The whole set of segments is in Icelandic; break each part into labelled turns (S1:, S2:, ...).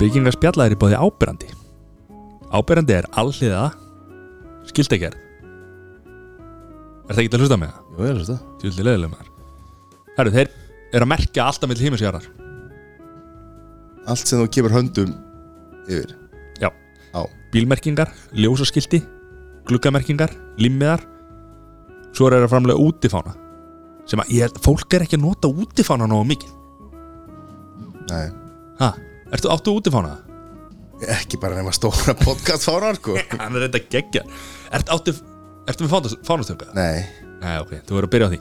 S1: Byggingarspjalla er í bóði ábyrrandi Ábyrrandi er alliða Skildegjær Er það ekki að hlusta með það?
S2: Jú, ég veist það
S1: Tjúldi leðileg maður Herru, þeir eru að merkja alltaf mill hímisjarar
S2: Allt sem þú kemur höndum yfir
S1: Já.
S2: Á
S1: Bílmerkingar, ljósaskilti Gluggamerkingar, limmiðar Svo eru þeir að framlega útifána Sem að ég held, fólk er ekki að nota útifána Nógu mikið
S2: Nei
S1: ha, Ertu áttu útifána?
S2: Ekki bara nema stóra podcast fánar, sko
S1: Hann er reynda geggjar Ertu, áttu, ertu með fána- fánastöng?
S2: Nei
S1: Nei, ok, þú verður að byrja á því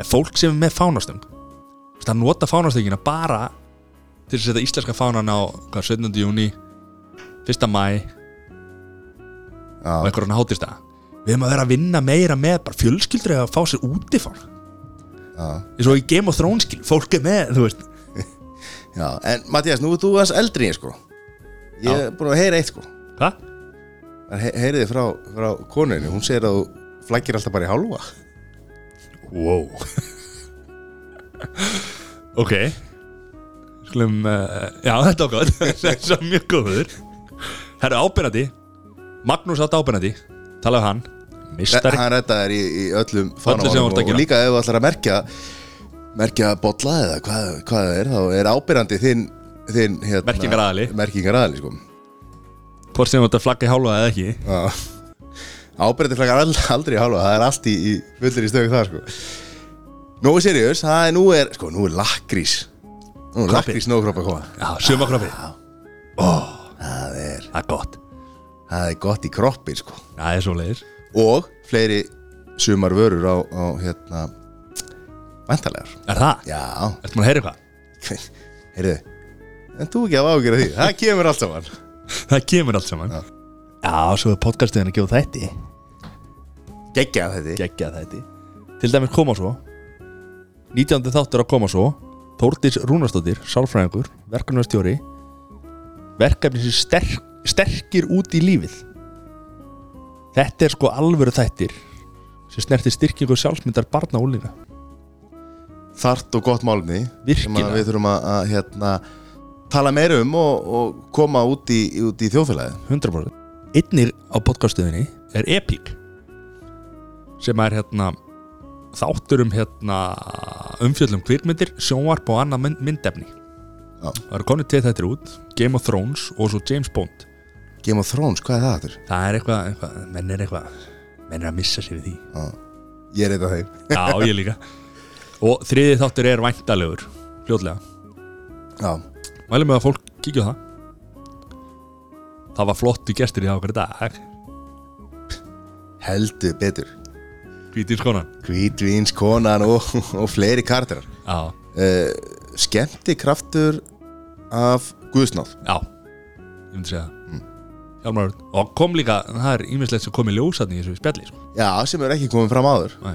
S1: En fólk sem er með fánastöng Það nota fánastöngina bara Til að setja íslenska fánan á hvað, 17. júni 1. mæ og
S2: Já,
S1: einhverjum hátist það Við erum að vera að vinna meira með bara fjölskyldur eða að fá sér útifána
S2: já,
S1: eins og í Game of Thrones skil, fólk er með þú veist,
S2: já En Mattias, nú ert þú aðeins eldri en ég, sko Ég er búin að heyra eitt, sko
S1: hva?
S2: Maður he- Heyriði frá, frá konunni Hún segir að þú flaggir alltaf bara í hálfa
S1: Wow Ok Skulum, uh, já þetta var gott Þetta var mjög góður Herra ábyrnandi Magnús átt ábyrnandi, talaðu hann Mistari,
S2: Hann rettaði þér í, í öllum
S1: Öllu sem þú ert að
S2: fánamálum og,
S1: gera.
S2: og líka ef þú ætlar að merkja merkja bolla eða hvað, hvað það er þá er ábyrjandi þinn, þinn hérna,
S1: Merkingaraðili.
S2: merkingaraðili, sko.
S1: hvort sem þú ert að flagga í hálfa eða ekki
S2: Já. Ábyrjandi flaggar all, aldrei í hálfa það er allt í, í fullir í stöðu það sko. Nóu seriðus, það er nú er sko, nú er lakrís nú er
S1: Kroppið.
S2: lakrís nógkropp að koma
S1: Já, sumakrofi,
S2: það er,
S1: það er gott
S2: það er gott í kroppin sko.
S1: Það er svo leiðis
S2: og fleiri sumar vörur á, á hérna vantalegar
S1: Er það?
S2: já,
S1: Ertu maður að heyra eitthvað?
S2: Heyrðu, en þú ekki að ágjöra því Það kemur allt saman
S1: Það kemur allt saman
S2: Já.
S1: Já, svo er podcastuðin að gefa þætti
S2: Gekkja þetta
S1: geggjað þætti Til dæmis koma svo 19. þáttur að koma svo Þórdís Rúnastóttir, sálfræðingur verkefnastjóri verkefni sem sterk, sterkir út í lífið Þetta er sko alvöru þættir sem snertir styrkingu sjálfsmyndar barna og úlinga
S2: Þart og gott málumni sem
S1: Virkilega.
S2: að við þurfum að, að hérna, tala meira um og, og koma út í, út í þjóðfélagi
S1: 100% Einnig á podcastuðinni er Epic sem er hérna þáttur um hérna umfjöllum kvirkmyndir, sjónvarp og annað mynd, myndefni
S2: Já.
S1: Það eru konið til þetta út Game of Thrones og svo James Bond
S2: Game of Thrones, hvað er það aftur?
S1: Það er eitthvað, eitthvað menn er eitthvað menn er að missa sér við því
S2: Já. Ég er eitthvað þeim
S1: Já, ég líka Og þriði þáttur er væntalegur fljótlega
S2: Já,
S1: Mælum við að fólk kíkja á það Það var flottu gestur í það okkur í dag
S2: heldur betur
S1: Hvítið skonan
S2: Hvítvinskonan og, og fleiri kardirar
S1: Já,
S2: uh, Skemmti kraftur af Guðsnáð
S1: já Ég myndi segja það Hjálmar Örn Og kom líka, það er ímislegt sem kom í ljósatni í þessu spjalli sko.
S2: Já, sem er ekki komið fram áður
S1: Nei.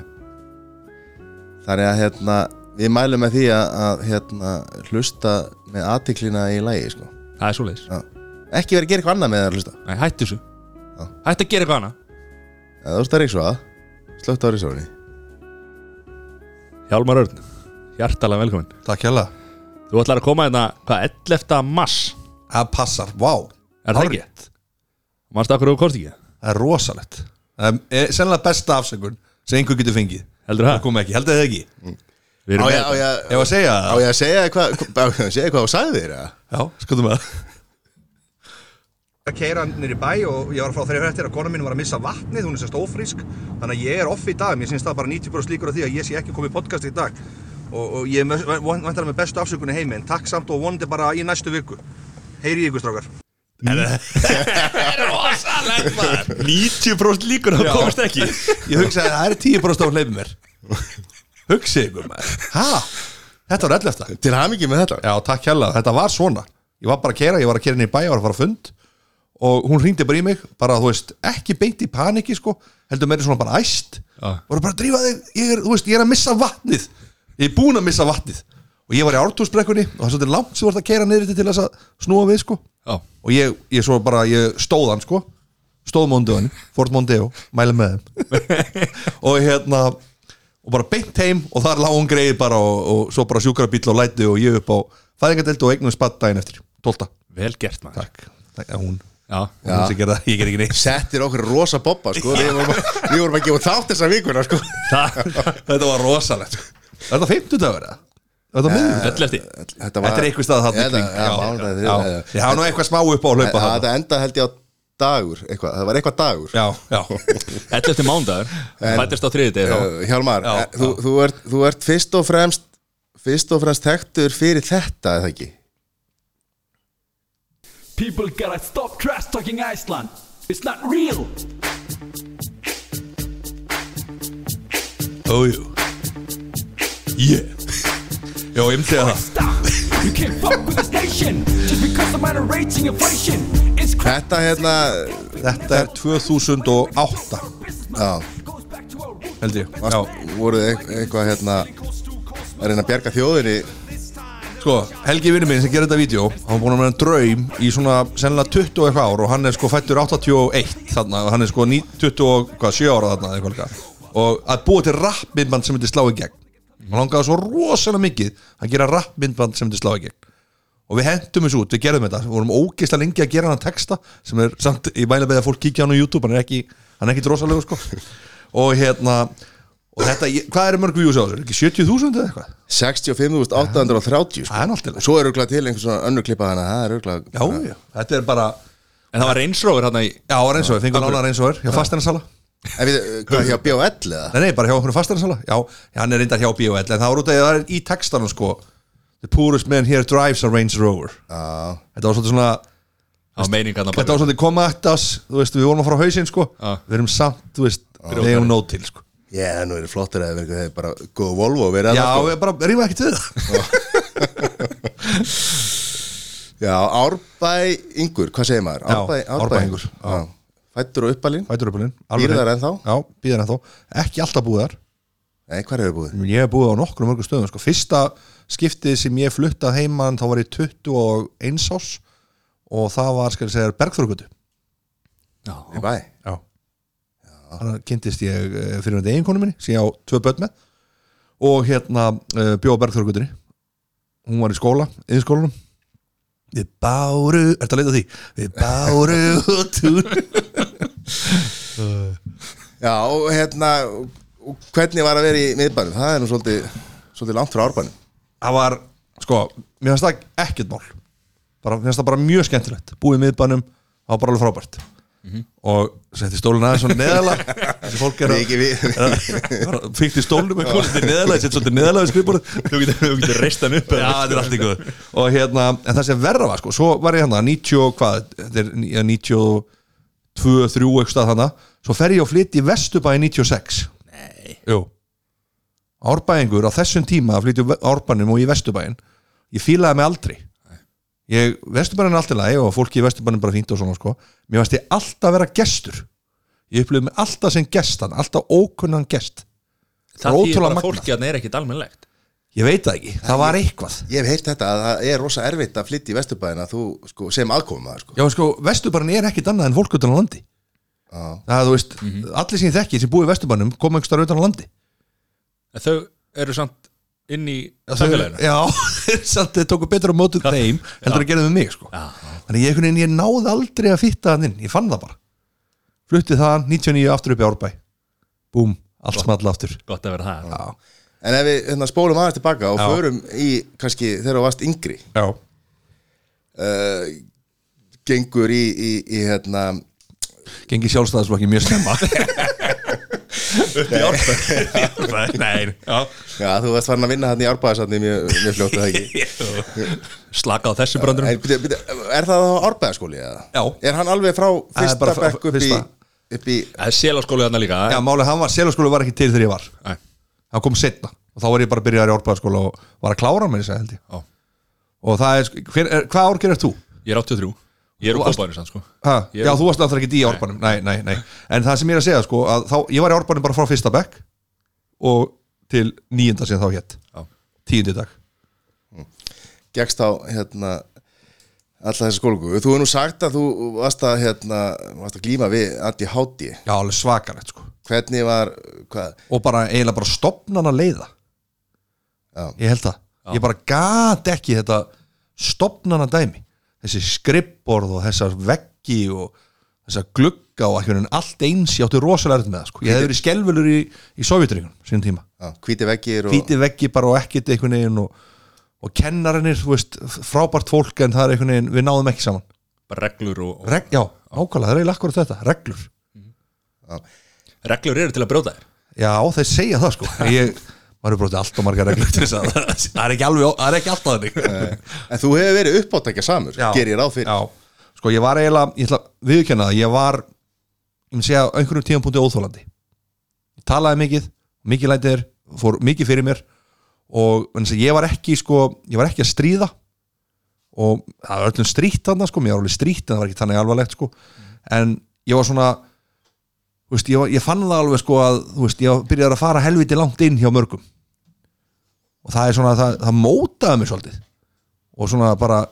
S2: Þannig að hérna, við mælum með því að, að hérna, hlusta með aðtiklina í lægi sko.
S1: Það er svoleiðis
S2: Já. Ekki verið að gera eitthvað annað með það að hlusta
S1: Nei, hættu þessu
S2: Já.
S1: Hættu að gera eitthvað annað
S2: Ef þú stærri svo að, slögt á risóni
S1: Hjálmar Örn, hjartalega velkomin
S3: Takk hérlega
S1: Þú ætlar að koma hérna, hvað, 11. mars
S3: Það passar, vá
S1: Er það ekki? Manstu akkur þú komst ekki?
S3: Það er rosalegt Það er sennilega besta afsökun sem einhver getur fengið
S1: Heldur það?
S3: kom ekki, heldur það ekki
S1: Við
S2: Á
S1: erum
S2: ég,
S1: með
S2: á, ég,
S3: Ef að segja
S2: á
S3: það
S2: ég að segja hvað á ég að segja hvað þú sagði þér eða?
S3: Já, skoðum að
S4: að keira nýri bæ og ég var frá þeirri fréttir að kona mín var að missa vatnið, hún er sérst ófrísk þannig að ég er off í dag, mér finnst það bara 90% líkur af því að ég sé ekki komið í podcast í dag og, og ég vantar með bestu afsökunni heimi en takk samt og vonandi bara í næstu viku heyri í ykkur strákar
S1: rosalegt maður 90% líkur að komast ekki
S3: Ég hugsaði að það er 10% á hleyfum mér Hugsið ykkur maður Hæ? Þetta var ell eftir
S2: Til hamingi með þetta
S3: Já, takk hérlega, þetta var svona Ég var bara að keira, ég var að keira inn í bæ, ég var að fara að fund og hún hringdi bara í mig, bara þú veist ekki beint í paniki sko, heldur meiri svona bara æst,
S1: Já.
S3: voru bara að drífa þig ég er, þú veist, ég er að missa vatnið ég er búin að missa vatnið og ég var í ártúrsbrekkunni og það er svolítið langt sem þú ert að keira niður til þess að snúa við sko
S1: Já.
S3: og ég, ég svo bara, ég stóð hann sko stóð Mondeo, Ford Mondeo mæla með þeim og hérna, og bara beint heim og þar lá hún greið bara og, og svo bara sjúkrabíl og læti og ég upp á fæðingadelt og eignum spatt daginn eftir, 12.
S1: Vel gert maður
S3: Takk, takk, að hún
S1: Já,
S3: Hún sem gerði það, ég ger ekki neitt
S2: Settir okkur rosa bobba sko Við vorum, við vorum að gefa út þátt þessa vikuna sko
S3: Þetta var rosalegt Er þetta 50 dagur eða? Er þetta miður?
S1: Ellefti
S2: Þetta
S3: Þetta er eitthvað stað þarna í
S2: Þetta-
S3: kring.
S2: já,
S3: Já,
S2: mánudag,
S3: já.
S2: þriðjudag, já.
S3: Ég hafa nú eitthvað smá upp á að hlaupa
S2: Þetta
S3: þarna
S2: enda held ég á dagur eitthvað. Það var eitthvað dagur
S3: Já, já,
S1: 11. mándagur Fættist á þriði degi þá
S2: Uh, Hjálmar,
S3: Já,
S2: eh, þú, þú, ert, þú ert fyrst og fremst fyrst og fremst hektur fyrir þetta eða ekki
S5: People gotta stop trash talking Iceland. It's not real.
S3: ójú Oh, Yeah Jó, ég myndi að það
S5: Stop. You can't fuck with this nation just because of minor rating inflation. It's crazy.
S2: Þetta hérna,
S3: Þetta er 2008
S2: já,
S3: held ég Já,
S2: varst, voruð þið eit- eitthvað hérna að reyna að bjarga þjóðinni
S3: sko, Helgi vinnu minn sem gerir þetta vídeo hann er búin að vera draum í svona sennilega 20 og eitthvað ár og hann er sko fættur 81 þarna og hann er sko 9 27 ára þarna eða eitthvað líka. og að búa til rappmyndband sem myndi slá í gegn hann langaði svo rosalega mikið að gera rappmyndband sem myndi slá í gegn og við hentum þessu út, við gerðum þetta við vorum ógeðslega lengi að gera hann texta sem er samt, ég mæla með að fólk kíkja á hann á YouTube hann er ekki, hann er ekki drosalegu sko og hérna og þetta, ég- hvað er mörg views á þessu, Er ekki 70.000 eða eitthvað
S2: 65.830 sko.
S3: það er náttúrulega
S2: Svo er örglað til einhvers svona önnur klippa þannig að það er örglað
S3: Já, já, þetta er bara
S1: En það var reynsróður hérna í
S3: Já, reynsóður, fengum lána reynsóður hjá fasteinsala Nei,
S2: En við, eh, hvað hjá B.O.L. eða?
S3: nei, bara hjá einhvern fasteinsala Já, já, hann er reyndar hjá B.O.L En það var út af því að það er í textanum sko The poorest man here drives a Range Rover
S2: Já,
S3: Þetta var svolítið svona
S1: Á meiningarna
S3: Þetta var svolítið koma at us Þú veist, við vorum að fara á hausinn sko
S1: Já.
S3: Við erum samt, þú veist, við eigum nót til sko
S2: ég það nú er flottur að það er bara góð Volvo verið að
S3: Já,
S2: það, sko.
S3: við bara rýma ekkert við það
S2: já, Árbæ Ingur, hvað segir maður?
S3: Já, Árbæingur.
S2: Já. Fæddur og uppalinn?
S3: Fætur uppalinn
S2: Býrð þar ennþá?
S3: Já, býðar ennþá Ekki alltaf búið þar
S2: Nei, hvað er það búið?
S3: Ég hef búið á nokkrum mörgum stöðum sko. Fyrsta skiptið sem ég fluttað heimann þá var ég 21 ás og það var, skal ég segja, Bergþorgötu
S2: Í bæ?
S3: Já Þannig kynntist ég eh, fyrir þetta eiginkonu minni sem ég á tvö börn með og hérna uh, bjóða Bergþorgötunni hún var í skóla, yðinskólanum Við báru Ertu að leita að því? Við báru og tún
S2: Já, og hérna, og hvernig var að vera í miðbænum? Það er nú svolítið, svolítið langt frá árbænum.
S3: það var, sko, mér finnst það ekkert mál bara, mér finnst það bara mjög skemmtilegt búið í miðbænum, það var bara alveg frábært
S1: Mhm.
S3: og setti stólun aðeins svona neðalega, þessi fólk er
S2: Mikið við-
S3: að fíkti stólnum eitthvað svolítið neðalega, setti svolítið neðalega við skrifbúrið
S1: Þú getur, þú getur reist hann upp
S3: Já, þetta er allt ykkur Og hérna, en það sem verra var sko Svo var ég hérna 90 og hvað Þetta er ní- ja, 92, 3 eitthvað stað þarna Svo fer ég og flytt í Vesturbæ 96 Nei Jú Árbæðingur á þessum tíma að flytja árbænum og í Vesturbæin Ég fílaði mig aldrei ég, Vesturbæin er allt í lagi og fólki í Vesturbæin bara fínt og svona sko Mér varst ég alltaf að vera gestur Ég upplifði mig alltaf sem gestan Alltaf ókunnan gest
S1: Það þýðir
S3: Ótrúlega
S1: bara
S3: magnað.
S1: fólki hérna er ekkit almennlegt
S3: Ég veit það ekki, það var eitthvað
S2: Ég hef heyrt þetta að það er rosa erfitt að flytja í vesturbæðina þú, sko, sem aðkoma, sko.
S3: Já, sko, Vesturbarn er ekkit annað en fólk utan á landi
S2: Já.
S3: Það er, þú veist, allir sem ég þekki sem búið í Vesturbarnum koma einhver starf utan á landi
S1: En þau eru samt inn í
S3: Þau-
S1: samfélaginu
S3: Já, samt þið tóku betur á mótu þeim heldur að gera þau mig, sko
S1: Já.
S3: Þannig ég, einhvern veginn, ég náði aldrei að fitta hann inn, ég fann það bara Flutti það 99 aftur upp í Árbæ Búm, allt small aftur
S1: Gott að vera það
S3: Já,
S2: En ef við hérna, spólum aðeins tilbaka og
S3: Já.
S2: förum í, kannski, þegar þú varst yngri,
S3: já,
S2: uh, gengur í, í, í hérna,
S3: gengi sjálfstæðisflokki mjög snemma
S1: Nei,
S2: já, þú varst farin að vinna hann í árbæðasatni mjög, mjög fljótt að það ekki.
S1: slaka á þessu brandur
S2: En, byrja, byrja, er það á árbæðaskóli, eða?
S3: Já.
S2: Er hann alveg frá
S3: er
S2: fyrsta
S3: bara frá-
S2: bekk upp í,
S3: fyrsta.
S2: upp í,
S1: Það er sélaskólu hérna líka
S3: Já, málið, hann var, selaskólu var ekki til þegar ég var
S1: Nei.
S3: Hann kom setna og þá var ég bara að byrja í Árbæðaskóla og var að klára mér, held ég
S1: Já.
S3: Og það er, sko- hver, er hvað árgerð er þú?
S1: Ég er 83 Ég er úr
S3: varst-
S1: kópaðinu sann sko
S3: Ha,
S1: Ég-
S3: já, þú varst náttúrulega ekki í árbænum nei. Nei, nei, En það sem ég er að segja sko, að þá, Ég var í árbænum bara frá fyrsta bekk Og til níunda sem þá hétt
S1: Já.
S3: Tíundi dag
S2: gegst á hérna alla þessi skólgu. Þú hefur nú sagt að þú varst að, hérna, varst að glíma við ADHD.
S3: Já, alveg svakalegt sko.
S2: Hvernig var, hvað,
S3: Og bara eiginlega bara stopnana leiða
S2: Já.
S3: Ég held það Ég bara gat ekki þetta stopnana dæmi þessi skrippborð og þessar veggi og þessar glugga og einhvern veginn allt eins ég átti rosalega erfitt með það sko. ég hefði verið skelvelur í, í Sovjetringunum sín tíma
S2: Já, hvíti veggir og
S3: hvíti veggi bara og ekkert einhvern veginn og, og kennarinnir, þú veist, frábært fólk en það er einhvern veginn, við náðum ekki saman
S1: reglur og,
S3: Reg, já, ákvæmlega, það er eiginlega akkur þetta, reglur
S1: og reglur eru til að brjóta þér
S3: Já, þeir segja það sko ég, maður er brotið allt og margar reglur til þess að það er ekki alveg, það er ekki alltaf þannig
S2: En þú hefur verið uppáttækja samur, ger ég ráð fyrir
S3: Já, sko ég var eiginlega, ég ætla að viðurkenna það ég var, ég mun segja á einhverjum tíðanpunkti óþólandi ég talaði mikið, mikið lætir fór mikið fyrir mér og vegna þess að ég var ekki sko, ég var ekki að stríða og það var öllum strýtt þarna sko, mér var alveg strýtt en það var ekki þannig alvarlegt sko en ég var svona þú veist, ég, var, ég fann það alveg sko að þú veist, ég byrjaði að fara helviti langt inn hjá mörgum og það er svona, það, það mótaði mig svolítið og svona bara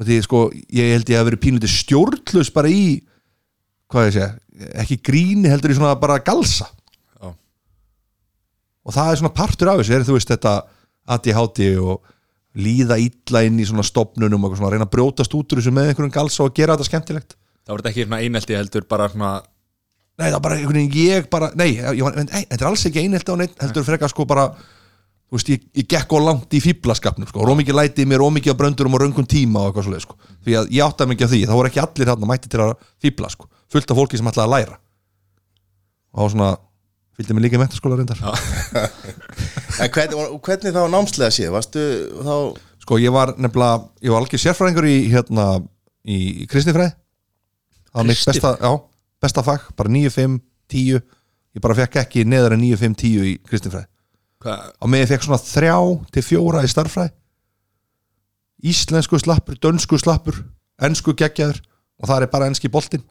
S3: veit ég, sko, ég held ég að verið pínlítið stjórnlaus bara í hvað ég segja, ekki gríni heldur í svona bara galsa
S1: Já.
S3: og það er svona partur af þessu er þú veist þetta ADHD og líða illa inn í svona stopnunum og eitthvað svona, reyna að brjótast út úr þessu með einhverjum galsa og gera þetta skemmtilegt
S1: það voru þetta ekki svona einelti heldur bara svona
S3: Nei, það var bara einhvern veginn, ég bara, nei, ég var, nei þetta er alls ekki einhelt á neitt, heldur frekar sko bara, þú veist, ég, ég gekk og langt í fýblaskapnum, sko, rómikið lætið mér, rómikið að bröndurum og röngum tíma og eitthvað svolítið, sko, því að ég áttaði mikið af því, þá voru ekki allir þarna mætti til að fýbla, sko, fullt af fólki sem ætlaði að læra. Og þá svona, fylgdi mig líka í mentaskóla reyndar.
S2: En hvernig, hvernig þá námslega séð, varstu þá
S3: Sko, ég var nefnilega, ég var algjör sérfræðingur í, hérna, í, í kristinfræði. Það var mitt besta, já, besta fag, bara 9-5, 10, ég bara fekk ekki neðar en 9-5, 10 í kristinfræði.
S1: hvað,
S3: á meðan ég fekk svona þrjá til fjóra í starffræði íslensku slappur, dönsku slappur ensku geggjaður og það er bara enski boltinn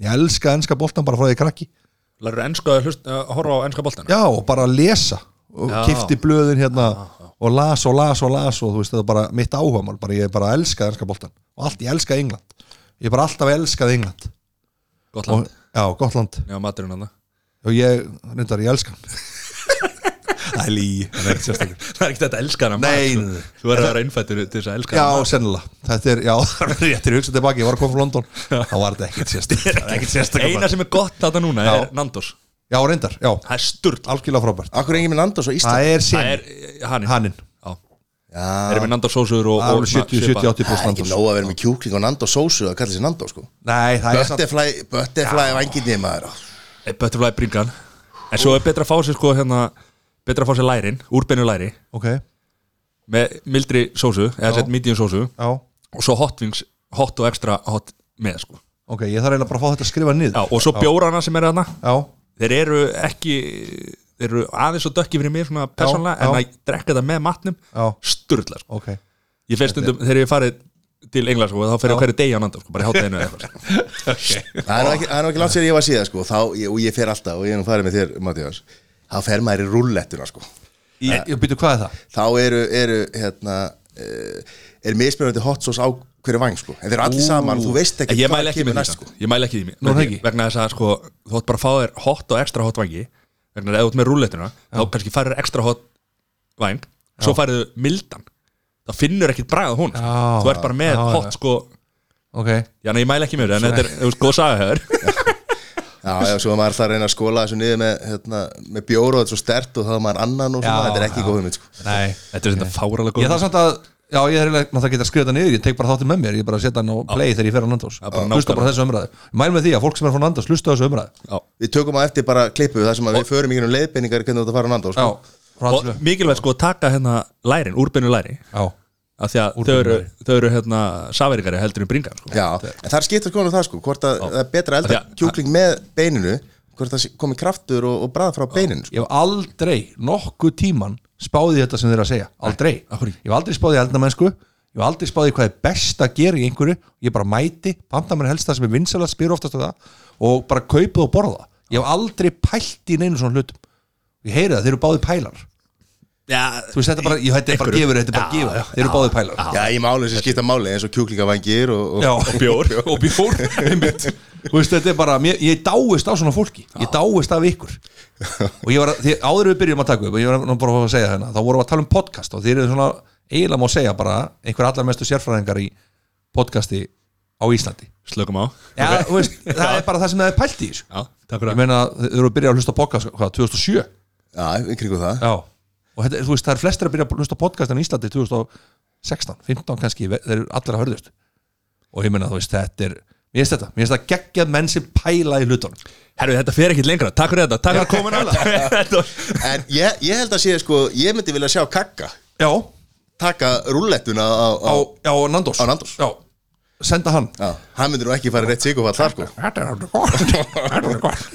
S3: ég elska enska boltan bara frá því ég er krakki
S1: lærur enska að hlust, að horfa á enska boltana
S3: já og bara lesa og
S1: Já.
S3: kifti blöðin hérna og las og las og las og þú veist þetta er bara mitt áhugamál bara ég er bara elska enska boltan og allt ég elska England ég er bara alltaf elskað England
S1: gott
S3: og,
S1: land,
S3: já gott land
S1: já maturinn hann
S3: og ég reyndar ég elska hann
S1: það er lí, það er ekki sérstaklega það er ekki þetta elskana
S3: Nei, nei, nei.
S1: sko. þú verður að vera innfættur til þess að elska
S3: Já, sennilega, þetta er, já, rétt er hugsað tilbaki, ég var að koma frá London þá var þetta ekkert sérstaklega ekkert sérstaklega
S1: eina sem er gott þetta núna
S3: Já. Ah,
S1: er Nandos
S3: Já, reyndar, já,
S1: það er sturt
S3: algjörlega frábært
S2: Akkur engin minn Nandos á Ísland?
S3: Það
S1: það
S3: er sín,
S1: er hanninn
S3: Haninn.
S1: já
S2: Já,
S1: Það eru með Nandos sósur og, og
S3: alveg 70-80%
S2: það er ekki
S3: Nandos
S2: nóg að vera með kjúkling og Nandos sósu að kalla sér Nandos sko
S3: Nei, það er samt
S2: Butterfly, butterfly vanginni maður
S1: Eh, Butterfly bringan En svo er betra að fá sér sko hérna Betra að fá sér lærin, úrbeinu læri
S3: Ok, já,
S1: Með mildri sósu, eða sett medium sósu
S3: ok,
S1: Og svo hot wings, hot og extra hot með sko
S3: ég þarf eiginlega bara að fá þetta að skrifa niður
S1: Já, og svo bjórana sem eru þarna
S3: já,
S1: Þeir eru ekki, þeir eru aðeins og dökki fyrir mér svona persónlega
S3: já.
S1: En að drekka það með matnum,
S3: Já.
S1: sturla sko
S3: ok
S1: Ég fer stundum, þegar ég farið til England sko Þá fer ég á hverju degi á Nando sko, bara í hátæðinu eða eitthvað sko.
S2: Það er nú ekki, það er nú ekki langt sér ég var síðan sko þá, ég, og ég fer alltaf og ég er nú farið með þér Mattias þá fer maður í rúllettuna sko
S3: Í- Ég býtu hvað er það?
S2: þá eru, eru hérna eh, er mismunandi hot sauce á hverju vang sko en þeir eru allir saman og þú veist
S1: En
S2: ekki
S1: Ég mæli ekki með því
S2: næst
S1: sko. Ég mæli ekki því
S3: Nú,
S1: með
S3: það
S1: því
S3: ekki?
S1: Vegna þess að sko, þú átt bara að fá þér hot og extra hot vangi Vegna þess að ef þú ert með rúlletuna Þá kannski færðu extra hot vang Svo færðu mildan Þá finnur ekkit bræða hún sko.
S3: Já,
S1: Þú ert bara með
S3: já,
S1: hot
S3: já.
S1: sko
S3: Ok,
S1: Já, nei, ég mæli ekki með því En þetta er, þú veist, góð saga hefur
S2: Já, já, svo er maður alltaf að reyna að skóla þessu niður með, hérna, með bjóru og þetta er svo stert og það er maður annan og svona,
S3: Já,
S2: þetta er ekki
S3: já.
S2: góð hugmynd sko.
S3: nei
S1: Þetta er þetta fáralega
S3: Ég
S1: góð
S3: þarf samt að, já, ég þarf eiginlega náttúrulega að geta að skrifa þetta niður Ég tek bara þáttið með mér, ég bara setja hann á play þegar ég fer á Nandos
S1: Já, bara
S3: Hlusta bara
S1: nákvæmlega.
S3: á þessu umræðu Ég Mæl með því að fólk sem er frá Nandos, hlusta á þessu umræðu
S1: Já.
S2: Við tökum að eftir bara klippu þar sem að við förum ekki um leiðbeiningar hvernig þú ert að fara á Nando sko.
S3: Já, frá
S1: Og
S3: allir
S1: mikilvægt sko að taka hérna lærin, úrbeinu læri
S3: Já,
S1: af Því að þau
S3: Úrbeinu
S1: eru,
S3: læri.
S1: þau eru hérna Saverikari heldur um bringan sko.
S2: Já, en það er skipta skoðan á það sko, hvort að það er betra að elda
S1: Af því að-
S2: kjúkling með beininu hvort það sé- komi kraftur og, og brað frá beininu sko.
S3: Ég hef aldrei nokkuð tíman spáði í þetta sem þeir eru að segja, aldrei
S1: af hverju?
S3: Ég hef aldrei spáði eldnamennsku Ég hef aldrei spáði hvað er best að gera í einhverju Ég bara mæti, panta mér helst það sem er vinsalegt spyr oftast á það og bara kaupið og borða Ég hef aldrei pælt í neinu svona hlutum Ég heyri það, þeir eru báði pælar
S1: Já,
S3: Þú veist, þetta er bara, ég, þetta er bara
S1: Einhverju.
S3: gefur, þetta er bara
S1: Já,
S3: gefur
S1: já,
S3: Þeir eru báði pælar
S2: Já, ég máli sem skipta máli eins og kjúklingavangir og, og
S3: og bjór og bjór einmitt. þú veist þetta er bara, mér, ég dáist á svona fólki ég dáist af ykkur og ég var, að- því, áður en við byrjum að taka upp og ég var nú bara að fá að segja hérna, þá vorum við að tala um podcast og þeir eru svona, eiginlega má segja bara einhver allar mestu sérfræðingar í podcasti á Íslandi
S1: Slökum á
S3: Já, þú veist, það er bara það sem það er pælt í þessu
S1: Já, takk
S3: Ég
S1: fyrir
S3: meina, þau eru að byrja að hlusta á podcast, hvað, 2007?
S2: Já, í kringu það
S3: Já Og þetta, þú veist, það er flestir að byrja að hlusta á podcast en á Íslandi 2016, 15 kannski þeir eru allir að hörðust Og ég meina, þú veist, þetta er Mér finnst þetta, mér finnst það geggjað menn sem pæla í hlutunum
S1: Herru, þetta fer ekkit lengra Takk fyrir þetta Takk fyrir að koma nála Þetta var-
S2: En ég, ég held að sé, sko, ég myndi vilja sjá kakka
S3: Já,
S2: Taka rúllettuna á, á,
S3: á, já, á Nandos
S2: Á Nandos.
S3: Já, senda hann
S2: Já, hann myndir nú ekki fara rétt sigurfall þar, sko
S3: Þetta er alveg gott Þetta er alveg gott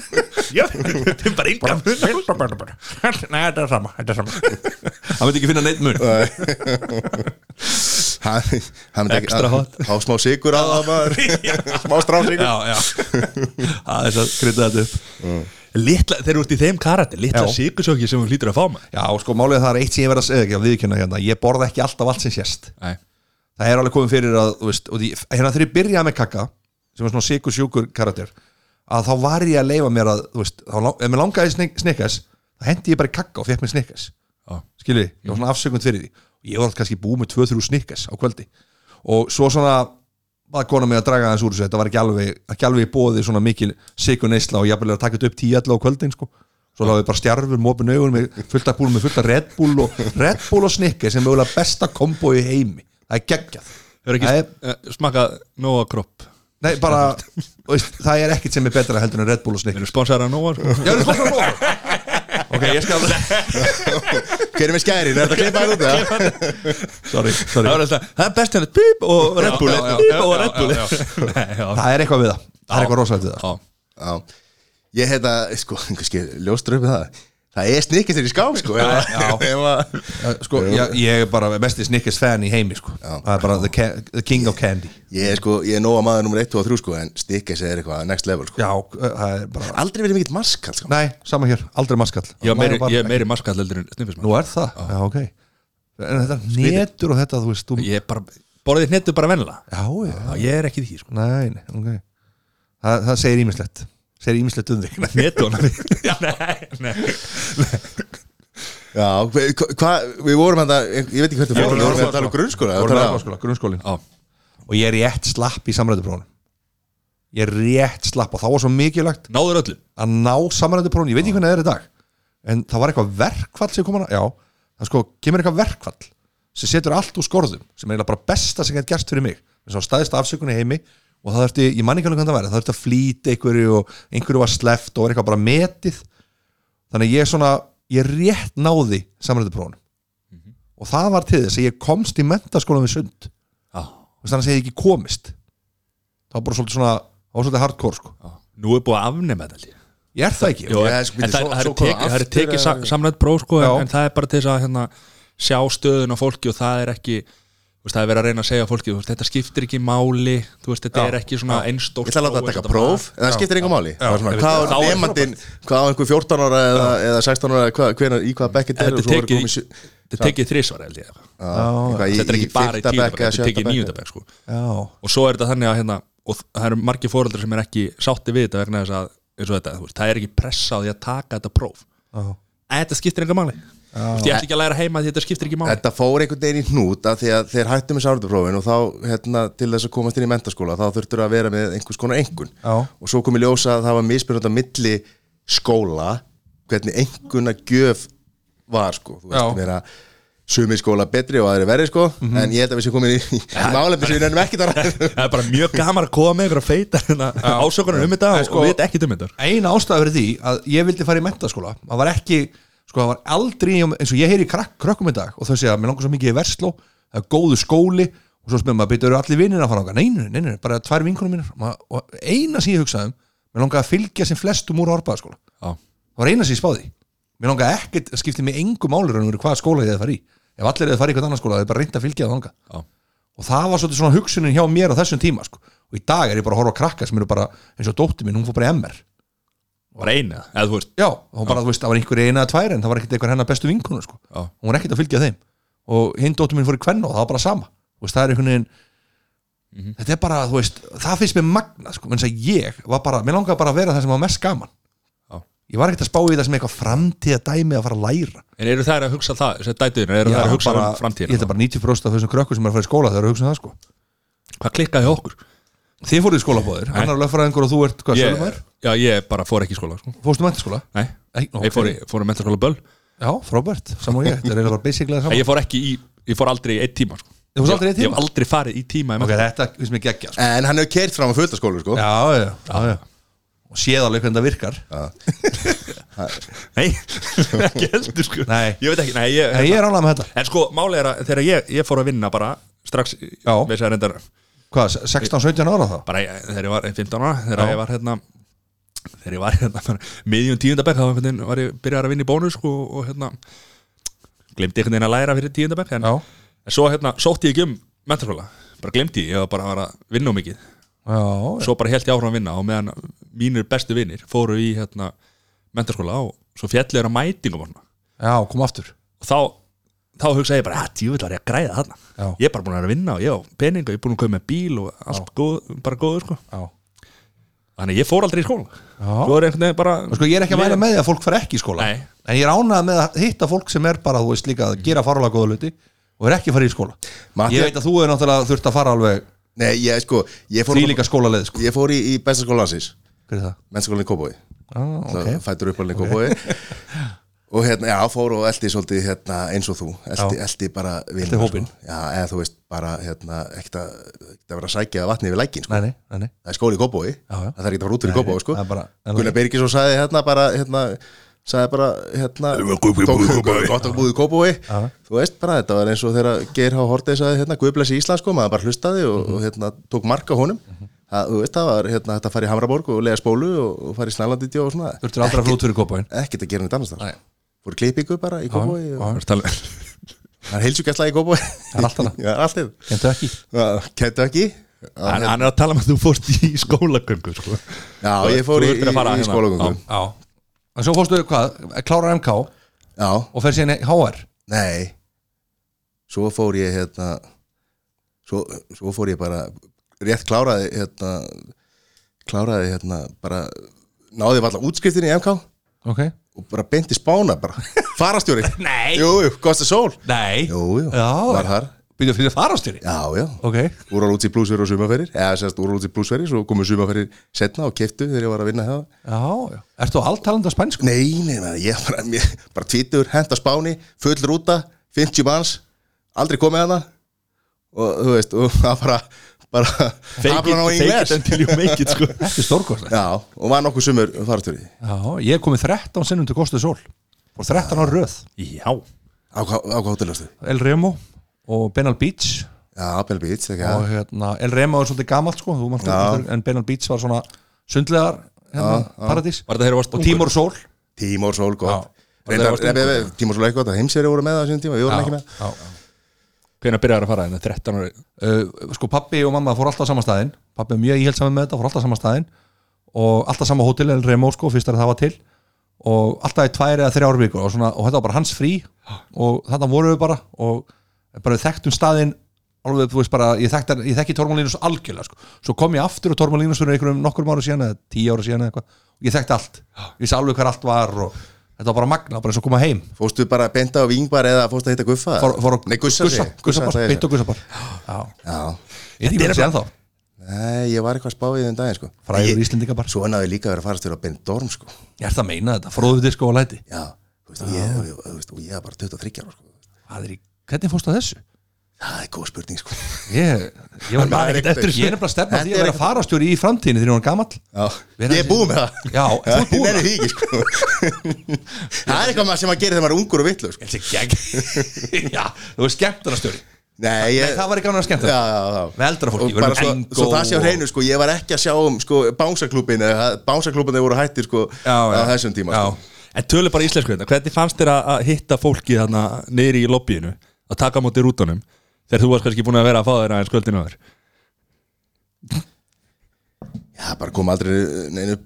S1: Já, Þetta er bara engan
S3: Nei, þetta er sama Þetta er sama Hann veit ekki finna neitt mun
S2: hann, hann myndi ekki
S1: Extra hot.
S2: Há smá sigur á það maður Smá strásigur
S3: Já, já Það er þess að krydda þetta upp
S1: Litla, þeir eru út í þeim karati Litla
S3: Mm. Já.
S1: sikursjóki sem hún hlýtur að fá maður
S3: Já, sko, málið er það er eitt sem ég verð að segja ekki að viðkynna hérna Ég borða ekki alltaf allt sem sést
S1: Nei
S3: Það er alveg komið fyrir að, þú veist og því, Hérna þegar ég byrjaði með kakka sem var svona sikur sjúkur karakter að þá var ég að leifa mér að, þú veist þá, lang- ef mér langaði snikkas þá hendi ég bara í kakka og fekk mér snikkas
S1: Já.
S3: skilur þið, ég var svona afsökund fyrir því og ég var alltaf kannski búið með 2-3 snikkas á kvöldi og svo svona var konar mig að draga aðeins úr þessu, þetta var ekki alveg ekki alveg í bóði svona mikil sikur neysla og ég að taka þetta upp 10 á kvöldin sko svo láðið bara stjarfur, mópin augun með fullta búl með fullta Red Bull og Red Bull og snikka sem er mögulega besta kombo í heimi það er geggjað
S1: Þeir eru
S3: Það er-
S1: ekki eh, smakað nóa kropp
S3: Nei, bara, þú veist, það er ekkert sem er betra heldur en Red Bull og
S1: Þeir
S3: snikka
S1: eru sponsor að nóa sko.
S3: Já, það er svona nóg Ok, ég skal
S2: Hver er með skærin, er þetta klipaðið út það?
S3: Sorry,
S1: Það
S3: sorry
S1: er alltaf, það er best henni Bíp og Red Bull Bíp og Red Bull Nei, já.
S3: Það er eitthvað við það, það er eitthvað rosalegt við það
S1: Já.
S2: Já, ég hef það, sko, kannski ljóstur upp við það Það er snikkist þér í skáp, sko Já, já
S3: Eh, Sko, ég, ég er bara mest í snikkist fan í heimi, sko Það er bara the, ca the king of candy
S2: Ég er, sko, ég er nóga maður nummer 1, 2 og 3, sko En snikkist er eitthvað next level, sko
S3: Já, eh, það er bara
S2: Aldrei verið mikill marskall, sko
S3: Nei, sama hér, aldrei maskall
S1: Ég er meiri,
S3: Maður bara-
S1: ég er meiri maskall heldur en snifismann
S3: Nú er það, já, ok En þetta netur og þetta, þú veist, þú Já,
S1: Ég er bara, borðið hnettu bara venla
S3: já,
S1: Ég er ekki í því sko
S3: nei, nei, ok Það, það segir ímislegt Segir ímislegt um þig
S1: Hnettu hana Nei, nei
S2: Já, hva- hva, hvað- við vorum hann að, ég veit ekki hvernig fórum Við vorum að tala um grunnskóla
S3: Vorum hérna sko.
S2: tala-
S3: við grunnskóla, grunnskólin
S1: Já.
S3: og ég er rétt slapp í samræðuprófun ég er rétt slapp og þá var svo mikilvægt
S1: Náður öllum
S3: að ná samræðuprófun, ég veit ekki hvernig það er í dag en það var eitthvað verkfall sem kom hana já, það sko kemur eitthvað verkfall sem setur allt úr skorðum sem er eiginlega bara besta sem gett gerst fyrir mig þess að staðist afsökunni heimi og það þurfti, ég man ekki alveg hvernig það væri það þurfti að flýta einhverju og einhverju var sleft og var eitthvað bara metið þannig að ég svona, ég rétt náði samræðuprófunum og það var til þess að ég komst í mentaskólan við sund Þú veist, þannig að ég ekki komist það var bara svolítið svona það var svolítið hardcore sko
S1: Nú er búið að afnema þetta líka
S3: ég er það ekki
S1: Jó,
S2: Já,
S1: en
S2: sko,
S1: en
S2: býttu,
S1: það
S2: svo-
S1: það
S2: svo
S1: eru
S2: koma
S1: tekið- það eru
S2: aftur
S1: tekið
S2: eða-
S1: sa- samrætt próf sko,
S3: Já.
S1: en, en það er bara til þess að hérna, sjá stöðun á fólki og það er ekki þú veist, það er verið að reyna að segja fólki veist, þetta skiptir ekki máli þú veist, þetta
S3: Já.
S1: er ekki svona einstórt
S2: Ég ætla að láta að taka próf, en það skiptir engu máli Það var svona,
S1: Ég veit
S2: Hvað á
S1: það.
S2: nefndin, hvað á einhver 14 ára eða, eða 16 ára, hvað, hvenar, í hvað bekk þetta er
S1: þetta
S2: og
S1: er
S2: svo voru
S1: tekið,
S2: komið sjö-
S1: þetta er tekið þrísvar held ég
S2: Já, eitthvað í-
S1: þetta er ekki
S2: í
S1: bara í
S2: fimmta
S1: tíunda
S2: bekk
S1: bekk þetta
S2: eða
S1: er
S2: sjötta
S1: tekið
S2: bekk.
S1: níunda bekk sko.
S3: já,
S1: og svo er þetta þannig að hérna, og það eru margir fóreldrar sem er ekki sátti við þetta vegna þess að eins og þetta, þú veist, það er ekki pressa á því að taka þetta próf
S3: já,
S1: en þetta skiptir enga máli Þú veist, ég ætla ekki að læra heima því þetta skiptir ekki máli
S2: Þetta fór einhvern veginn í hnút að því að þeir hættu með sárundaprófin og þá, hérna, til þess að komast inn í mentaskóla þá þurftur að vera með einhvers konar engun
S3: Já.
S2: og svo komið ljósa að það var misbyrjandi á milli skóla hvernig enguna gjöf var, sko, þú
S3: Já. Mhm.
S2: veist, meira sumi skóla betri og aðri verri, sko en ég held að við séum komin í, í málefni sem við nefnum ekki þar
S1: það er bara mjög gaman að koma með einhverja feita hérna, ásökunar um þetta
S3: Nei,
S1: og,
S3: sko-
S1: og við ekki um þetta
S3: eina ástæða fyrir því að ég vildi fara í mentaskóla það var ekki, sko það var aldrei eins og ég heyri í krak, krökkum í dag og þau segja mér langar svo mikið í versló, það er góðu skóli og svo spyrir maður, byrju, eru allir vinir að fara okkar neinu, neinu, bara tvær vinkunum mínir Ma- og eina sem ég hugsaði um, mér langar að fylgja sem flestum úr orpaðaskóla
S1: Já.
S3: það var eina sem ég spáði mér langar ekkert, það skipti mig engum málur en hvað skóla ég hefði farið í ef allir hefði farið í eitthvað annan skóla, það er bara reynd að fylgja það þangað
S1: Já.
S3: og það var svolítið svona hugsunin hjá mér á þessum tíma sko. og í dag er ég bara að horfa á krakka sem eru bara eins og dóttir mín, hún fór bara í MR
S1: bara eina, eða þú veist
S3: já, hún bara, þú veist, það var einhver eina eða tvær en það var ekkert einhver hennar bestu vinkonu sko.
S1: Já.
S3: hún var ekkert að fylgja þeim og hinn dóttir mín fór í kvenna og það var bara sama Þú veist, það er einhvern veginn
S1: Mhm.
S3: þetta er bara, þú veist, það finnst mér magna sko, menn að ég var bara, mér langaði bara að vera það sem var mest gaman
S1: Já.
S3: ég var ekkert að spá í það sem eitthvað framtíða dæmi að fara að læra
S1: en eru þær að hugsa það, þessi dætiðin eru þær að hugsa um
S3: ég
S1: framtíðina
S3: held að bara 90% af þessum krökkum sem er að fara í skóla þau eru að hugsa um það sko
S1: Hvað klikkaði hjá okkur?
S3: Þið fóruð í skóla bóðir, hann er lögfræðingur og þú ert hvað
S1: Ég,
S3: sölumæður?
S1: já, ég bara fór ekki í skóla sko.
S3: Fórstu mentaskóla?
S1: Nei,
S3: Nei, ok.
S1: ég fór, í, fór að mentaskóla böl
S3: Já, frábært, saman og ég, þetta er eiginlega bara basiclega
S1: En
S3: saman
S1: ég fór ekki í, ég fór aldrei í eitt tíma sko.
S3: Þú fórst aldrei í
S1: Ég-
S3: einn
S1: Ég
S3: tíma?
S1: hef aldrei farið í tíma í
S3: Ok,
S1: menntaskóla.
S3: þetta finnst mér geggja sko.
S2: En hann hefur kert fram að fullta skólu sko
S3: Já, já, já, já Og séð alveg hvernig það virkar
S1: Nei, ekki heldur sko
S3: Nei.
S1: Ég veit ekki, nei ég,
S3: En ég er ánlega með þetta
S1: En sko, málið er að þegar ég, ég fór að vinna bara strax,
S3: Já.
S1: með þess að reyndar
S3: Hvað, 16-17 ára þá?
S1: bara ég- þegar ég var 15 ára, þegar
S3: Já.
S1: ég var hérna þegar ég var hérna bara, miðjum tíundabæk þá einhvern veginn var ég byrjar að vinna í bónus sko, og hérna glemdi einhvern veginn að læra fyrir tíundabæk en,
S3: Já,
S1: en svo hérna sótti ég ekki um mentaskóla bara glemdi ég, ég var bara að, var að vinna um mikið
S3: já,
S1: svo bara held ég áfram að vinna og meðan mínir bestu vinnir fóru í hérna mentaskóla og svo fjallið er að mætingum og svona
S3: já, kom aftur
S1: og þá, þá hugsa ég bara að djúvill var ég að græða þarna
S3: Já.
S1: ég er bara búin að vera að vinna og ég á pening og ég er búin að köpa með bíl og allt góð, bara góður sko.
S3: Já
S1: þannig að ég fór aldrei í skóla
S3: Já.
S1: svo er einhvern veginn bara
S3: Og sko, ég er ekki að mæla með því að fólk fara ekki í skóla
S1: Nei.
S3: En ég er ánægð með að hitta fólk sem er bara, þú veist líka, að gera farulega góða hluti og er ekki að fara í skóla
S2: Matti-
S3: Ég veit að þú er náttúrulega þurft að fara alveg
S2: Nei, ég sko Ég fór,
S3: því líka skólaleið, sko
S2: ég fór í, í besta skóla landsins
S3: Hver er það?
S2: Mennskólinni Kópói
S3: Ah, ok.
S2: Fættur upp alveg Kópói Og hérna, já, fór og eldi svolítið hérna, eins og þú Eldi,
S3: Já.
S2: eldi bara vinn
S3: Elti hópinn.
S2: sko. Já, eða þú veist bara hérna, ekkert að ekkert að vera að sækja vatni við lækin sko.
S3: Nei, nei, nei, nei
S2: það er skóli í Kópói
S3: Já, já.
S2: það þarf ekki að fara út fyrir
S3: Nei,
S2: Kópói sko.
S3: það er bara- en
S2: Gunnar
S3: lagi.
S2: Bergis og sagði hérna bara hérna, sagði bara hérna tók gott að búið í Kópói þú veist bara þetta var eins og þegar Geir H. Hortey sagði hérna Guðblessi Ísland sko maður bara hlustaði og, og hérna tók marka honum
S3: Mhm.
S2: það, þú veist það var hérna þetta að fara í Hamraborg og lega spólu og, og fara í Snællandidjó og svona
S3: Þurftur aldrei að fara út fyrir kópaðin
S2: ekkert að gera neitt annars þar
S3: Nei.
S2: fór í klippingu bara í Kópói og
S1: með
S2: það er heilsugjastlega í Kópói
S3: Það er allt annað.
S2: Já, allt annað.
S3: Kentu ekki
S2: Já, Kentucky. Já,
S1: hann, hann er að tala um að þú fórst í skólagöngu sko.
S2: Já, ég fór
S1: Þú
S2: í,
S1: þurftir
S2: í,
S1: að fara
S2: í
S1: hérna.
S2: skólagöngu
S1: Já.
S3: Já En svo fórstu hvað, klárar MK og
S2: Já,
S3: fer síðan í HR
S2: nei Svo fór ég hérna Svo, svo fór ég bara Rétt kláraði hérna Kláraði hérna bara Náði varla útskriftinni í MK Og
S3: Ok
S2: bara beinti spána bara Farastjóri
S3: Nei.
S2: Jú, jú, Kosta Sól
S3: Nei
S2: Jú, jú,
S3: Já.
S2: var þar
S3: Býtu fyrir farastýri
S2: Já, já
S3: Ok
S2: Úralúts í blúsverið og sumaferir Eða sérst úralúts í blúsverið Svo komu sumaferir setna og keftu þegar ég var að vinna það
S3: Já, já Ertu alltalandi á spænsku?
S2: Nei, nei, nei, ég bara, mér, bara tvítur, hent á spáni, full rúta, 50 manns, aldrei komið hana og þú veist, og það bara, bara,
S1: fake it,
S2: haflan á
S1: fake it
S2: English.
S1: until you make it sko.
S3: Þetta er stórkostlega
S2: Já, og var nokkuð sumur farastjóri.
S3: Já, ég hef komið 13 sinnum til Kostuð Sól og 13 ára röð
S1: já,
S2: Á hvað á hvað hótelastu?
S3: El Remo og Benal Beach
S2: Já, Apple Beach, ekki
S3: og
S2: það?
S3: hérna, El Remo er svolítið gamalt sko, þú manst
S2: Já.
S3: ekki eftir, en Benal Beach var svona sundlegar hérna, paradís
S1: Var þetta þegar þú varst
S3: og
S1: ungur?
S3: Tímor Sól
S2: Tímor Sól, gott.
S1: Já. Þetta
S2: Reyndar,
S1: var stungur.
S2: nefnir, Tímor Sól eitthvað, það heimsýri voru með það á sínum tíma, við vorum ekki með.
S3: já.
S1: hvenær byrjar að fara hérna? þarna? 13 ári
S3: Uh, sko pappi og mamma fór alltaf á sama staðinn pappi er mjög íhjaldsamið með þetta, fór alltaf á sama staðinn og alltaf sama hótel El Remo sko, fyrst er það var til og alltaf í tvær eða þrjár vikur og, svona, og þetta var bara hans frí og þarna voru við bara og bara við þekktum staðinn alveg, þú veist bara, ég, þekkt, ég þekki Tormalínus algjörlega sko, svo kom ég aftur og Tormalínus fyrir einhverjum nokkrum ára síðan eða tíu ára síðan eða eitthvað, og ég þekkti allt ég vissi alveg hver allt var og þetta var bara magna, bara eins og koma heim
S2: Fóstu bara að benda á vingbar eða fóstu að hitta guffa?
S3: fór, fór,
S2: Nei, gussa,
S3: gussa,
S2: sig.
S3: gussa,
S2: Gussa,
S3: gussa,
S2: sagði ég.
S3: gussa, gussa, gussa,
S2: Já,
S3: ég veit ekki hvað það sé ennþá
S2: nei, ég var eitthvað spáið um daginn, sko.
S3: frægur
S2: Ég-
S3: Íslendinga bara
S2: Svo náðu ég líka að vera farastjóri á Bendorm, sko.
S3: Ég ert að meina þetta, fróðu disko og læti
S2: Já, þú veist, og ég, og, ég- og, þú veist, og ég var bara 23 ára, sko.
S3: Hvað er í, hvernig fórstu að þessu?
S2: Það er góð spurning sko
S3: Ég, ég
S2: Man
S3: var bara ekkert
S2: ekkert
S3: eftir
S2: eftir.
S3: þessu Ég er nefnilega að stefna
S2: Þetta
S3: að því að
S2: er
S3: vera
S2: ekkert-
S3: farastjóri í framtíðinni þegar hún er gamall
S2: Ég
S3: Vera
S2: er
S3: þessi-
S2: búið með það
S3: Já, þú er búið
S2: Nei,
S3: með
S2: því ekki sko Það er eitthvað maður sem maður gerir þegar maður er ungur og villu sko.
S3: Þessi gegn Já, þú er skemmtunarstjóri
S2: Nei, ég...
S3: Nei, það var ekki annað skemmt
S2: Já, já, já
S3: Með eldra fólki,
S2: Og
S3: við erum
S2: bara
S3: með
S2: svo,
S3: Engó
S2: svo það sé á
S3: og-
S2: hreinu sko, ég var ekki að sjá um sko, bánsaklúbin Bánsaklúbin voru hættir sko á þessum tíma
S3: já.
S2: sko.
S1: en tölu bara íslensku hérna hvernig fannst þér að, að hitta fólki þarna niðri í lobbyinu að taka á móti rútunum þegar þú varst kannski búin að vera að fá þér aðeins kvöldinu aður
S2: já, bara kom aldrei neinu,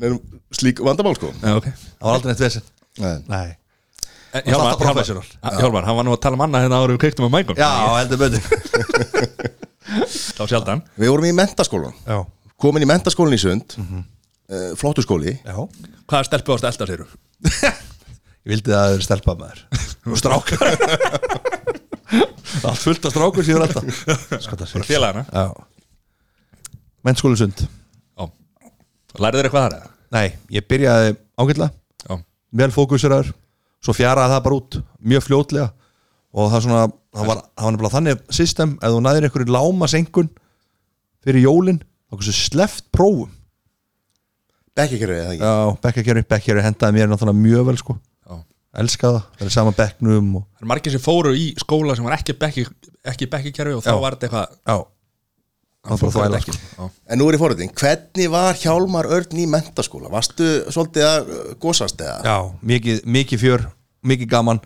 S2: neinu slík vandamál sko
S1: já, ok
S3: Það var aldrei neitt vesen
S2: Nei.
S3: Nei
S1: En
S3: Varst alltaf
S1: Hjálmar,
S3: professional.
S1: Hjálmar, Hjálmar, hann var nú að tala um annað hérna árum við kveiktum á mækun
S3: Já, heldur betur
S1: þá sjaldan
S2: Við vorum í mentaskólan
S3: Já,
S2: Komin í mentaskólan í sund mm Flottu skóli
S3: Mhm. já
S1: hvaða stelpu ást elda sér
S3: Ég vildi að það er stelpa maður Og strákar Allt fullt af strákur síður alltaf Skotta sér
S1: félagana
S3: Sko, Já Menskólusund
S1: Lærið þér eitthvað þar eða?
S3: Nei, ég byrjaði ágætlega
S1: Já.
S3: vel fókuseraður, svo fjaraði það bara út mjög fljótlega og það, svona, það, var, það var nefnilega þannig system, ef þú næðir einhverju lámasengun fyrir jólin, þá hversu sleft prófum
S2: Bekkjakerfið, eða ekki?
S3: Já, bekkakerfi, bekkakerfi hendaði mér náttúrulega mjög vel sko
S1: Já.
S3: Elskaði það, það er sama bekknum og...
S1: Það er margir sem fóru í skóla sem var ekki bekki, ekki bekkikerfi og þá
S3: Já.
S1: var þetta eitthvað
S3: Já Það var bara
S1: fólk var
S3: þvæla
S1: ekki.
S3: sko
S1: Já.
S2: En nú er ég forriðin, hvernig var Hjálmar Örn í mentaskóla? Varstu svolítið að uh, gósast eða?
S3: Já, mikið, mikið fjör, mikið gaman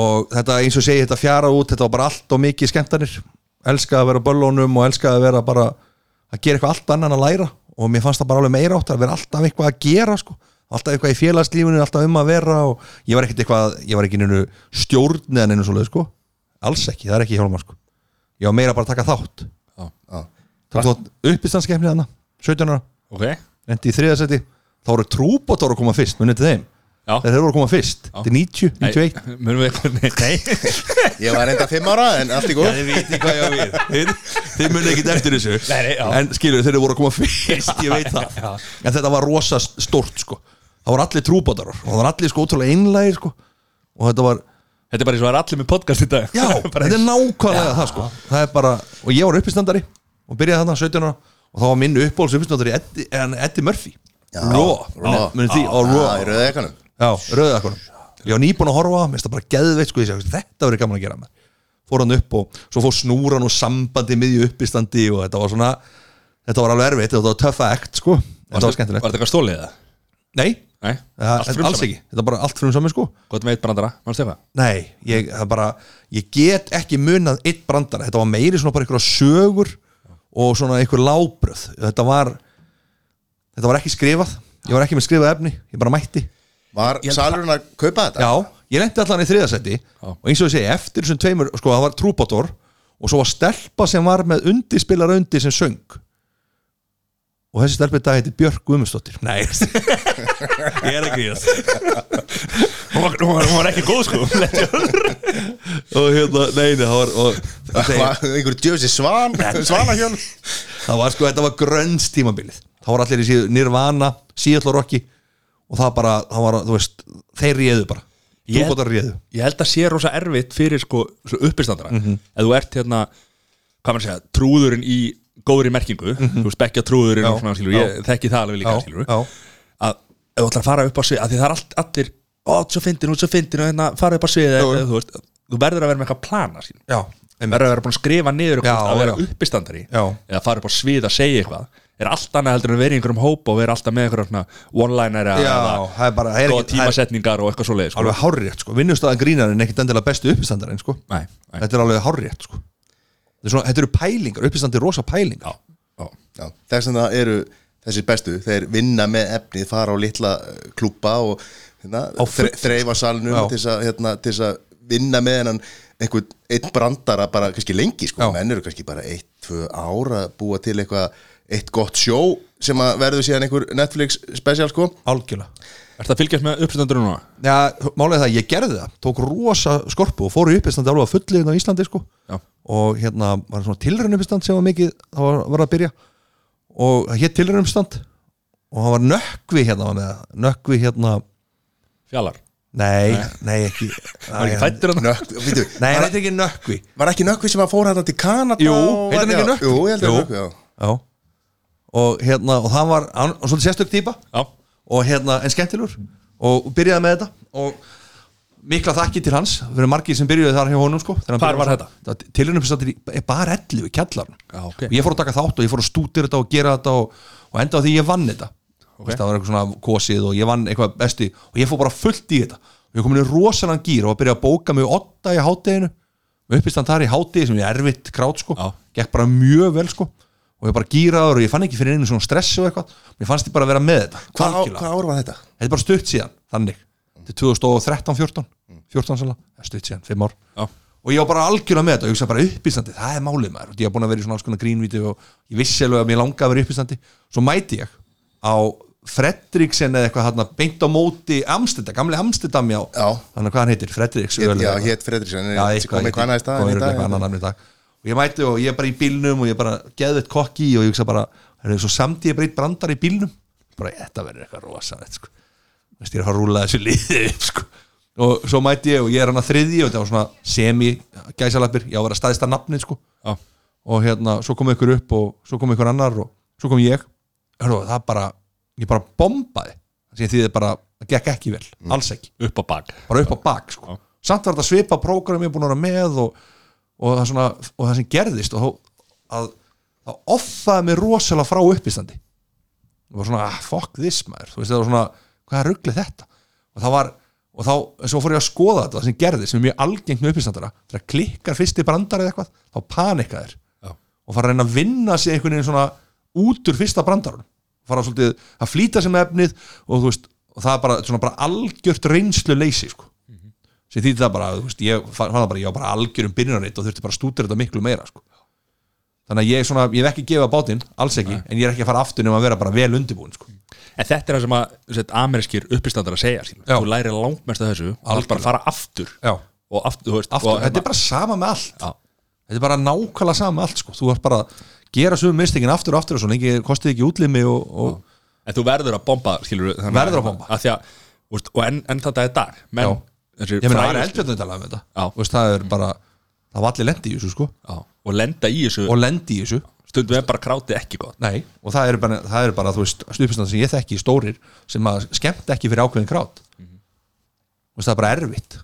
S3: og þetta eins og segi þetta fjara út, þetta var bara allt og mikið skemmtanir elskaði að vera á böllónum og elskaði að vera bara að gera eitthvað allt annan að læra og mér fannst það bara alveg meira átt að vera alltaf eitthvað að gera sko, alltaf eitthvað í félagslífinu alltaf um að vera og ég var ekkert eitthvað ég var ekki neinu stjórn eða neinu svoleið sko, alls ekki, það er ekki hjálmar sko ég var meira bara að taka þátt
S2: Já.
S3: uppistanskefni þarna, 17 ára
S1: Ok
S3: endi í þriðasetti þá voru trúbátar að koma fyrst, munið til þeim
S1: Já.
S3: þegar þeir voru að koma fyrst, þetta er 90, 91
S1: Nei, Munum við eitthvað Nei, nei.
S2: Ég var reynda fimm ára, en allt í góð.
S3: þið viti hvað ég á við Þið- þið munið ekkit eftir þessu
S1: Nei, nei, já.
S3: en skilur þeir voru að koma fyrst ég veit það, en þetta var rosa stort sko, það voru allir trúbátar og það voru allir sko ótrúlega einlægir sko og þetta var,
S1: Þetta er bara eins og það er allir með podcast í dag
S3: já,
S1: Bara
S3: þetta er nákvæmlega það sko, það er bara, og ég var uppistandari og byrjaði þarna 17 ára og þá var minn uppbóls uppistandari Eddie, en Eddie Murphy Raw,
S2: Raw.
S3: munið því, á Raw
S2: Já, í rauða ekkanum.
S3: Já, rauðið akkurum Ég var nýbúin að horfa, mér finnst það bara geðveitt sko, ég segi, þetta verið gaman að gera með Fór hann upp og svo fór snúran og sambandi miðju uppistandi og þetta var svona Þetta var alveg erfitt, þetta var töffa ekt sko Þetta var
S1: Var
S3: skemmtilegt
S1: þetta eitthvað stólið eða?
S3: Nei,
S1: Nei
S3: það,
S1: Allt frumsaman.
S3: alls ekki, þetta var bara allt frum saman sko
S1: Gott með eitt brandara Manstu eitthvað?
S3: Nei, ég, það bara, ég get ekki munað eitt brandara, þetta var meiri svona bara einhverja sögur og svona einhver lábröð Þetta var, þetta var ekki skrifað, ég var ekki með skrifað efni, ég bara mætti
S2: Var salurinn að kaupa þetta?
S3: Já, ég lendi allan í þriðasæti og eins og ég segi, eftir þessum tveimur sko, það var trúbátor og svo var stelpa sem var með undispilar undi sem söng og þessi stelpa í dag heiti Björk Guðmundsdóttir Nei, ég er ekki í þess
S1: Hún var, hún var, hún var ekki góð sko
S3: og hérna, nei, nei, það var og, þeir,
S2: Var einhver djöfsi svan, svanahjón?
S3: það var sko, þetta var grönns tímabilið það var allir í síðu, nirvana, síðallorokki og það bara, það var, þú veist þeir réðu bara,
S1: Ég-
S3: trúbátar réðu Mhm.
S1: Ég held að sé rosa erfitt fyrir sko svo uppistandara Ef þú ert hérna Hvað maður segja Trúðurinn í góðri merkingu Þú veist bekkja trúðurinn
S3: Mhm. Já.
S1: og svona skilur Ég þekki það alveg líka skilur
S3: já,
S1: að ef þú ætlar að fara upp á svið að því það er allt, allir, ó, þú ert svo fyndin, þú ert svo fyndin og hérna fara upp á svið eða, eða, þú, veist, þú verður að vera með eitthvað plana sín
S3: já,
S1: verður að vera búin að skrifa niður eitthvað
S3: Já,
S1: að vera
S3: já.
S1: uppistandari
S3: Já.
S1: eða fara upp á svið að segja eitthvað er allt annað heldur en að vera í einhverjum hóp og vera alltaf með einhverjum svona one-liner
S3: Já, það er bara- það er
S1: góða
S3: ekki- það er-
S1: tímasetningar og eitthvað svoleið sko.
S3: alveg hárrétt sko, vinnustæðan grínarinn ekkit endilega bestu uppistandarinn sko
S1: Nei, nei.
S3: þetta er alveg hárrétt sko þetta, er svona, þetta eru pælingar, uppistandi er rosa pælingar já,
S1: Já.
S2: Já, þess að það eru þessir bestu, þeir vinna með efnið, fara á litla eh, klúbba og hérna, þre,
S3: fullt.
S2: þreifa salnum
S3: Já.
S2: til þess að, hérna, til þess að vinna með hennan einhvern einn brandara bara kannski lengi sko,
S3: Já.
S2: menn eru kannski bara eitt, tvö ára að búa til eitthvað, eitt gott sjó sem að verður síðan einhver Netflix special sko,
S3: algjörlega
S1: Ertu að fylgjast með uppistandari núna?
S3: já, málið er það, ég gerði það, tók rosa skorpu og fór í uppistandi alveg að fulli hérna á Íslandi sko
S1: Já.
S3: og hérna var svona tilraun uppistand sem var mikið, það var, var að byrja og það hétt tilraun uppistand og það var nökkvi hérna var með það, nökkvi hérna
S1: Fjallar?
S3: nei, nei, ekki
S1: Það er ekki fættur hann?
S2: nökk, vítu,
S3: nei, hann
S2: var,
S3: heitir ekki nökkvi
S2: var ekki nökkvi sem að fóra hérna til Kanada
S3: Jú,
S2: og
S3: heitir
S2: var-
S3: hann ekki
S2: já,
S3: Nökkvi?
S2: Jú, ég heldur
S3: Jú.
S2: nökkvi, já
S3: já og hérna, og það var, hann var svolítið sérstök típa
S1: Já.
S3: og hérna, en skemmtilur og byrjaði með þetta og mikla þakki til hans, það verður margir sem byrjuði þar hjá honum sko þegar hann
S1: Hvar
S3: byrjaði
S1: var
S3: svo- þetta? Tilhörnum sem þetta er bara 11 í kjallarn
S1: Já, ok.
S3: og ég fór að taka þátt og ég fór að stútir þetta og gera þetta og, og enda á því ég vann þetta
S1: Ok.
S3: Veist, það var eitthvað svona kosið og ég vann eitthvað besti og ég fór bara fullt í þetta og ég kom inn í rosalann gýr og að byrja að bóka mig otta í hátteginu uppistand þar í hátegi sem ég erfitt krát sko,
S1: Já.
S3: gekk bara mjög vel sko og ég var bara gýraður og ég fann ekki fyrir einu svona stressi og eitthvað, mér fannst ég bara að vera með þetta
S2: Hvað á-
S3: algjörlega.
S2: hvað ár var þetta?
S3: Þetta er bara stutt síðan, þannig Þetta er 2013, 14 14 sannlega, það er stutt síðan, 5 ár
S1: Já.
S3: Og ég var bara algjörlega með þetta, og ég hugsaði bara uppistandi Það er málið maður, og ég var búin að vera í svona alls konar grínvíti Og ég vissi alveg að mér langaði að vera uppistandi Svo mæti ég á Fredriksen eða eitthvað hann Beint á móti Amstendam, gamli Amstendam já
S2: Já.
S3: Þannig að hvað hann heitir, Fredriks
S2: Ég- Já, hétt Fredriksson,
S3: Já,
S2: kom
S3: eitthvað,
S2: eitthvað annað í
S3: kom
S2: staðan í
S3: örugglega
S2: dag
S3: eitthvað annað nafn í dag og ég mæti og ég er bara í bílnum og ég er bara geðveitt kokki og ég hugsa bara er svo samt ég breytt brandar í bílnum bara þetta verður eitthvað rosalegt sko. Þú veist, ég er að fara að rúla þessu liði upp, sko. og svo mæti ég og ég er hann að þriðji og þetta var svona semi gæsalappir ég á að vera staðista nafnið sko.
S1: Já.
S3: og hérna svo kom ykkur upp og svo kom ykkur annar og svo kom ég Hörðu, það bara, ég bara bombaði því að því það bara, það gekk ekki vel
S2: Mm.
S3: alls ekki
S1: upp á bak
S3: bara upp á bak sko. samt var þetta svipa prógram ég búin að vera með og, og, það, svona, og það sem gerðist og þá- að, að offaði mig rosalega frá uppistandi og var svona, ah, fuck this maður þú veist, það var svona, hvað er rugglið þetta og það var, og þá, svo fór ég að skoða þetta það sem gerðist, sem er mjög algengt með uppistandara þegar klikkar fyrsti brandar eða eitthvað þá panika þér
S1: Já.
S3: og fara að reyna að vinna sig einhvern veginn svona út úr fyrsta brandarun fara svolítið að flýta sem efnið og þú veist, og það er bara, svona bara algjört reynslu leysi sko. sem þýtti það bara, þú veist, ég fann það bara ég var bara algjörum byrjunaritt og þurfti bara að stútir þetta miklu meira sko. þannig að ég er svona, ég hef ekki gefið á bátinn, alls ekki en ég er ekki að fara aftur nema að vera bara vel undirbúin sko.
S1: En þetta er það sem að set, amerískir uppistandar að segja skilur.
S3: Já.
S1: Þú lærir langmest af þessu og
S3: Algjörlega.
S1: bara fara aftur
S3: Já.
S1: og aftur, þú veist,
S3: aftur,
S1: og, hérna-
S3: þetta er bara sama með allt
S1: Já.
S3: þetta er bara nákvæmlega sama með allt sko. þú ert bara að gera sömu mistingin aftur og aftur og svo lengi kostið ekki útlimi og, og
S1: En þú verður að bomba skilur, þannig
S3: Verður að bomba.
S1: að því að, þú veist, Og enn en þetta er dag
S3: Já.
S1: menn, þessi
S3: ég meina, það er
S1: frægustu-
S3: eldfjörnum talað um þetta
S1: Já.
S3: Þú veist, það er bara, það var allir lendi í þessu sko.
S1: Já. Og lenda í þessu
S3: og lendi í þessu
S1: Stundum er bara krátið ekki gott
S3: Nei, og það eru bara, það eru bara þú veist, stuðpistand sem ég þekki í stórir sem að skemmt ekki fyrir ákveðin krát mm veist, það er bara erfitt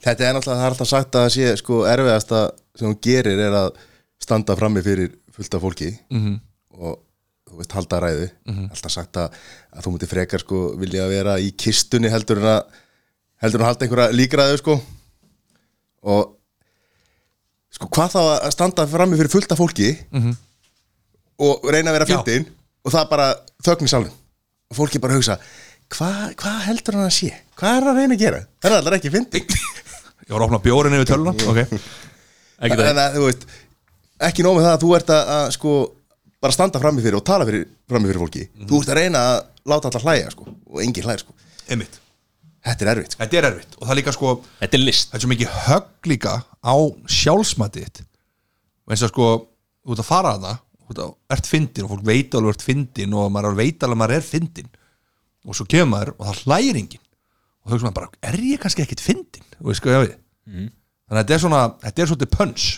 S2: Þetta er náttúrulega, það er alltaf sagt að það sé sko erfiðasta sem hún gerir er að standa frammi fyrir fullta fólki -hmm. og þú veist halda ræðu alltaf sagt að, að þú múti frekar sko vilja vera í kistunni heldur en að heldur en að halda einhverja líkræðu sko og sko hvað þá að standa frammi fyrir fullta fólki -hmm. og reyna að vera
S3: Já.
S2: fyndin og það bara þögn í salnum og fólki bara hugsa hvað hva heldur hann að sé? Hvað er hann að reyna að gera? Það er allar ekki fyndin
S3: Ég var að opna bjórin yfir töluna okay.
S1: Ekki það
S2: en að, þú veist, ekki nóg með það að þú ert að, að sko, bara standa frammi fyrir og tala fyrir, frammi fyrir fólki
S3: Mhm.
S2: þú ert að reyna að láta alla hlæja sko, og engin hlæja sko.
S3: Einmitt.
S2: þetta er erfitt sko.
S3: Þetta er erfitt og það er líka sko
S1: Þetta er list
S3: það er svo mikið högg líka á sjálfsmatið þitt. og eins og sko þú ert að fara að það ert fyndin og fólk veit alveg ert fyndin og maður alveg veit alveg að maður er fyndin og svo kemur maður og það hlægir enginn og þá hugsa maður bara, er ég kannski ekkit fyndin og veist sko, ég við þannig að þetta er svona, þetta er svolítið pönns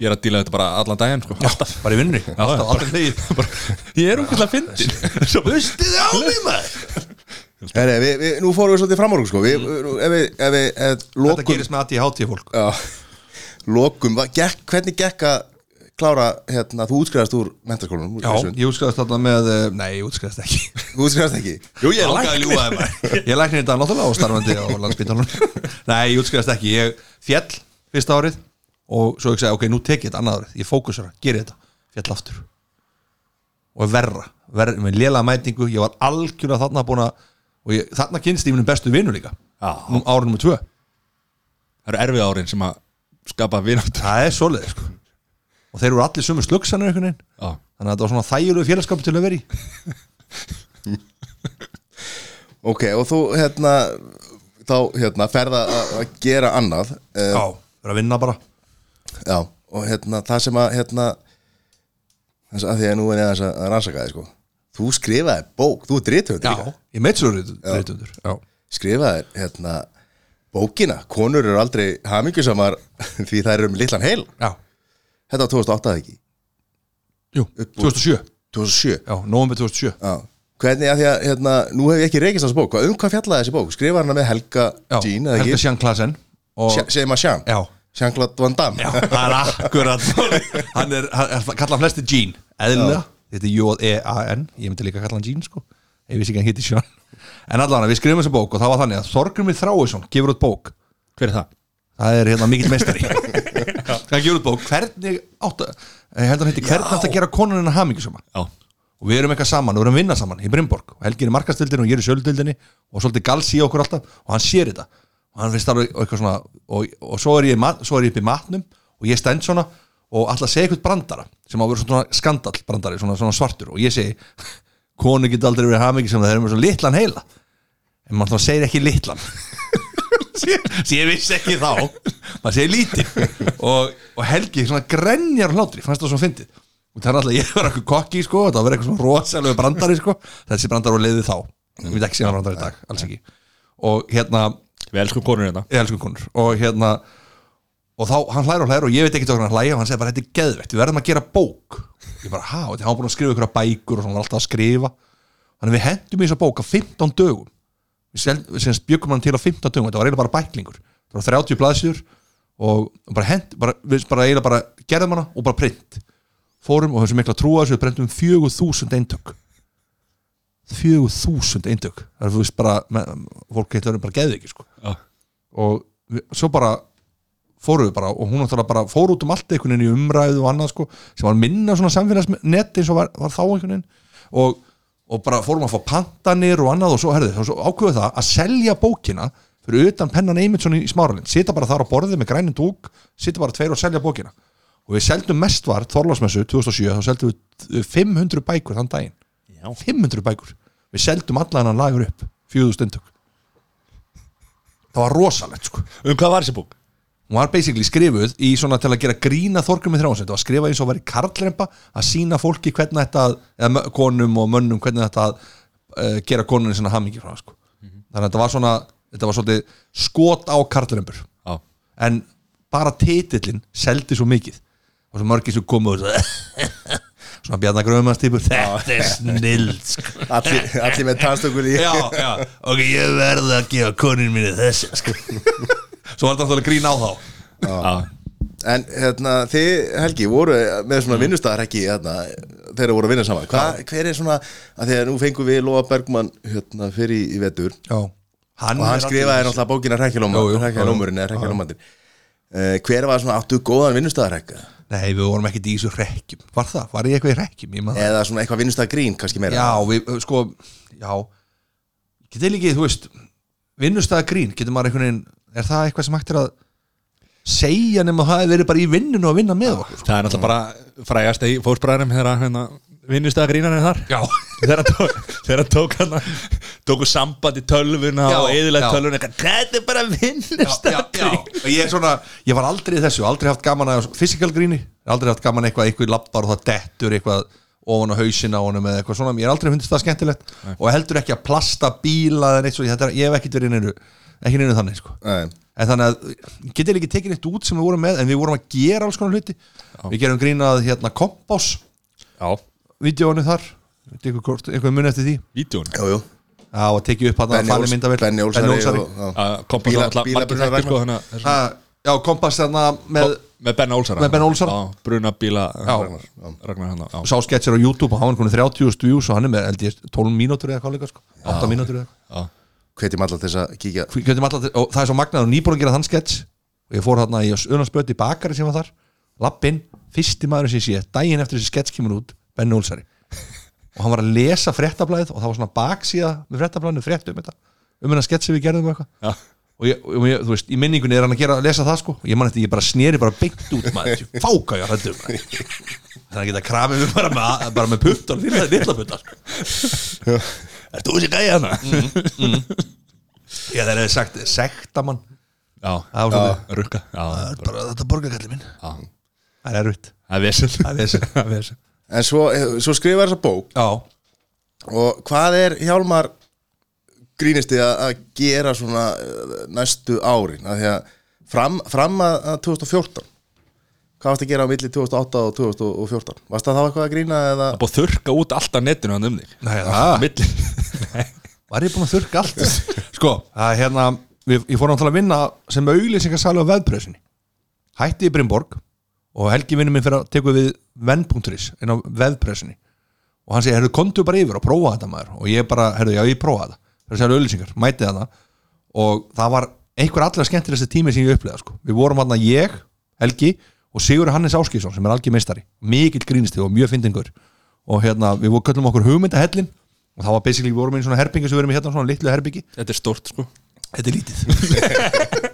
S1: Ég er að díla við þetta bara allan daginn sko. Alltaf
S3: bara í vinnu, alltaf, alltaf hlægir
S1: Ég er
S3: Ah,
S1: umkvæmlega fyndin
S3: Hlustiði á mig maður
S2: Heri, við, við, nú fórum við svolítið framorg sko. við, nú, ef við, ef við ef,
S3: Mhm. Þetta
S2: lokum,
S3: gerist með aðtíð hátíð fólk
S2: já, lokum va- gekk, hvernig gekk að klára hérna, þú útskriðast úr mentaskólanum úr
S3: Já,
S2: Svíþjóð.
S3: ég útskriðast þarna með eh, Nei, ég útskriðast ekki
S2: þú útskriðast ekki
S3: Jú, ég læknir ljúfaði maður Ég læknir þetta náttúrulega og starfandi á landsbytalunum Nei, ég útskriðast ekki Ég fjall fyrsta árið og svo ég segi, ok, nú tek ég þetta annað árið Ég fókusera, geri þetta, fjall aftur og verra, verra með lélega mætingu, ég var algjörlega þarna búin að og ég, þarna kynst ég minn bestu vinnu líka
S1: Já.
S3: Nú- árið nummer tvö
S1: Það eru erfið árin sem að skapa vináttur
S3: Það er svoleið sko. og þeir eru allir sömu slugsanir einhvern veginn
S1: Já.
S3: þannig að þetta var svona þægjulegu félagskapu til að vera í
S2: ok, og þú hérna þá hérna, ferða að að gera annað uh,
S3: Já, vera að vinna bara
S2: Já, og hérna, það sem að hérna, þess að því að nú er ég aðeins að að rannsaka þig sko Þú skrifaði bók, þú er drithönd
S3: Já, ég meitt svo reytundur Já,
S2: Skrifaði hérna bókina, konur eru aldrei hamingjusamar því þær eru með litlan heil
S3: já,
S2: Þetta var 2008 eða ekki,
S3: jú, 2007 Já,
S2: 2007 Já,
S3: nómum 2007
S2: hvernig að því að hérna, nú hef ég ekki reykist þessi bók, Hvað- um hvað fjallaði þessi bók? Skrifaði hana með Helga
S3: Já,
S2: Jean eða
S3: Helga
S2: ekki?
S3: Sján Klasen og,
S2: Sja- Seima Sján,
S3: Já,
S2: Sjánklad Van Damme
S3: já, það er akkurat Hann er, hann er kallað flesti Jean Eðlilega, þetta er J-E-A-N Ég myndi líka kalla hann Jean sko Ég vissi ekki að hann hitti Sján En allavega, við skrifum þessa bók og það var þannig að Þorgrumi Þráisson gefur út bók
S1: Hver er það?
S3: Það er hérna mikill meistari Það gefur út bók Hvernig átt að ég held að hann heiti, Hvernig átt að gera konunina hamingisama
S1: Já,
S3: Og við erum eitthvað saman, við erum að vinna saman í Brimborg og Helgi er í markastildinu og ég er í sjöldildinni og svolítið gals í okkur alltaf og hann sér þetta og hann finnst alveg og eitthvað svona og, og svo, er ég, í mat- svo er ég upp í matnum og ég stend svona og alltaf segja eitthvað brandara sem á að vera svona skandal brandari svona, svona svartur og ég segi konu geta aldrei verið hamingisama það er með svo litlan heila en maður þá segir ekki litlan sem ég vissi ekki þá maður segir lítið og, og Helgi svona grenjar úr hlátri fannst það svona fyndið og það er alltaf ég var eitthvað kokki sko og það var eitthvað svona rosalegu brandari sko þessi brandari var leiðið þá ég veit ekki sem hann brandari í dag, alls ekki og hérna,
S1: Við elskum konur hérna
S3: ég elsku konur og hérna og þá hann hlæra og hlæra og ég veit ekki okkur hann hlæja og hann segir bara þetta er geðvett, við verðum að gera bók ég bara, há, þetta hann búin að skrifa ykkur bækur og svona alltaf að skrifa þannig við hendum í þessa bók á 15 dögum við, sel, við sem bjökum hann til á 15 dögum þetta var eiginlega bara bæklingur, það var 30 blaðsjur og bara hend bara, við bara eiginlega bara gerðum hana og bara print fórum og höfum svo mikla trúa þessu við prentum 4000 eintök 4000 eintök það er þú veist bara, með, fólk heitir bara geði sko og við, svo bara fóru við bara og hún náttúrulega bara fór út um allt einhvern veginn í umræðu og annað sko sem var minna svona samfélagsneti eins og var, var þá einhvern veginn og, og bara fórum að fá pantanir og annað og svo, herði, svo ákveðu það að selja bókina fyrir utan pennan Eymundsson í smáralind sita bara þar á borðið með grænin dúk sita bara tveir og selja bókina og við seldum mest var Þorlásmessu 2007 þá seldum við 500 bækur þann daginn Já. 500 bækur við seldum allan hann lagur upp 4000 eintök það var rosalegt sko
S1: Um hvað var þessi bók?
S3: hún var basically skrifuð í svona til að gera grína þorgrum í þrjánsett og að skrifa eins og verið karlrempa að sína fólki hvernig þetta að- eða mö- konum og mönnum hvernig þetta að uh, gera konunni svona hamingi frá sko. þannig að þetta var svona þetta var svolítið skot á karlrempur
S1: Já.
S3: en bara titillin seldi svo mikið og svo mörgir sem komu og svo, svona bjarnagröfumastýpur þetta er snild sko
S2: Allir, allir með tannstökul í
S3: já, já, ok, ég verði að gefa konin minni þessi sko. svo var þetta alltaf að grína á þá
S2: En hérna, þið, Helgi, voru með
S3: Mm.
S2: svona vinnustæðar ekki hérna, þegar þið voru að vinna saman Hva, Hver er svona, að því að nú fengum við Lóa Bergmann hérna, fyrir í- í vetur
S3: já. hann,
S2: og hann skrifaði náttúrulega bókina
S3: Jú, jú,
S2: Rækjalómurinn eða Rækjalómandir uh, Hver var svona, áttu góðan vinnustæðarrekka?
S3: hérna, nei, við vorum ekkert í þessu rekkjum var það, var ég eitthvað í rekkjum ég man það.
S2: Eða svona eitthvað vinnustæðagrín, kannski meira
S3: já, við, ö, sko, já getur líkið, þú veist vinnustæða grín, getur maður einhvern veginn er það eitthvað sem hægt er að segja nema það hefur verið bara í vinnunum að vinna með okkur
S1: Það er náttúrulega bara frægast í fósbræðarum þegar að hérna vinnustega grínarinn þar
S3: já,
S1: þegar hann tók, þegar hann tók hann tóku samband í tölvuna
S3: Já,
S1: og eðilega
S3: já.
S1: tölvuna eitthvað, þetta er bara vinnustega
S3: og ég er svona, ég var aldrei í þessu aldrei haft gaman að physical gríni aldrei haft gaman eitthvað, eitthvað lappar og það dettur eitthvað ofan á hausina á honum eða eitthvað svona ég er aldrei fundist það skemmtilegt og heldur ekki að plasta bíla eða neitt svo, þetta er, ég hef ekkert verið neinu, ekki neinu þannig sko.
S2: Nei.
S3: en þannig að getur ekki tekið eitt út sem við vorum með en við vorum að gera alls konar hluti við gerum grínað hérna kompás
S1: Já,
S3: vídeónu þar, eitthvað muni eftir því
S1: vídjón
S2: Jú, jú,
S3: Já, og tekið upp hann
S2: Benni Óls- Benni Ólsari og- já.
S1: Kompans
S2: Bíla-
S1: náttúrulega margir sko,
S2: bílabruna
S1: þekkir sko
S2: Ragnar.
S1: hana
S3: Já, kompás þarna með
S1: hérna, með Benna Olsara
S3: Með Benna Olsara.
S1: Já, Bruna bíla Ragnar,
S2: já.
S1: Ragnar hann já.
S3: sá sketsir á YouTube og hann var konið 30.000 views og hann er með held ég, 12 mínútur eða hvað líka sko, 8 mínútur eða eitthvað.
S2: hvetjum allar til þess að kíkja
S3: Hví- gjöndum alla til- og það er svo magnað og nýbúin að gera þann skets og ég fór þarna í unnarspöti bakari sem var þar lappinn, fyrsti maður sem ég sé daginn eftir þessi skets kemur út, Benni Úlsari og hann var að lesa fréttablaðið og það var svona baksíða með fréttablaðinu frétt um þetta, um hennar skets sem við gerðum og eitthvað
S1: Já.
S3: og, ég, og ég, þú veist, í minningunni er hann að gera, lesa það sko og ég man eftir, ég bara sneri bara beint út maður ég fáka ég að hrættu þannig að geta kramið mig bara með, bara með puttar því það er litla sko. puttar
S1: Ert þú þessi gæja hana?
S3: Mm, ég þeir hefði sagt, sekta mann
S1: Já,
S3: það var svona,
S1: rukka Já,
S3: það er bara þetta borgarkalli minn
S1: já.
S3: það er erfitt,
S1: Það er vesen
S3: það er þessi
S1: Það er vesen
S2: En svo, eh, svo skrifar þessa bók
S3: já,
S2: Og hvað er Hjálmar grínisti að að gera svona eh, næstu árin? Af því að fram, fram að að 2014, hvað varst að gera á milli 2008 og 2014? Varst það þá eitthvað að grína
S1: Það
S2: eða?
S1: er búið að þurrka út alltaf netinu hann um þig
S3: Nei, það-
S1: Milli
S3: var ég búin að þurrka allt sko, það er hérna við, ég fór náttúrulega að vinna sem auðlýsingarsali á veðpröðsynni hætti í Brynborg og Helgi vinnum minn fyrir að teku við venn.is inn á veðpröðsynni og hann segi, herru, komdu bara yfir og prófa þetta maður og ég bara, herru, já, ég prófa þetta það er að segja auðlýsingar, mætið hana og það var einhver allra skemmtilegsta tími sem ég upplega, sko, við vorum hann ég Helgi og Sigur Hannes Áskísson sem er algjör meistari, mikill grínstið og mjög fyndingur og hérna, við vorum köllum okkur hugmyndahellin og það var basically, við vorum í svona herbyggi sem við erum í hérna, svona litlu herbyggi
S1: Þetta er stórt sko
S3: þetta er lítið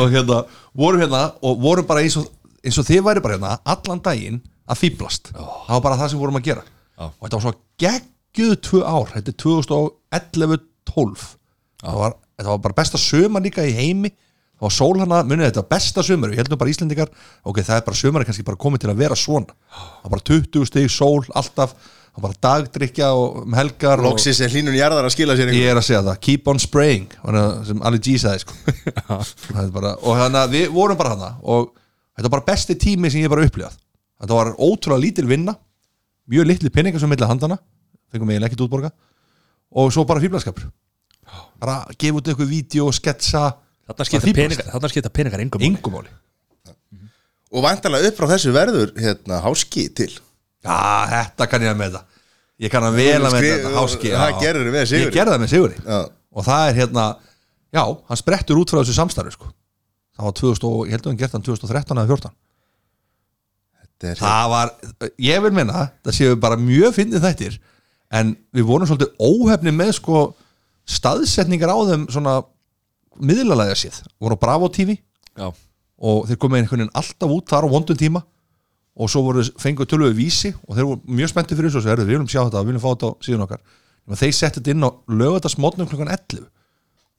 S3: og hérna, vorum hérna og vorum bara eins og, eins og þið væri bara hérna allan daginn að fýblast það var bara það sem vorum að gera og þetta var svo geggjuð tvö ár, þetta er 2011-12 það var þetta var bara besta sömar líka í heimi það var sól hana, munið þetta besta sömar við heldum bara Íslendingar, ok, það er bara sömar kannski bara komið til að vera svona það var bara 20 stig, sól, alltaf það var bara dagdrykja og um helgar og-
S2: Loksins er hlínun jarðar að skila sér einhver.
S3: Ég er að segja það, keep on spraying þannig að- sem Ali G sagði sko. Það er bara, og þannig að við vorum bara hana og þetta var bara besti tími sem ég hef bara upplifað þetta var ótrúlega lítil vinna mjög litli peningar sem milli handana fengum eiginlega ekkert útborga og svo bara fýblaskapur bara gefa út eitthvað vídeo, sketsa
S1: Þarna skipta
S3: Bara fíblast.
S1: peningar, þarna skipta peningar engum máli.
S3: yngumáli
S2: Og vantarlega upp frá þessu verður hérna, háski til
S3: Já, þetta kann ég að með það Ég kann að vel að með
S2: Skrif-
S3: þetta háski
S2: það
S3: já.
S2: gerirðu með Sigurði.
S3: Ég gerði það með Sigurði
S2: Já.
S3: Og það er hérna, já, hann sprettur út frá þessu samstarfi sko. Það var 2000 og, ég held að hann gert hann 2013 eða 14
S2: Þetta er-
S3: Það var, ég vil minna Það séu bara mjög fyndið þættir En við vorum svolítið óhefni með sko staðsetningar á þeim svona miðlalæða séð, voru á Bravo TV
S1: Já,
S3: og þeir komið einhvern veginn alltaf út þar á vondum tíma og svo voru fenguð tölvöðu vísi og þeir voru mjög spenntið fyrir þessu og svo erum við viljum sjá þetta, við viljum fá þetta á síðan okkar og þeir setti þetta inn á lögatarsmótnum klukkan 11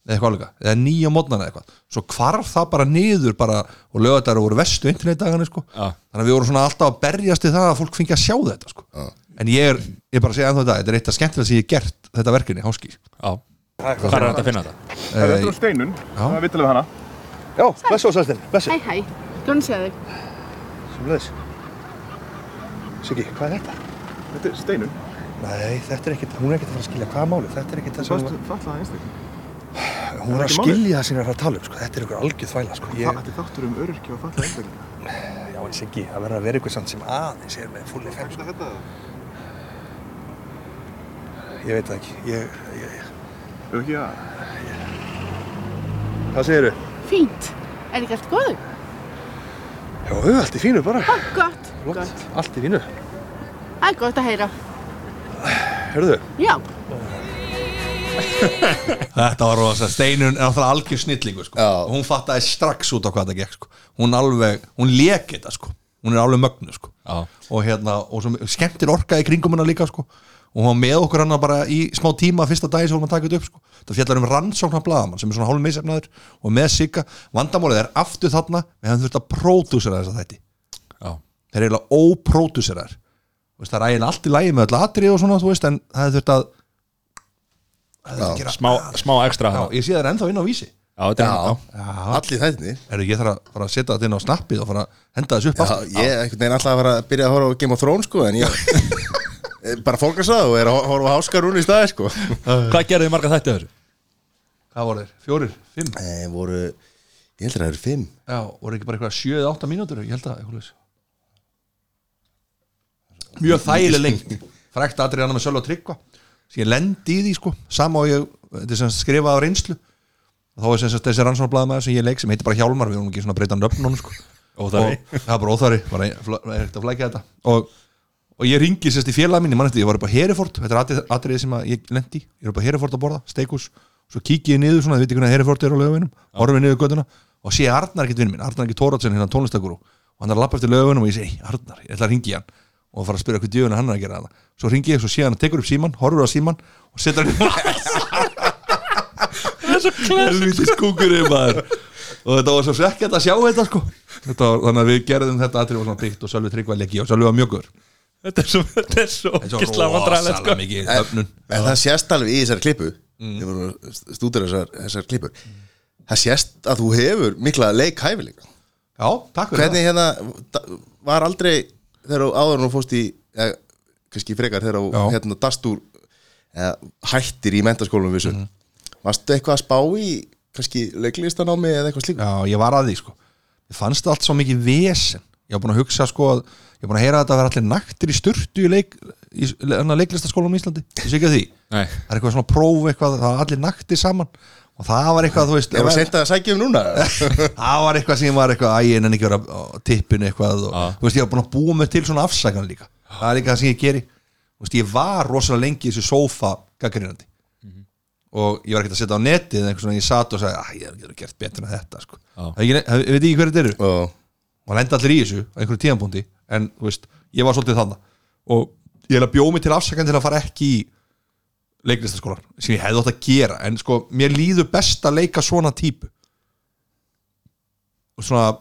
S3: eða eitthvað alveg, eða nýja mótnana eða eitthvað svo hvarf það bara niður bara og lögatar voru vestu internetdagana sko.
S1: Já.
S3: þannig að við vorum svona alltaf að berjast í það að fólk fengi að sjá þetta sko. en ég er, ég er bara að segja ennþá þetta þetta er eitt af skemmtilega sem ég hef gert þetta verkefni, háskýr Eh,
S1: já Hvað er þetta að finna þetta?
S6: Það er eftir á steinun, það er vittilega við hana.
S4: Já, blessu og sælstinn, blessu,
S7: Hæ, hæ, grann sé þig.
S4: sem leðis Siggi, hvað er þetta?
S6: Þetta er steinun.
S4: Nei, þetta er ekkert, hún er ekkert að fara að skilja hvað er málið Þetta er ekkert það sem hún,
S6: fallaði einstakling.
S4: var- hún er að
S6: ekki málið?
S4: skilja það sem hún er að tala um sko. Þetta er einhver algjöð þvæla sko. ég,
S6: Þetta er þáttur um öryrkja og fallaði einstakling.
S4: Já, en Siggi, það verður að vera einhver samt sem aðeins er með fulli fem sko.
S6: Þetta er þetta.
S4: Ég veit það ekki, ég, ég,
S6: Ef ekki að...
S4: ég Hvað segirðu?
S7: Fínt. Er ekki allt góðu?
S4: Já, allt í fínu bara
S7: Ó, gott, gott.
S4: Allt í fínu
S7: Það er gott að heyra.
S4: Hörðu,
S7: Já,
S3: Þetta var rosa, Steinun er náttúrulega algjör snillingu sko.
S2: Já.
S3: og hún fattaði strax út á hvað þetta gekk sko. hún alveg, hún leik þetta sko. hún er alveg mögnu sko.
S1: Já.
S3: og hérna, og svo skemmtir orka í kringum hennar líka sko. og hún var með okkur hann bara í smá tíma fyrsta dagi sem hún var að taka þetta upp sko. það fjallar um rannsóknar blaðamann sem er svona hálf meðsefnaður og með sigga, vandamálið er aftur þarna við hefum þurft að pródúsera þessa þætti
S1: Já,
S3: þeir eru eiginlega ópródúserar Þú veist, það er eiginlega allt í lægi með öll atrið og svona, þú veist, en það hefði þurft að það hefði gera
S1: smá, smá ekstra
S3: Já,
S1: hana.
S3: ég sé það er ennþá inn á vísi
S1: Já, þetta er hann
S2: hérna Allir þættinni
S3: Erðu, ég þarf að fara að setja þetta inn á snappið og fara að henda þessu upp
S2: Já, ég er einhvern veginn alltaf að fara að byrja að horfa á Game of Thrones sko en ég bara fólkast það og er að horfa á Háskarún í staði sko
S1: Hvað gerðu þið marga þætti af þessu?
S3: Hvað voru þeir? Fjórir? Fimm?
S2: Nei, Eh, voru, ég heldur að það eru fimm
S3: Já, voru ekki bara eitthvað sjö eða átta mínútur? Ég held að, eitthvað leys Mjög þægileg lengt Frækt aðrið annar með Sölva Tryggva Sér ég lendi í því sko Sama og ég, þetta er sem sagt skrifað á reynslu og þá er sem sagt þessi rannsóknarblaðmaður sem ég leik sem heitir bara Hjálmar, við vorum ekki svona að breyta nöfnum sko.
S1: Óþarfi.
S3: og það er bara óþari bara ein- fl- er ekkert að flækja þetta og, og ég ringi sérst í félag minni, mann eftir, ég var upp á Hereford þetta er atri- atriði sem að ég lendi í. ég er upp á Hereford að borða, steikus svo kíki ég niður svona, þið veit ekki hvernig að Hereford er á lögavinum horfið niður göttuna og sé Arnar ekkert vinn minn, Arnar ekki Tóratsen hérna tónlistakuru og hann er að lappa eftir lögavinum og ég segi, "Hey, Arnar, ég ætla að ringi hann og fara að spyrja hvað djöfuna hann er að gera það svo ringi ég, svo sé hann að tekur upp síman, horfur á síman og setur hann í helvitis kúkurinn maður og þetta var svo svekkjætt að sjá þetta sko þetta var, þannig að við gerðum þetta aðrið var svona byggt og Sölvi Tryggva leggi og Sölvi var mjögur
S1: Þetta er svo, þetta er svo ógislega vandræðilegt sko.
S3: mikið öfnun
S2: En það sést alveg í þessari klippu
S1: Mm.
S2: Þeir voru stúdur þessar, þessar klippur Það sést að þú hefur mikla leikhæfileika
S3: já, takk fyrir
S2: Hvernig hérna, da- var aldrei þegar þú- áður en þú fórst í eða, kannski frekar þegar þú
S3: Já.
S2: hérna dast úr eða, hættir í mentaskólanum vissu
S1: Mhm.
S2: Varstu eitthvað að spá í kannski leiklistanámi eða eitthvað slíku?
S3: það já, ég var að því sko ég fannst allt svo mikið vesen ég var búin að hugsa sko að ég var búin að heyra að þetta var allir naktir í sturtu í, leik, í le- hérna, leiklistaskólanum í Íslandi ég sé ekki að því
S1: Nei.
S3: það er eitthvað svona próf eitthvað það var allir naktir saman og það var eitthvað þú veist
S2: Er það
S3: það-
S2: sent að sækja um núna?
S3: það var eitthvað sem var eitthvað ægin en ekki vera á tippinu eitthvað og, þú veist, ég var búin að búa mig til svona afsakan líka það er líka það sem ég geri þú veist, ég var rosalega lengi í þessu sófa gaggrinandi og ég var ekkert að setja á netið en eitthvað svona ég satt og sagði að ég hef ekki gert betur en þetta sko.
S1: Já.
S3: Það er ekki- hef- ég veit ekki hverju þetta eru
S2: Já.
S3: og lenda allir í þessu á einhverju tíðanbúndi en þú veist, ég var svolítið þannig og ég hefði bjóð mig til afsakan til að fara ekki í leiklistaskólan sem ég hefði átt að gera en sko, mér líður best að leika svona típu og svona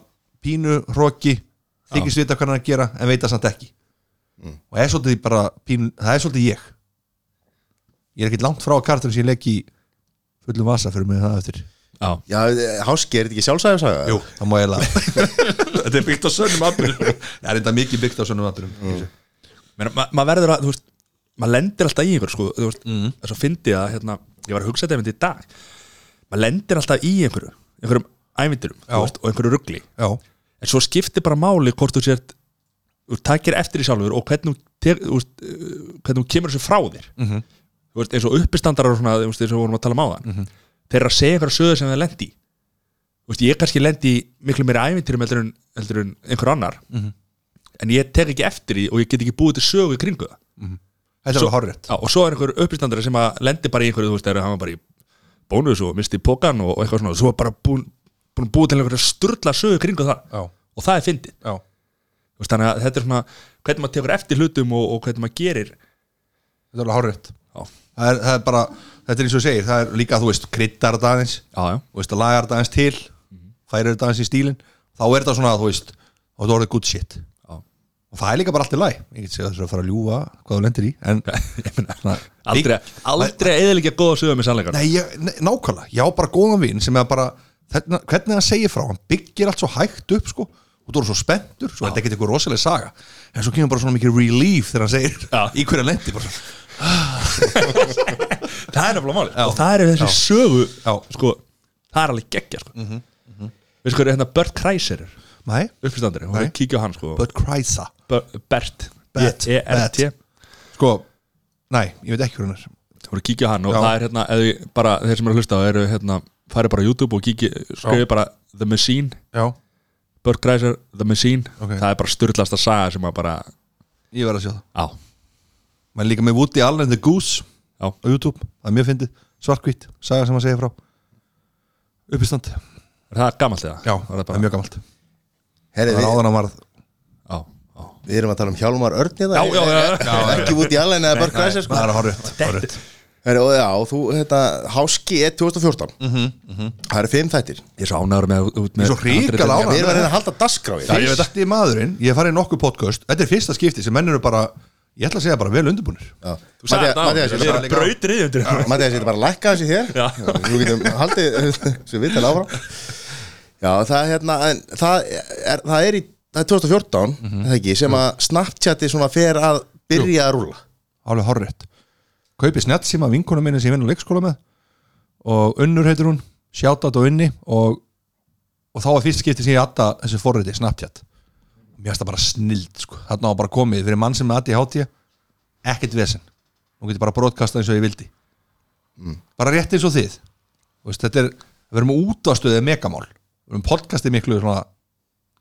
S3: pínu, hroki þykist vita hvað hann er að gera en veit það samt ekki og það er svolítið bara pínu, það er svolítið ég ég er ekkert langt frá kartan sem ég leik í fullum vasa fyrir mig það eftir
S2: Já, háski, er þetta ekki sjálfsæðisaga?
S3: Jú, það má eiginlega Þetta er byggt á sönnum atbyrjum Það er þetta mikið byggt á sönnum atbyrjum mm.
S1: Meina, ma maður verður að, þú veist maður lendir alltaf í einhverju, sko þú veist, þess að fyndi að, hérna, ég var að hugsa þetta einmitt í dag maður lendir alltaf í einhverju einhverjum ævindurum, þú
S3: Já.
S1: veist, og einhverju ruggli
S3: Já,
S1: en svo skiptir bara máli hvort þú sért þú veist, takir eftir í sjálfur og hvernig þú, tek, þú veist, eh, hvernig þú kemur þessu frá þér -hmm. þú veist, eins og uppistandarar og svona, þú veist, eins og við vorum að tala um á það -hmm. þeir eru að segja einhverja sögur sem þeir lendi í. þú veist, ég kannski lendi í miklu meira ævinturum heldur en, heldur en einhver annar -hmm. en ég tek ekki eftir í og ég get ekki búið til sögu í kringu það
S3: þetta er alveg horrið
S1: Já, og svo er einhver uppistandari sem að lendi bara í einhverju, þú veist, þegar hann var bara í bónus og misti pókan og, og eitthvað svona og svo er bara búin, búin að búið til einhverju sturla sögu í kringu það
S3: Já.
S1: og það er fyndið
S3: Já,
S1: Þú veist, þannig að þetta er svona hvernig maður tekur eftir hlutum og, og hvernig maður gerir
S3: þetta er alveg horrið
S1: Já,
S3: það er, það er bara, þetta er eins og ég segir Það er líka, þú veist, kryddar þetta aðeins
S1: já, já,
S3: Þú veist, lagar þetta aðeins til
S1: Mhm.
S3: Færir þetta aðeins í stílinn Þá er þetta svona, þú veist, þá er þetta orðið good shit
S1: já.
S3: Og það er líka bara allt í læg Ég get segja þess að fara að ljúga hvað þú lendir í En, ég meina, svona-
S1: Aldrei, aldrei eðalega góða sögur með sannleikar
S3: Nei, ég, nei, nákvæmlega, ég á bara góðan vin sem er bara, þarna, hvernig hann segir frá hann byggir allt svo hægt upp sko og þú eru svo spenntur, svo er þetta ekkert eitthvað rosalega saga en svo kemur bara svona mikið relief þegar hann segir
S1: Já.
S3: í hverja lendi bara, svona,
S1: Það er nefnilega máli Og það er þessi
S3: Já.
S1: sögu,
S3: Já.
S1: sko, það er alveg geggja, sko mm -hmm. Veist hvað er hérna Bert Kreiser
S3: Nei,
S1: uppistandari, hún
S3: Nei.
S1: er að kíkja á hann, sko
S3: but Kreisa
S1: Ber- Bert,
S3: Bert,
S1: B-E-R-T
S3: Bert. sko, nei, ég veit ekki hvernig hann er
S1: Þú voru að kíkja á hann og
S3: Já.
S1: það er hérna eða, ég- bara, þeir sem eru að hlusta á eru hérna farið bara á YouTube og kíkja, skrifið bara The Machine,
S3: Já,
S1: Burt Greiser The Machine,
S3: Ok.
S1: það er bara styrlasta saga sem að bara,
S3: ég verð að sjá það
S1: á,
S3: maður er líka með Woody Allen and the Goose
S1: Já.
S3: á YouTube, það er mjög fyndið, svarkvít saga sem hann segir frá uppistand,
S1: er það gammalt eða?
S3: já,
S1: Var
S3: það
S1: það
S3: er Eh,
S1: bara,
S3: mjög gamalt
S2: Herri,
S3: það er
S2: við,
S3: áðan að varð
S1: á, á
S2: við erum að tala um Hjálmar Örn í það
S1: Já, já, já.
S2: Ekki út í alveg neða Börk Ræsir sko
S3: það er horrið, horrið
S2: Herri, og já, þú, þetta, háski er 2014
S1: Mhm,
S2: Það eru fimm þættir
S1: Ég er svo ánægur með, út með
S3: Ég er svo hrikalega
S1: handritið.
S2: Við
S3: ánægður.
S2: erum að reyna að halda dasgráði
S3: Já, ég veit ekki maðurinn, ég hef farið í nokkuð podcast Þetta er fyrsta skipti sem menn eru bara Ég ætla að segja bara vel undirbúnir
S1: Þú sagði það,
S2: Mattias,
S1: við erum
S3: líka.
S1: brautrið undir
S2: Mattias, ég ætla bara að lækka þessi þér
S1: Já.
S2: Þú getum haldið sem við tala áfram Já, það er hérna en, það, er, það er í það er 2014, mm
S1: Mhm.
S2: það ekki, sem að Snapchati svona fer að byrja að rúla
S3: Alveg horrið Kaupi snjallsíma vinkona minni sem ég vinn á leikskóla með Og unnur heitir hún Sjátat og unni og, og þá var fyrsta skipti sem ég atta þessu forriti Snapchat Mér finnst það bara snild sko. Þarna á bara komið fyrir mann sem með aði hátíja Ekkert vesen Nú getur bara brotkasta eins og ég vildi
S1: Mm.
S3: Bara rétt eins og þið Þú veist, Þetta er, við erum útastöðið megamál Við erum podcastið miklu svona,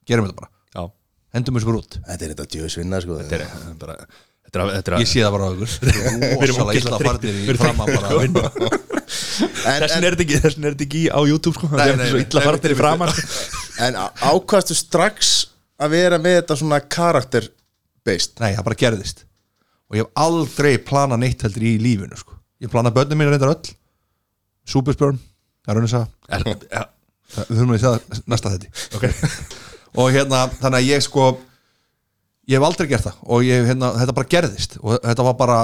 S3: Gerum þetta bara
S1: Já,
S3: hendum þessu bara út
S2: Þetta er þetta djöðsvinna, sko
S1: þetta er bara, þetta er, þetta er
S3: ég sé það bara á ykkur rosalega
S1: ógeðslega
S3: illa farnir í
S1: þreyttir.
S3: fram að bara vinna
S2: en,
S1: Þessin
S2: en,
S1: er þetta ekki, þessin er þetta ekki í- á YouTube sko Það
S3: Nei,
S1: er
S3: nei,
S1: svo
S3: nei,
S1: illa
S3: nei,
S1: farið sko. til
S3: nei,
S1: framar
S2: en á- ákvaðstu strax að vera með þetta svona karakter based
S3: nei, það bara gerðist og ég hef aldrei planað neitt heldur í lífinu sko. ég planað börnum mínu reyndar öll Superspörn, það er raun að sagða við höfum að það næsta þetta okay. og hérna, þannig að ég sko ég hef aldrei gert það og ég, hérna, þetta bara gerðist og þetta var bara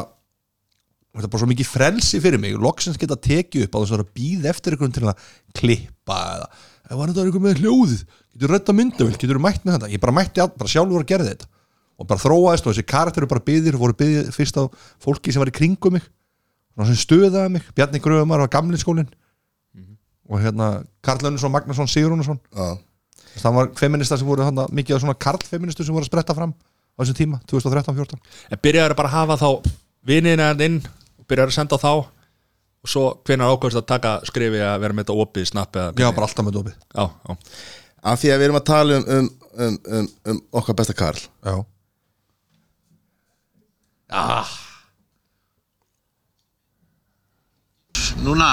S3: þetta var bara svo mikið frelsi fyrir mig loksins geta tekið upp á þess að vera býð eftir einhverjum til að klippa eða eða var þetta einhver með hljóðið getur redda myndavill, getur mætt með þetta ég bara mætti að, bara sjálfur að gera þetta og bara þróaðist og þessi karakteru bara byðir voru byðir fyrst á fólki sem var í kringum mig og sem stöðaði mig, Bjarni Gröfumar var gamli skólinn og hérna Karl Önnesson, Magnusson, Sigurúnason
S2: Já.
S3: það var feminista sem voru þarna, mikið af svona karlfeministu sem voru að spretta fram á þessum tíma, 2013-14
S1: En byrjaður bara að hafa þá vinina hérna inn og byrjaður að senda á þá og svo hvenær ákvæmst að taka skrifi að vera með þetta opið, snappið eða
S3: já,
S1: hvernig?
S3: bara alltaf með dopið
S1: já, já.
S2: af því að við erum að tala um, um, um, um, um okkar besta Karl
S3: já.
S8: Núna,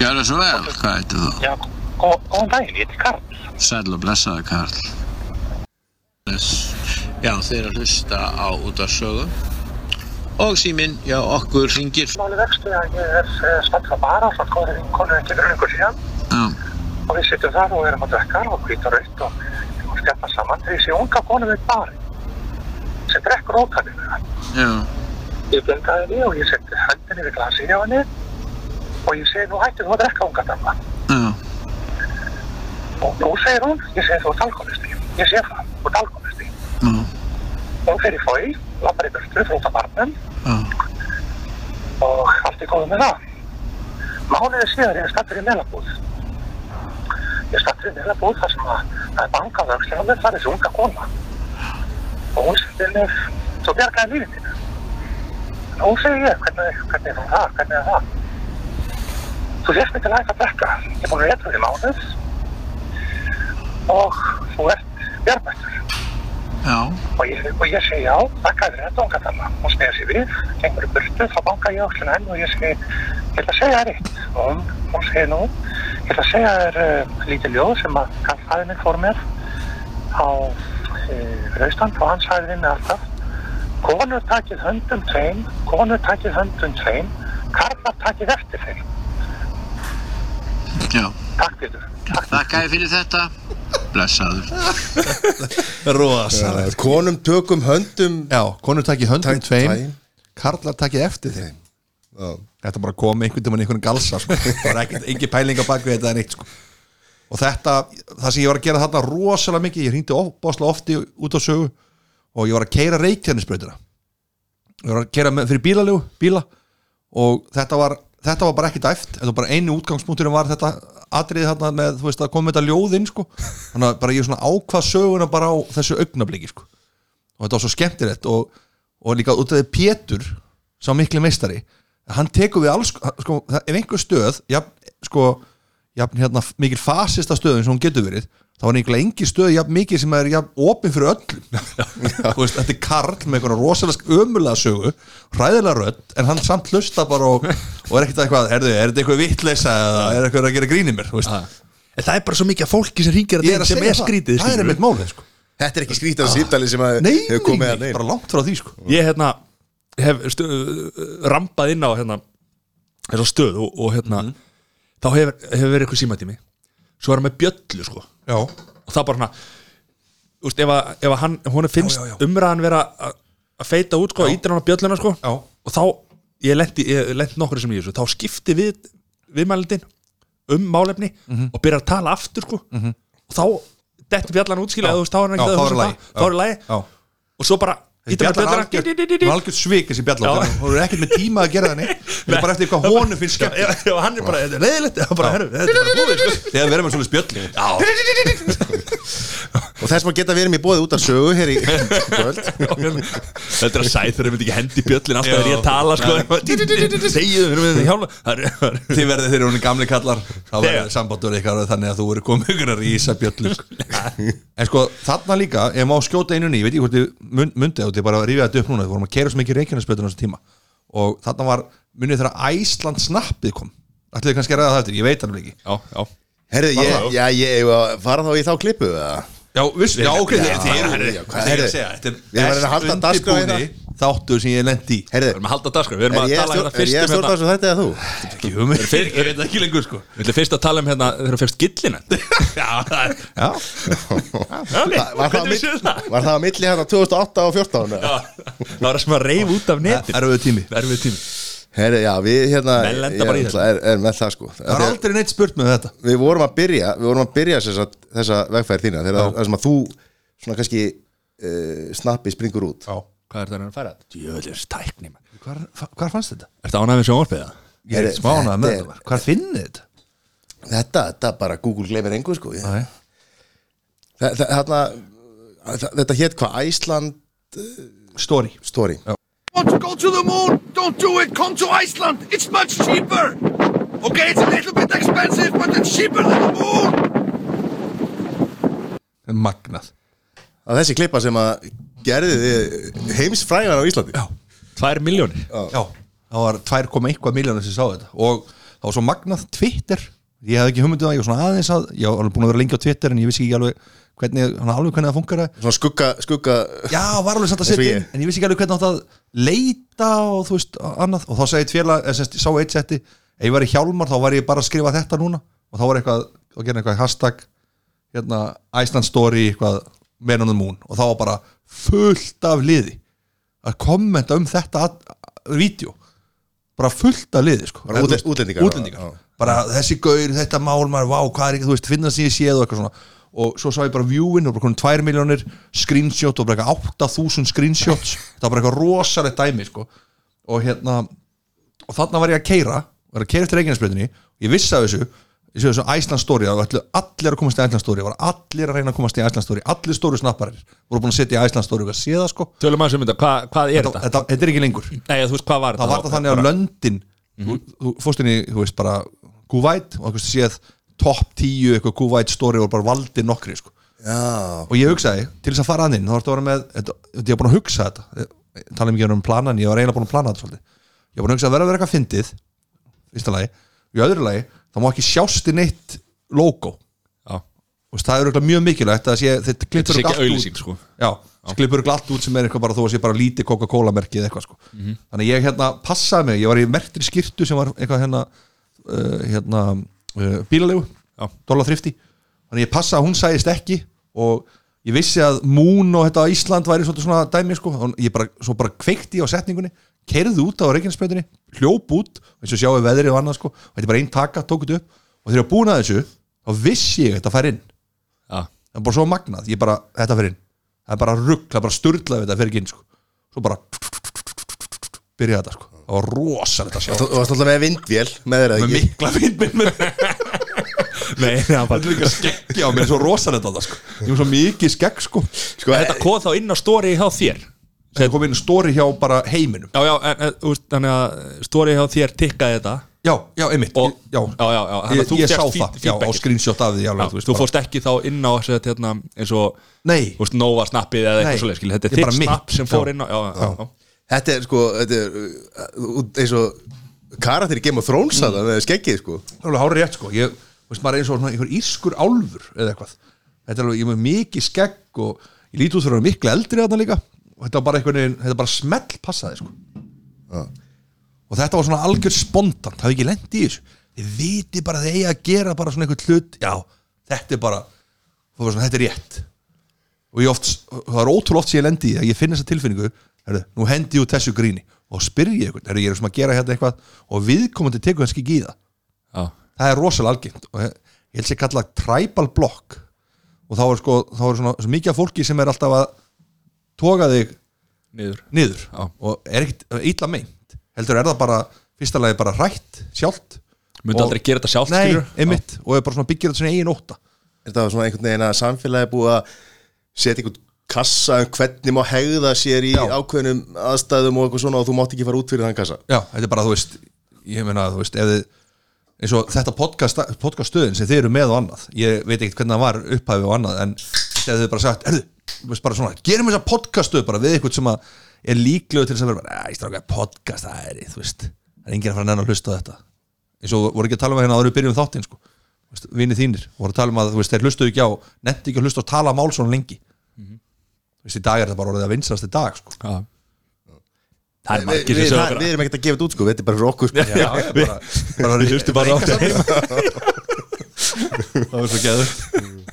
S8: gjör það svo vel, hvað heitir þú?
S9: Já, gó- góðan daginn, ég heiti Karl.
S8: Sæll og blessaði, Karl. Bless. Já, þeir eru að hlusta á út af sögu og síminn hjá okkur ringir
S9: Máli vexti að ég er stætt að bara ásamt góðri vinkonu ekki fyrir lengur síðan
S8: Já,
S9: og við sittum þar og erum að drekka og hvita raut og, og skemmta saman þegar ég sé unga konu við bari sem drekkur ótalið
S8: já,
S9: Ég blindaði henni og ég setti hendinni við glasið á henni og ég segi nú hættu þú að drekka unga dama
S8: já,
S9: og nú segir hún, ég segi þú ert alkoholisti ég sé það, þú ert alkoholisti
S8: já,
S9: hún fer í fói, lappar í burtu, frúta barnum
S8: já,
S9: og allt er góð með það. Mánuðið síðar ég er stattur í meðlabúð. Ég er stattur í meðlabúð þar sem að það er bankað öxlina mér, það er þessi unga kona. Og hún segir mér, svo bjargaði lífið mínu. En hún segir ég, hvernig, hvernig er hún það, hvernig er það? Þú sést mig til að eitthvað drekka. Ég er búin að reyta því mánuð og þú ert bjarbættur.
S8: já,
S9: Og ég, og ég segi já, þakka fyrir þetta unga þarna. Hún snegir sér við, gengur í burtu, þá banka ég öllin henn og ég segi, ég ætla að segja þér eitt. Og hún, hún segir nú, ég ætla að segja þér uh, lítið ljóð sem að kallfaði minn fór mér á uh, Raustand og hann sagði við mig alltaf, konur takið höndum tveim, konur takið höndum tveim, karlar takið eftir þeim.
S8: já
S9: Takk fyrir.
S8: Þakkaði fyrir þetta Blessaður
S3: Rosalega
S2: Konum tökum höndum
S3: Já, konur takki höndum
S2: Tæ-
S3: tveim
S2: tæ-
S3: Karlar takki eftir þeim
S2: Já.
S3: Þetta bara kom einhvern tímann í einhvern galsa sko. Það var ekkert, engin pæling á bakvið þetta en eitt sko. Og þetta, það sem ég var að gera þarna rosalega mikið Ég hringdi bóðslega ofti út á sögu Og ég var að keira reikjarnisbrautina Ég var að keira með, fyrir bílalegu, bíla Og þetta var, þetta var bara ekkert dæft Þetta var bara einu útgangspunkturinn var þetta Atriði þarna með, þú veist, að koma með þetta ljóðinn sko. Þannig að bara ég svona ákvað söguna bara á þessu augnabliki sko og þetta var svo skemmtilegt og, og líka út af því Pétur sá mikli meistari hann tekur við alls sko, það- ef einhver stöð jafn, sko, jafn, hérna, mikil fasista stöðin sem hún getur verið þá er einhverja engi stöð jafn mikið sem er jafn opin fyrir öllum Þú veist, þetta er Karl með einhverja rosalega ömulega sögu hræðilega rödd en hann samt hlusta bara og, og er ekkert eitthvað er, er þetta eitthvað vitleisa eða er eitthvað að gera grínir mér þú veist.
S1: En það er bara svo mikið af fólki sem ringir að
S3: ég er
S1: þeim sem
S3: að
S1: Ah.
S3: segja
S1: er skrítið
S3: það, það er
S1: skilurðu.
S3: einmitt málið sko.
S2: Þetta er ekki skrítið á síðdali sem að
S3: nei,
S2: hefur komið hérna að
S3: nei,
S2: neina
S3: bara langt frá því sko.
S1: ég hérna hef stu, rampað inn á hérna þessa stöð og, og hérna
S3: Mhm.
S1: þá hefur hef verið eitthvað símatími svo er hann með bjöllu sko
S3: já,
S1: og það bara svona þú veist, ef, að, ef að hann, hún finnst
S3: já, já.
S1: umræðan vera að- að feita út sko, ítir hann á bjölluna sko
S3: já,
S1: og þá, ég lendi, ég lendi nokkur sem ég þessu, þá skipti við viðmælindin um málefni
S3: Mhm.
S1: og byrjar að tala aftur sko og þá dettur bjallan útskýla
S3: Já.
S1: þú veist, þá er hann
S3: Já,
S1: ekki um
S3: þá er í lagi.
S1: þá er lægi
S3: já
S1: og svo bara ítir hann á
S3: Bjallan algjör,
S1: bjölluna
S3: algjör svik þessi bjalla
S1: Já.
S3: hún er ekkert með tíma að gera þannig það er bara eftir hvað honum finnst skemmt
S1: Já, já, hann er bara, þetta er leiðilegt það er bara, herru, þetta er bara búið sko.
S3: þegar verður með svona spjöll já,
S2: Og þess maður geta verið mér bóðið út af sögu hér í kvöld
S1: Þetta er að sæð þegar við ekki hendi bjöllin alltaf
S3: Já.
S1: þegar ég tala sko Segið þeim, við hjálpa Það er- það er-
S3: þið verður þeir hún gamli kallar þá
S1: Þegar.
S3: verður sambandur ykkar þannig að þú verður komið ykkur að rísa bjöllu en sko þarna líka ef má skjóta einu ný, ég veit ekki hvort þið mun- mundið og þið bara rýfið þetta upp núna, þið vorum að keira svo mikið reikjarnarsbjöldur á þessum tíma og þarna var munið þegar Æsland snappið kom ætliði kannski að ræða það eftir, ég veit hann ekki
S1: Já, já
S2: Herðu, ég, já, ég eigum að fara þá í þá klippu eða? Ah,
S3: Já, viss, já, ok, þið þið eru
S2: já, hvað er
S3: Þið eru að
S2: þið?
S3: segja, þetta
S2: Við erum að
S3: er
S2: reyna að halda
S3: best
S2: dagskrá hérna.
S3: undirbúni þáttur sem ég lendi í
S1: Við
S2: Herðu,
S1: erum að halda dagskrá, við erum
S2: er
S1: að
S2: ég
S1: tala hérna fyrst
S2: að
S1: um
S2: stjórna
S1: hérna
S2: þessu þetta eða þú?
S3: Ekki hugmynd Fyrir, ég veit það ekki lengur sko
S1: Við erum fyrst að tala um hérna þegar þú fegst gillina Já, það er
S3: Já,
S1: Ok,
S2: Var það á
S1: hvernig
S2: milli-
S1: séu það?
S2: var það að milli hérna 2008 og 14?
S1: Já, Það var það sem að reyf út af netin
S3: erfiðu tími
S1: Erfið tími
S2: Herðu, já, við hérna
S1: Menn lenda
S2: ég
S1: bara í
S2: náttúrulega er, er með það sko
S3: Það var aldrei neitt spurt með þetta
S2: Við vorum að byrja, við vorum að byrja þess að, þessa vegfæri þína þegar það sem að þú svona kannski uh, snappi springur út
S3: Já
S1: Hvað er það að færa? Djöðlis tækni Er
S3: Hvar, hvar fannst þetta?
S1: þetta ánægð með sjónvarpiða?
S3: Ég er
S2: Heyrðu,
S3: smánað með
S2: þetta er-
S3: þetta Hvar finnið þetta?
S2: Þetta, þetta bara Google gleymir engu sko ég-
S3: Nei.
S2: Þa- þa- Þarna þa- Þetta hétt hvað? Æsland
S3: Story
S2: Story
S5: Want to go to the moon? Don't do it. Come to Iceland. It's much cheaper. Okay, it's a little bit expensive, but it's cheaper than the moon.
S3: Magnað
S2: að þessi klippa sem að gerði þið heimsfrægan á Íslandi Já,
S1: Tvær miljónir
S3: Já, það var 2,1 miljónir sem sá þetta og það var svo magnað Twitter ég hafði ekki hugmyndið um það, ég var svona aðeins að ég var alveg búin að vera lengi á Twitter en ég vissi ekki alveg hvernig, hann alveg hvernig það funkar
S2: Svona skugga, skugga
S3: já, var alveg samt að
S2: Eins og
S3: setja inn
S2: ég.
S3: en ég vissi ekki alveg hvernig átt að leita og þú veist, annað, og þá segi tvélag eða semst, ég eh, sá eitt setti, ef ég var í hjálmar þá var ég bara að skrifa þetta núna og þá var eitthvað, þá gerði eitthvað hashtag hérna, Iceland story, eitthvað men on the moon, og þá var bara fullt af liði að kommenta um þetta vídeo bara fullt af liði sko.
S2: Bara útle-
S3: Þú veist,
S2: útlendingar? Já.
S3: bara þessi gaur, þetta mál maður, vá, hvað er ekki, þú veist, finna sem ég séð og eitthvað svona og svo sá ég bara view-in, það var bara konum 2 miljónir screenshot og bara eitthvað 8000 screenshots það var bara eitthvað rosalegt dæmi sko. og hérna og þarna var ég að keira, var að keira eftir eiginarspleitinni ég vissi af þessu, ég sé þessu Æsland story, það var allir- allir að komast í Æsland story það var allir að reyna að komast í Æsland story allir stóru snapparir, voru búin að setja í Æsland story og að sé það sko,
S1: Tölum aðeins um þetta, hvað, hvað er
S3: þetta,
S1: þetta?
S3: þetta, þetta er ekki lengur
S1: Nei, þú veist, hvað var
S3: það
S1: þetta?
S3: var það þannig að löndin
S1: Mhm.
S3: þú, þú fórst inn í, þú veist, bara Kuwait og eitthvað séð topp 10 eitthvað Kuwait story og bara valdi nokkri sko.
S2: Já,
S3: og ég hugsaði, til þess að fara að inn þá ertu að vera með, þetta, ég var búin að hugsa þetta ég tala mikið um planan, ég var eiginlega búin að plana þetta svolítið ég var búin að hugsa að vera að vera eitthvað fyndið fyrsta lagi, í öðru lagi það má ekki sjást í neitt logo
S1: Já.
S3: Þú veist, það er örugglega mjög mikilvægt að sé, þetta
S1: Þetta
S3: klippur
S1: sé ekki
S3: örugglega allt út.
S1: auðlýsing, sko
S3: Já, sklippur glatt út sem er eitthvað bara þó að sé bara lítið Coca-Cola merkið eða eitthvað sko Þannig ég hérna passaði mig, ég var í mertri skirtu sem var eitthvað hérna, uh, hérna uh, bílalegu,
S1: Já.
S3: dollar þrifti Þannig ég passaði að hún sæðist ekki og ég vissi að Moon og þetta Ísland væri svolítið svona dæmi sko Þannig ég bara, svo bara kveikti á setningunni, keirði út á reikinsbjöndinni, hljóp út eins og sjáu veðrið og annað sko, og þetta er bara einn taka, tók þetta upp og þegar ég var búin að þessu, þá vissi ég að þetta fær inn
S1: Já,
S3: það er bara svo magnað, ég bara, þetta fyrir inn það er bara rugg, það er bara sturlað við þetta fyrir ekki inn sko. svo bara byrjaði þetta sko, það var rosalegt að sjá
S2: þú varst alltaf með vindvél með þeirra ekki
S3: með mikla finn minn með
S1: nei, það var
S3: þetta líka skeggi á mér, svo rosalegt að það sko ég var svo mikið skegg sko
S2: Sko,
S1: Þetta kom þá inn á story hjá þér Já,
S3: það kom inn stóri hjá bara heiminum
S1: já, en, en, þú veist, þannig að story hjá þér tikkaði þetta
S3: já, já, einmitt,
S1: Og-
S3: já,
S1: já, já, já, þannig að
S3: ég,
S1: þú
S3: ég sá
S1: fékkst feed-
S3: það já, á
S1: feedbackið.
S3: screenshot af því
S1: Já,
S3: alveg,
S1: þú, veist, þú
S3: bara-
S1: fórst ekki þá inn á þessi, hérna, eins og
S3: nei,
S1: þú veist, Nova snappið eða
S3: Nei,
S1: eitthvað svoleið skilur. þetta
S3: ég
S1: er
S3: bara
S1: þitt
S3: mitt.
S1: snapp sem fór
S3: Já.
S1: inn á já, já, já.
S2: Þetta er sko, þetta er uh, út- eins og karakter í Game of Thrones mm. með skeggið sko
S3: Það er alveg hárið rétt sko ég, veist, maður er eins og svona einhver írskur álfur eða eitthvað, þetta er alveg, ég er með mikið skegg og ég líti út fyrir að vera miklu eldri þarna líka, og þetta var bara einhvern veginn þetta bara smell passaði sko og þetta var svona algjör spontant það hafði ekki lent í þessu þið viti bara að þið eigi að gera bara svona einhvern hlut já, þetta er bara það var svona, þetta er rétt og ég oft, það er ótrúlega oft sem ég lendi í því að ég finn þessa tilfinningu herru, nú hendi ég út þessu gríni og spyr ég einhvern, herru, ég er svona að gera hérna eitthvað og viðkomandi tekur kannski ekki í það
S1: Já.
S3: það er rosalega algengt og ég ég held sér kallað tribal block og þá er sko, þá er svona svo mikið af fólki sem er alltaf að toga þig
S1: niður
S3: niður
S1: Já.
S3: og er ekkit ítla meint heldur er það bara, fyrsta lagi bara rætt sjálft
S1: myndi
S3: Og-
S1: aldrei gera þetta sjálf
S3: Nei, einmitt, og er bara svona byggir þetta sinni eigin óta
S2: Þetta var svona einhvern veginn að samfélagi búið að setja einhvern kassa um hvernig má hegða sér í
S3: Já.
S2: ákveðnum aðstæðum og eitthvað svona og þú mátt ekki fara út fyrir þann kassa
S3: Já, þetta er bara, þú veist, ég meina, þú veist, ef þið eins og þetta podcast, podcast stöðin sem þið eru með og annað ég veit ekkert hvernig það var upphæfi og annað en ef þið bara sagt, erðu, þú veist bara svona gerum þessa podcast stöð bara við eitthvað sem að er líklegur til þess að vera bara, ég stráka podcast, það er, þú veist, það er enginn að fara að nenni að hlusta á þetta eins og voru ekki að tala um það hérna áður en við byrjum þáttinn, sko, Þú veist, vinir þínir voru að tala um að, þú veist, þeir hlustuðu ekki á netti ekki að hlusta og tala mál svona lengi þú veist, í dag er þetta bara orðið að vinsrast dag, sko
S1: Já. það er
S2: Við,
S1: margir
S2: við,
S1: sem
S2: það-
S1: sögur
S2: við erum ekkert að gefa þetta út sko, þetta er bara fyrir okkur sko.
S3: Já, já, bara, bara við hlustum bara á þetta heima Það var svo geður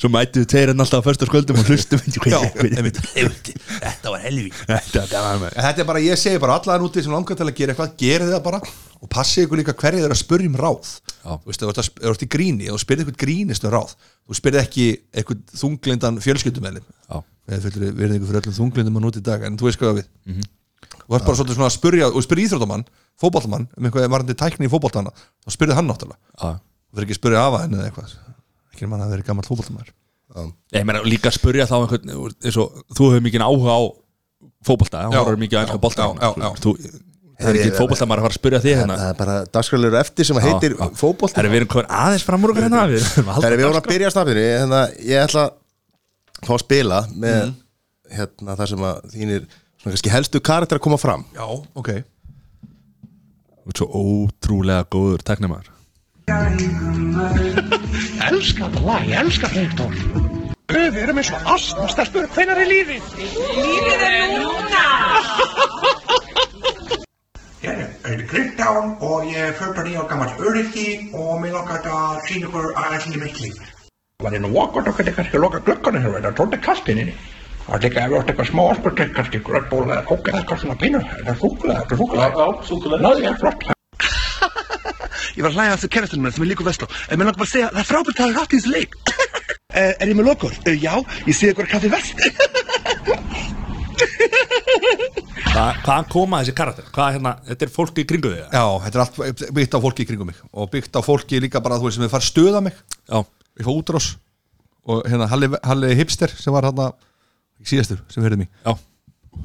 S1: svo mættu teirinn alltaf á förstur sköldum og hlustum ekki
S3: Já, einmitt Þetta var helvík Þetta er bara, ég segi bara allan úti sem langar til að gera eitthvað gerið það bara og passið ykkur líka hverju þeir eru að spurja um ráð
S1: Já.
S3: Þú veist, ef þú ert að sp- ef þú ert í gríni og þú spyrir eitthvað grínist um ráð þú spyrir ekki eitthvað þunglindan fjölskyldumælin
S1: Já.
S3: við fullri verðingu fyrir öllum þunglindum að núti í dag en þú veist hvað á við
S1: Mhm.
S3: og er bara svolítið svona að spyrja og spyrja íþróttamann, fótballmann um eitthvað varandi tækni í fótballtana þá spyrði hann náttúrulega og verður ekki að spyrja af hann eða eitthvað ekki mann að það er gammal fótballtamaður
S1: ég meina líka að spurja þá einhvern þú veist, eins og þú hefur mikið áhuga á fótbolta, hún
S3: Já.
S1: horfður mikið á einska
S3: Já,
S1: bolta
S3: já, já, já.
S1: þú það er ekki fótbolta maður að fara að spurja þig hérna
S2: Það er bara dagskrálur eftir sem að heitir
S1: Já, já.
S2: fótbolti
S1: Það er við erum komin aðeins fram úr okkur hérna Við erum
S2: Það er
S1: alltaf
S2: við vorum að byrja að snappinu hérna, Ég ætla að fá að spila með hérna, það sem að þínir svona kannski helstu karakter að koma fram
S3: Já, ok
S1: Þú ert svo ótrúlega góður teknimaður
S9: Elskar þetta lag, ég elskar þetta orð. Guð, við erum eins og astma, stelpur, hvenær er lífið?
S5: Ég er Kristján og ég er 49 og gammal öryggi og mér langar þetta að sína ykkur aðeins í mitt líf. Það er nú okkur og hvernig kannski að loka glögganu hér, það er tónlega kastinni. Það er líka ef þú átt eitthvað smá orðbúrtið, kannski gröðból eða kókið eða eitthvað svona pinnur. Það er súkulega, þetta er súkulega. Já, súkulega. Náðu, ég er flott. ég var að hlæja að þessu kerastinu minn sem er líku vestló. En mér langar bara að segja, það er frábært að það er rátt í þessu leik. Eh, er ég með lokur? Eh, Já, ég sé ykkur kaffi vest.
S1: Hva, hvaðan koma þessi karakter? Hvað hérna, þetta er fólk í kringu þig? eða?
S3: Já, þetta er allt byggt á fólki í kringum mig og byggt á fólki líka bara, þú veist, sem við fara að stöða mig
S1: Já,
S3: ég fá útrás og hérna Halli, Halli Hipster sem var hérna síðastur sem við höfðum í
S1: já,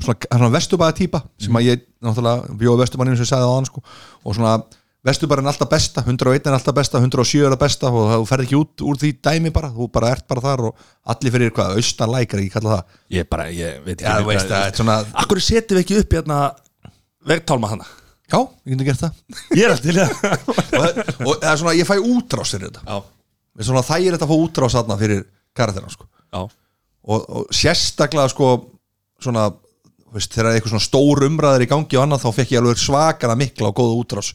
S3: svona, svona vesturbæða típa sem að ég náttúrulega bjóði vesturbæðinu sem ég sagði á hann sko og svona vesturbæðin alltaf besta 101 er alltaf besta, 107 er að besta og það- þú ferð ekki út úr því dæmi bara þú bara ert bara þar og allir fyrir hvað austan lækar, ég kalla það
S1: ég bara, ég veit ekki
S3: Já, þú veist, það er svona
S1: Akkur setjum við ekki upp hérna vegtálma hana?
S3: Já, ég getur gert það
S1: Ég er alltaf til það
S3: og, það- og það er svona, ég fæ útrás fyrir þetta
S1: Já,
S3: Mér er svona þægir þetta að fá útrás þarna fyrir karakterna sko.
S1: já,
S3: og, og sérstaklega sko svona, þú veist, þegar eitthvað svona stór umræðar í gangi og annað þá fekk ég alveg svakana mikla og góða útrás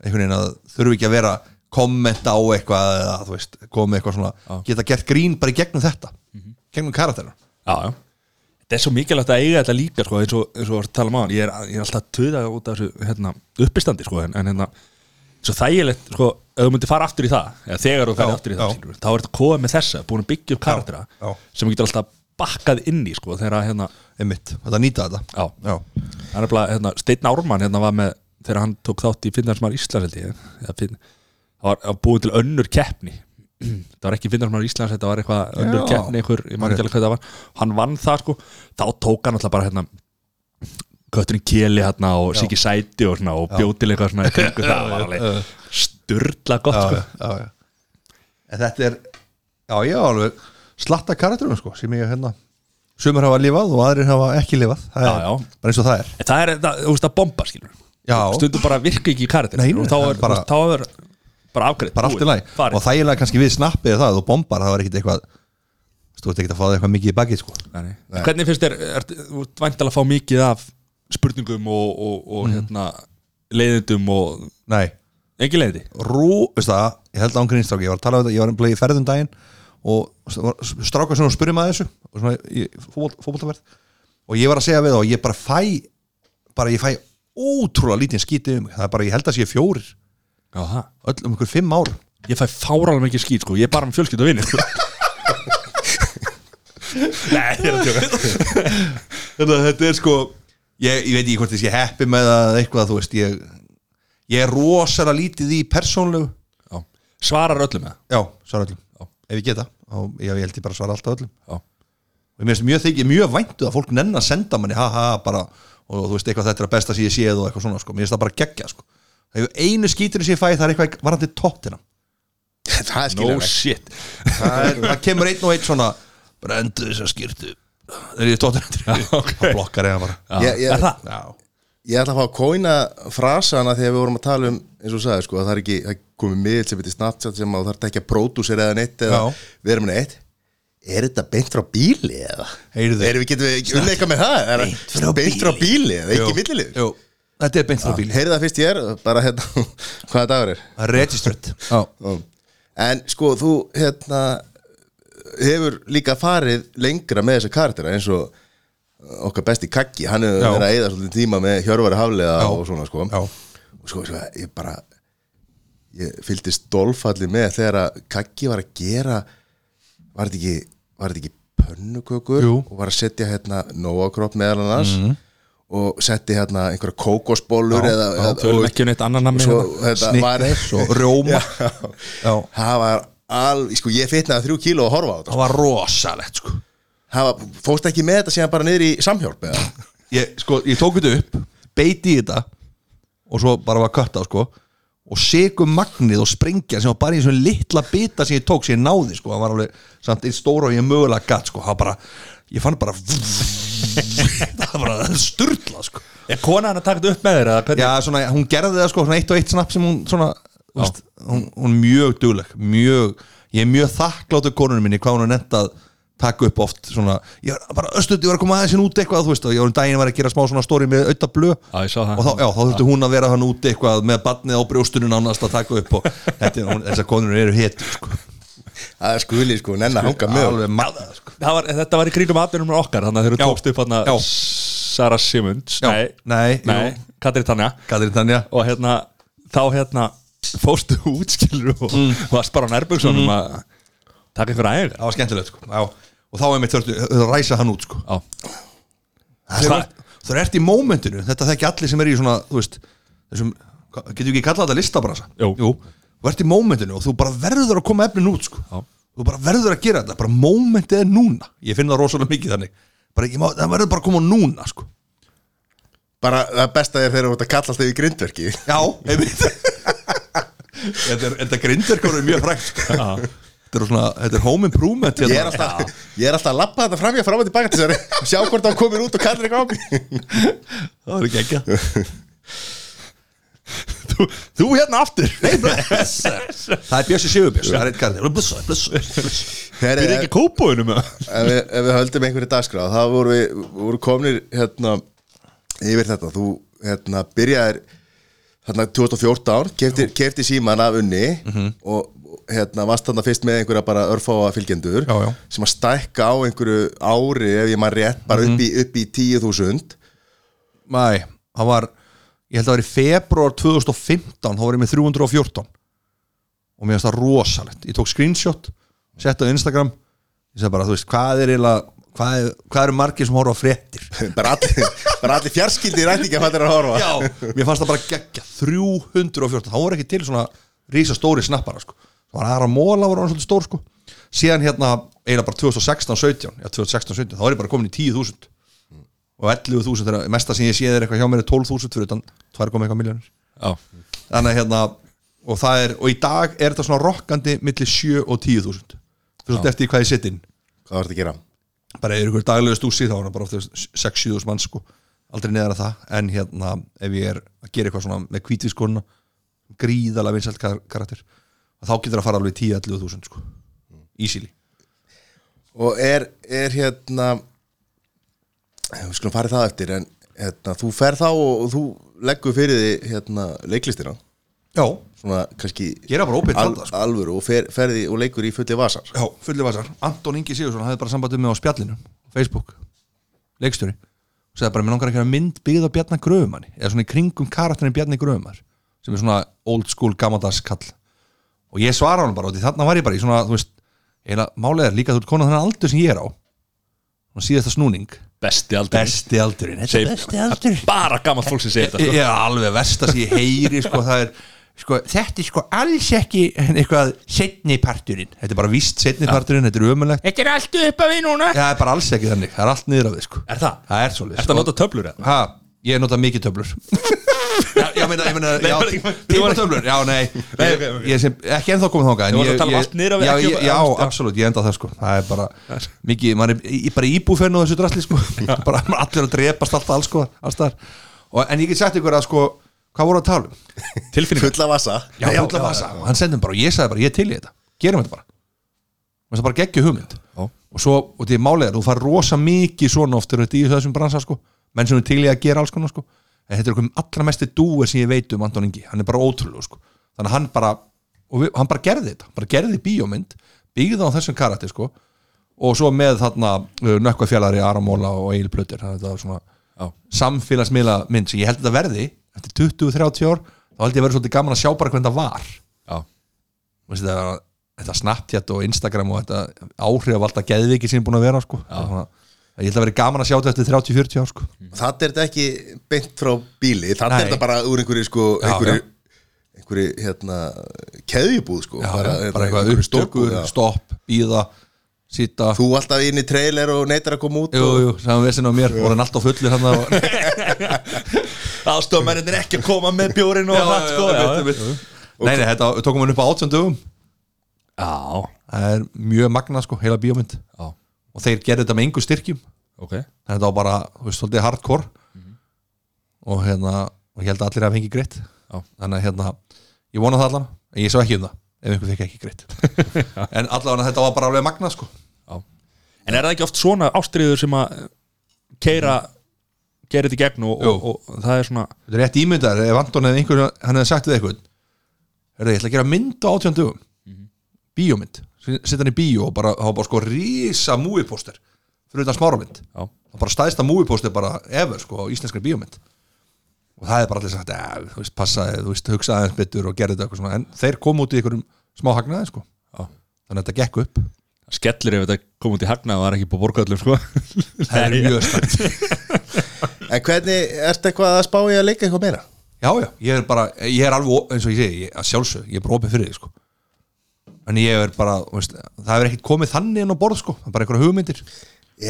S3: einhvern veginn að þurfi ekki að vera kommenta á eitthvað eða þú veist, komið eitthvað svona, geta gert grín bara í gegnum þetta, gegnum karakterna
S1: já, já Þetta er svo mikilvægt að eiga þetta líka sko, eins og, eins og var að tala um á hann ég er, ég er alltaf að töða út af þessu hérna, uppistandi sko, en, en hérna svo þægilegt, sko, ef þú myndir fara aftur í það eða þegar þú ferði
S3: Já,
S1: aftur í
S3: já.
S1: það skilur, við, þá er þetta kóða með þessa, búin að byggja upp karaktera
S3: já.
S1: sem þú getur alltaf bakkað inn í sko, þegar að, hérna,
S3: einmitt, þetta nýta þetta
S1: já,
S3: Já,
S1: hann er bara, hérna, Steinn Ármann hérna var með, þegar hann tók þátt í Finnarsmar Íslands held ég, eða Finn það var, var búið til önnur keppni það var ekki Finnarsmar Íslands, þetta var eitthvað önnur
S3: Já.
S1: keppni, einhver, ég man ekki alveg hvað það var hann vann það sko, þá tók hann alltaf bara hérna kötturinn Keli hérna og Siggi Sæti og, svona, og bjóð til eitthvað svona í kringu það var alveg styrla gott
S3: já,
S1: sko.
S3: já, já, já. En þetta er já, já, alveg slatta karakterum sko, sem ég hérna sumir hafa lifað og aðrir hafa ekki lifað það
S1: Já,
S3: er
S1: já.
S3: bara eins og það er
S1: en það er, það, þú veist, að bomba skilur
S3: Já.
S1: stundum bara virka ekki í karakter
S3: Nei, nei,
S1: og þá
S3: það er
S1: er
S3: bara-
S1: bara, þá er bara afgreitt
S3: bara allt í lagi og þægilega kannski við snappið er það að þú bombar það var ekkit eitthvað þú ert ekkit að fá það eitthvað mikið í baki sko.
S1: Nei. Hvernig finnst þér, er, þú ert væntalega að fá mikið af spurningum og, og, og
S10: Mhm.
S1: hérna, leiðindum og
S3: nei,
S1: engin leiðindi?
S3: rú, veist það ég held án grínstráki, ég var að tala um þetta, ég var að í ferðum daginn og stráka sem hún spurum að þessu og svona í fótbol- fótboltaferð og ég var að segja við þá, ég bara fæ bara ég fæ ótrúlega lítið skítið um mig, það er bara, ég held að sé fjórir
S1: Já, það.
S3: öll um ykkur fimm ár
S1: Ég fæ fáralega mikið skýt, sko, ég er bara með fjölskyldu og vinni, sko. Nei, ég er að tjóka.
S3: þetta, þetta er sko ég, ég veit ekki hvort þess ég heppi með það eða eitthvað, þú veist, ég ég er rosalega lítið í persónlegu
S1: Já. Svarar öllum með það?
S3: Já, svara öllum
S1: Já.
S3: Ef ég geta, þá, já, ég held ég bara að svara alltaf öllum
S1: Já.
S3: Og mér finnst mjög þykir, mjög væntu að fólk nenn að senda manni Haha, bara, og þú veist eitthvað þetta er að besta sem ég séð og eitthvað svona, sko Mér finnst það bara geggja, sko Það hefur einu skítinu sem ég fæ, það er eitthvað varandi tóttina
S2: það er
S1: No
S2: skiljanlegt.
S1: Oh, shit.
S3: það, er- það kemur einn og einn svona Brendu þess að skýrtu Þegar ég tóttina Það blokkar ég bara
S2: Ég- ég-
S1: Er það?
S3: Já,
S2: Ég ætla að fá að kóina frasana þegar við vorum að tala um eins og þú sagði sko, að það er ekki, það er komið miðl sem heitir Snapchat sem að það er ekki að pródúsera eða neitt eða
S3: Já.
S2: við erum neitt Er þetta beint frá bíli eða?
S3: Heyrðu.
S2: Erum við getum við ekki unleika með það? Er beint frá, beint frá bíli eða
S3: Jú.
S2: ekki millilið? Ah,
S3: Jú, þetta er beint frá bíl
S2: Heyrðu það fyrst ég er, bara hérna, hvaða dagur er?
S3: Registrate Já,
S2: Já. En sko, þú hérna hefur líka farið lengra með þessa karaktera eins og uh, okkar besti Kaggi, hann hefur
S3: Já.
S2: verið að eyða svolítið tíma með Hjörvari Haflega
S3: Já.
S2: og svona sko
S3: Já.
S2: og sko, sko, ég bara ég fylgdi stólfalli með þegar að Kaggi var að gera var þetta ekki, var þetta ekki pönnukökur
S3: Jú. Mhm.
S2: og var að setja hérna nóakropp meðal annars og setti hérna einhverja kókosbólur eða, eða
S1: Tölum ekki um eitt annan namni
S2: svo,
S1: hérna.
S2: þetta var
S3: Snickers og rjóma Já,
S2: það var alveg, sko ég fitnaði þrjú kíló að horfa á þetta
S3: það var rosalegt, sko
S2: það var, fóst ekki með þetta síðan bara niður í samhjálp eða?
S3: ég, sko, ég tók þetta upp beiti í þetta og svo bara var kött á sko og segum magnið og sprengja sem var bara í svona litla bita sem ég tók sem ég náði sko, það var alveg samt einn stóra og ég mögulega gatt sko, það var bara, ég fann bara það var bara sturla sko
S1: Er konan að taka þetta upp með þér eða hvernig?
S3: já, svona, hún gerði það sko, svona eitt og eitt snapp sem hún svona, þú veist, hún, hún er mjög dugleg mjög, ég er mjög þakkláttur konunum minni hvað hún er nefnt að taka upp oft svona, ég var bara östuð, ég var að koma aðeins inn út eitthvað, þú veist, og ég var um daginn var að gera smá svona stóri með auðta blö
S10: Já, ég sá það.
S3: og þá, já, þá þurfti hún að vera hann út eitthvað með barnið á brjóstunum nánast að taka upp og þetta, er- hún, þessar konunum eru hit sko,
S2: Það er skuli sko, nenn að hanga með
S3: alveg maður sko.
S10: Það var, þetta var í kringum atvinnum okkar þannig að þeir eru
S3: Já.
S10: tókst upp hann
S3: Já.
S10: Sara Simons
S3: Já. Nei, jú.
S10: nei Katri Tanja
S3: Katrín Tanja
S10: og hérna þá hérna fóstu útskilur og varst bara á nærböksunum að taka einhver ægur
S3: það var skemmtilegt sko. já. og þá er mitt þurfti þurfti að ræsa hann út sko.
S10: Já.
S3: þegar þú ert í mómentinu þetta þekki allir sem er í svona þú veist, þessum, hva- getur ekki kallað þetta listabrasa
S10: Jú.
S3: þú ert í mómentinu og þú bara verður að koma efnin út sko.
S10: Já.
S3: þú bara verður að gera þetta bara mómentið er núna ég finn það rosalega mikið þannig bara, ég má, það verður bara að koma núna sko.
S2: Bara það besta er þegar þú ert að kalla alltaf í grindverki
S3: já, einmitt þetta, er- þetta grindverkur er mjög frækt sko. þetta er, svona, þetta er home improvement
S2: Ég
S3: hérna.
S2: er alltaf, ég er alltaf að lappa þetta framjá fram og tilbaka til þessari Sjá hvort það komir út og kallir eitthvað á mig
S3: Það er ekki ekki þú, þú hérna aftur Nei, blessa Það er Bjössi Sigurbjörs Það er eitt kallið Blessa, blessa, blessa
S2: Heri,
S10: Við erum ekki kópóinum eða?
S2: ef, við, ef við höldum einhverju dagskráð þá voru við voru komnir hérna, yfir þetta þú hérna, byrjaðir hérna, 2014, kefti, kefti síman af unni
S3: Mhm.
S2: og og, hérna, varst þarna fyrst með einhverja bara örfáa fylgjendur
S3: Já, já.
S2: sem að stækka á einhverju ári ef ég maður rétt bara
S3: Mhm.
S2: upp í, upp í 10.000
S3: Mæ, það var Ég held að það var í februar 2015 Þá var ég með 314 Og mér finnst það rosalegt Ég tók screenshot Sett á Instagram Ég sagði bara, þú veist, hvað er eiginlega Hvað, er, hvað eru margir sem horfa á fréttir
S2: bara allir, bara allir fjarskildi rætti ekki að fæta að horfa
S3: Já, mér fannst það bara geggja 314, þá voru ekki til svona rísastóri snappara sko það var aðra móla voru hann svolítið stór sko síðan hérna, eiginlega bara 2016-17 já, 2016-17, þá var ég bara komin í 10.000 og 11.000 þegar mesta sem ég séð er eitthvað hjá mér er 12.000 fyrir utan 2,1 miljónir
S10: Já
S3: þannig að hérna, og það er og í dag er þetta svona rokkandi milli 7 og 10.000 fyrir svolítið eftir í hvað ég sitt inn
S2: hvað var þetta að gera?
S3: bara ef ykkur daglega stúsi þá er það bara ofta 6-7 mann sko aldrei neðar að það en hérna ef ég er að gera eitthvað svona með kvítvískonuna gríðalega vinsælt kar karakter þá getur það að fara alveg 10-11 þúsund sko easily
S2: og er, er hérna eh, við skulum farið það eftir en hérna, þú fer þá og, og þú leggur fyrir því hérna, leiklistina
S3: já,
S2: svona kannski
S3: gera bara óbyrð
S2: al,
S3: al sko.
S2: alvöru og fer, ferði og leikur í fulli vasar
S3: já, fulli vasar Anton Ingi Sigursson hafði bara sambandið með á spjallinu Facebook leikstjóri og segði bara mér langar ekki að mynd byggð á Bjarnar Gröfumanni eða svona í kringum karakterin Bjarnar Gröfumar sem er svona old school gamadags kall og ég svara hann bara og þannig var ég bara í svona þú veist eiginlega málega er líka þú ert konar þannig aldur sem ég er á og síðasta snúning
S10: Besti aldrei
S3: besti aldurinn þetta
S10: Segir-
S3: er besti aldur
S10: Bara gammal fólk sem segir þetta sko.
S3: ég er alveg versta sem ég heyri sko það er Sko, þetta er sko alls ekki eitthvað setni parturinn þetta er bara víst setni parturinn, þetta er ömulegt
S10: Þetta er allt upp af við núna
S3: Já, það er bara alls ekki þannig, það er allt niður af þig sko
S10: Er það?
S3: Það er svolítið
S10: Er það að nota töflur hérna? eða?
S3: Ha, ég nota mikið töflur Já, ég meina, ég meina, já,
S10: bara- ég meina-
S3: tíma töflur Já, nei, ég, ég sem, ekki ennþá komið þáka
S10: Þú varst að tala um allt niður af þér,
S3: Já,
S10: ekki
S3: ég,
S10: upp-
S3: já,
S10: já.
S3: absolutt, ég enda það sko Það er bara, mikið, maður er í- bara íbúfenn og þessu drasli sko Bara allir að drepast alltaf alls sko, alls þar og, En ég get sagt ykkur að sko, hvað voru að tala um?
S10: Tilfinningar
S2: fulla vasa
S3: Já, já, já, já, hann sendum bara og ég sagði bara, ég er til í þetta gerum þetta bara og það bara geggju hugmynd
S10: Já.
S3: og svo, og því málega, þú far rosa mikið svona oft þegar þetta í þessum bransa sko menn sem er til í að gera alls konar sko en þetta er okkur allra mesti dúi sem ég veit um Anton Ingi hann er bara ótrúlega sko þannig að hann bara, og við, hann bara gerði þetta bara gerði bíómynd, byggði það á þessum karati sko og svo með þarna nökkvafjallari Aramóla og Egil Plötur þannig að þetta var svona
S10: Já.
S3: samfélagsmiðla mynd sem ég held að þetta verði eftir 20-30 ár þá held ég að verði svolítið gaman að sjá bara hvernig það var
S10: Já.
S3: Þú veist, þetta, þetta Snapchat og Instagram og þetta áhrif alltaf geðviki sem er búin að vera sko. Svona, ég held að verði gaman að sjá þetta eftir 30-40 ár sko.
S2: það er þetta ekki beint frá bíli það er
S3: Nei.
S2: þetta bara úr einhverju sko
S3: Já,
S2: einhverju,
S3: já.
S2: einhverju hérna keðjubúð sko
S3: já, bara,
S2: hérna,
S3: bara eitthvað
S2: einhverju
S3: uppstökur,
S2: já.
S3: stopp, býða sýta,
S2: þú alltaf inn í trailer og neytar að koma út
S3: jú,
S2: og,
S3: jú, saman vesinn á mér voru hann alltaf fullur hann og
S10: Aðstofmennir er ekki að koma með bjórin og það sko
S3: nei, nei, þetta við tókum hann upp á 18 dögum
S10: Já
S3: það er mjög magna sko, heila bíómynd
S10: Já.
S3: og þeir gerðu þetta með engu styrkjum
S10: Ok
S3: þannig að það var bara, þú veist, svolítið hardcore
S10: Mhm.
S3: og hérna, og ég held að allir hafi fengið greitt
S10: Já.
S3: þannig að hérna, ég vona það allan en ég sá ekki um það ef einhver fekk ekki greitt en allavega þetta var bara alveg magna sko
S10: En er það ekki oft svona ástriður sem að keira keira þetta í gegn og, og,
S3: Jú.
S10: og, það er svona
S3: þetta er rétt ímyndar ef Anton hefði einhver hann hefði sagt við einhvern er ég ætla að gera mynd á átjöndum mm -hmm. bíómynd setja hann í bíó og bara hafa bara sko rísa múiðpóster fyrir utan smáramynd
S10: Já.
S3: og bara stæðsta múiðpóster bara ever sko á íslenskri bíómynd og það er bara allir sagt "Eh, þú veist passaði þú veist hugsaði aðeins betur og gerði þetta eitthvað svona en þeir komu út í einhverjum smá hagnaði sko
S10: Já.
S3: þannig að þetta gekk upp
S10: skellir ef þetta kom út í hagnað og það er ekki búið borgaðlum sko
S3: það er mjög stætt
S2: En hvernig, ertu eitthvað að spá í að leika eitthvað meira?
S3: Já, já, ég er bara, ég er alveg, o- eins og ég segi, ég, að sjálfsög, ég er bara opið fyrir því, sko. En ég er bara, þú veist, það hefur ekkert komið þannig en á borð, sko, það er bara einhverja hugmyndir.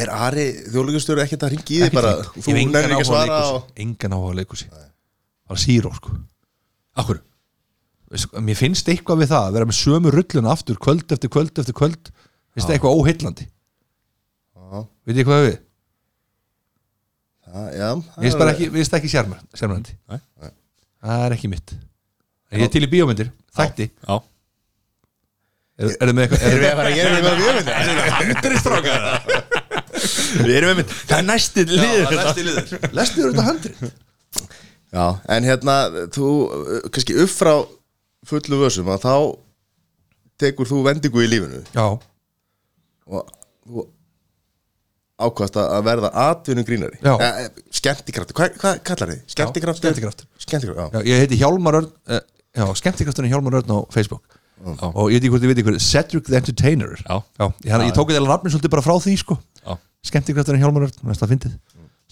S2: Er Ari þjóðleikustjóri ekkert að ringi í þig bara?
S3: Ekkert neitt.
S2: Þú
S3: Ég hef engan
S2: nefnir ekki að
S3: áhuga á
S2: svara
S3: leikhúsi,
S2: og...
S3: Engan áhuga á leikhúsi. Bara síró, sko.
S10: Akkur,
S3: Veist, mér finnst eitthvað við það að vera með sömu rulluna aftur, kvöld eftir kvöld eftir kvöld, finnst það eitthvað óheillandi. Veit ég hvað við?
S2: Ah, Já, já,
S3: Mér finnst bara ekki, mér finnst það ekki sjarmar- sjarmerandi.
S10: Nei.
S3: Það er ekki mitt. En Ég er til í bíómyndir, þætti.
S10: já
S3: Er, er, með eitthvað,
S2: Erum við að fara að gera eitthvað mjög myndið?
S10: Við erum einmitt, það er næsti liður
S3: Lesti liður. Lesti liður þetta handrið.
S2: Já, en hérna, þú, uh, kannski upp frá fullu vössum að þá tekur þú vendingu í lífinu
S3: Já,
S2: og þú ákvæmst að verða atvinnum grínari
S3: Já.
S2: Skemmtikraftur, hvað, hvað kallar þið? Skemmtikraftur?
S3: skemmtikraftur.
S2: Skemmtikraftur, já,
S3: já, ég heiti Hjálmar Örn uh, Já, skemmtikraftunni Hjálmar Örn á Facebook og ég veit ekki hvort þið veit hver Cedric the Entertainer
S10: Já.
S3: ég, hann, ég tók eitthvað nafnir svolítið bara frá því sko.
S10: Já.
S3: skemmtikraftunni Hjálmar Örn, mér finnst það fyndið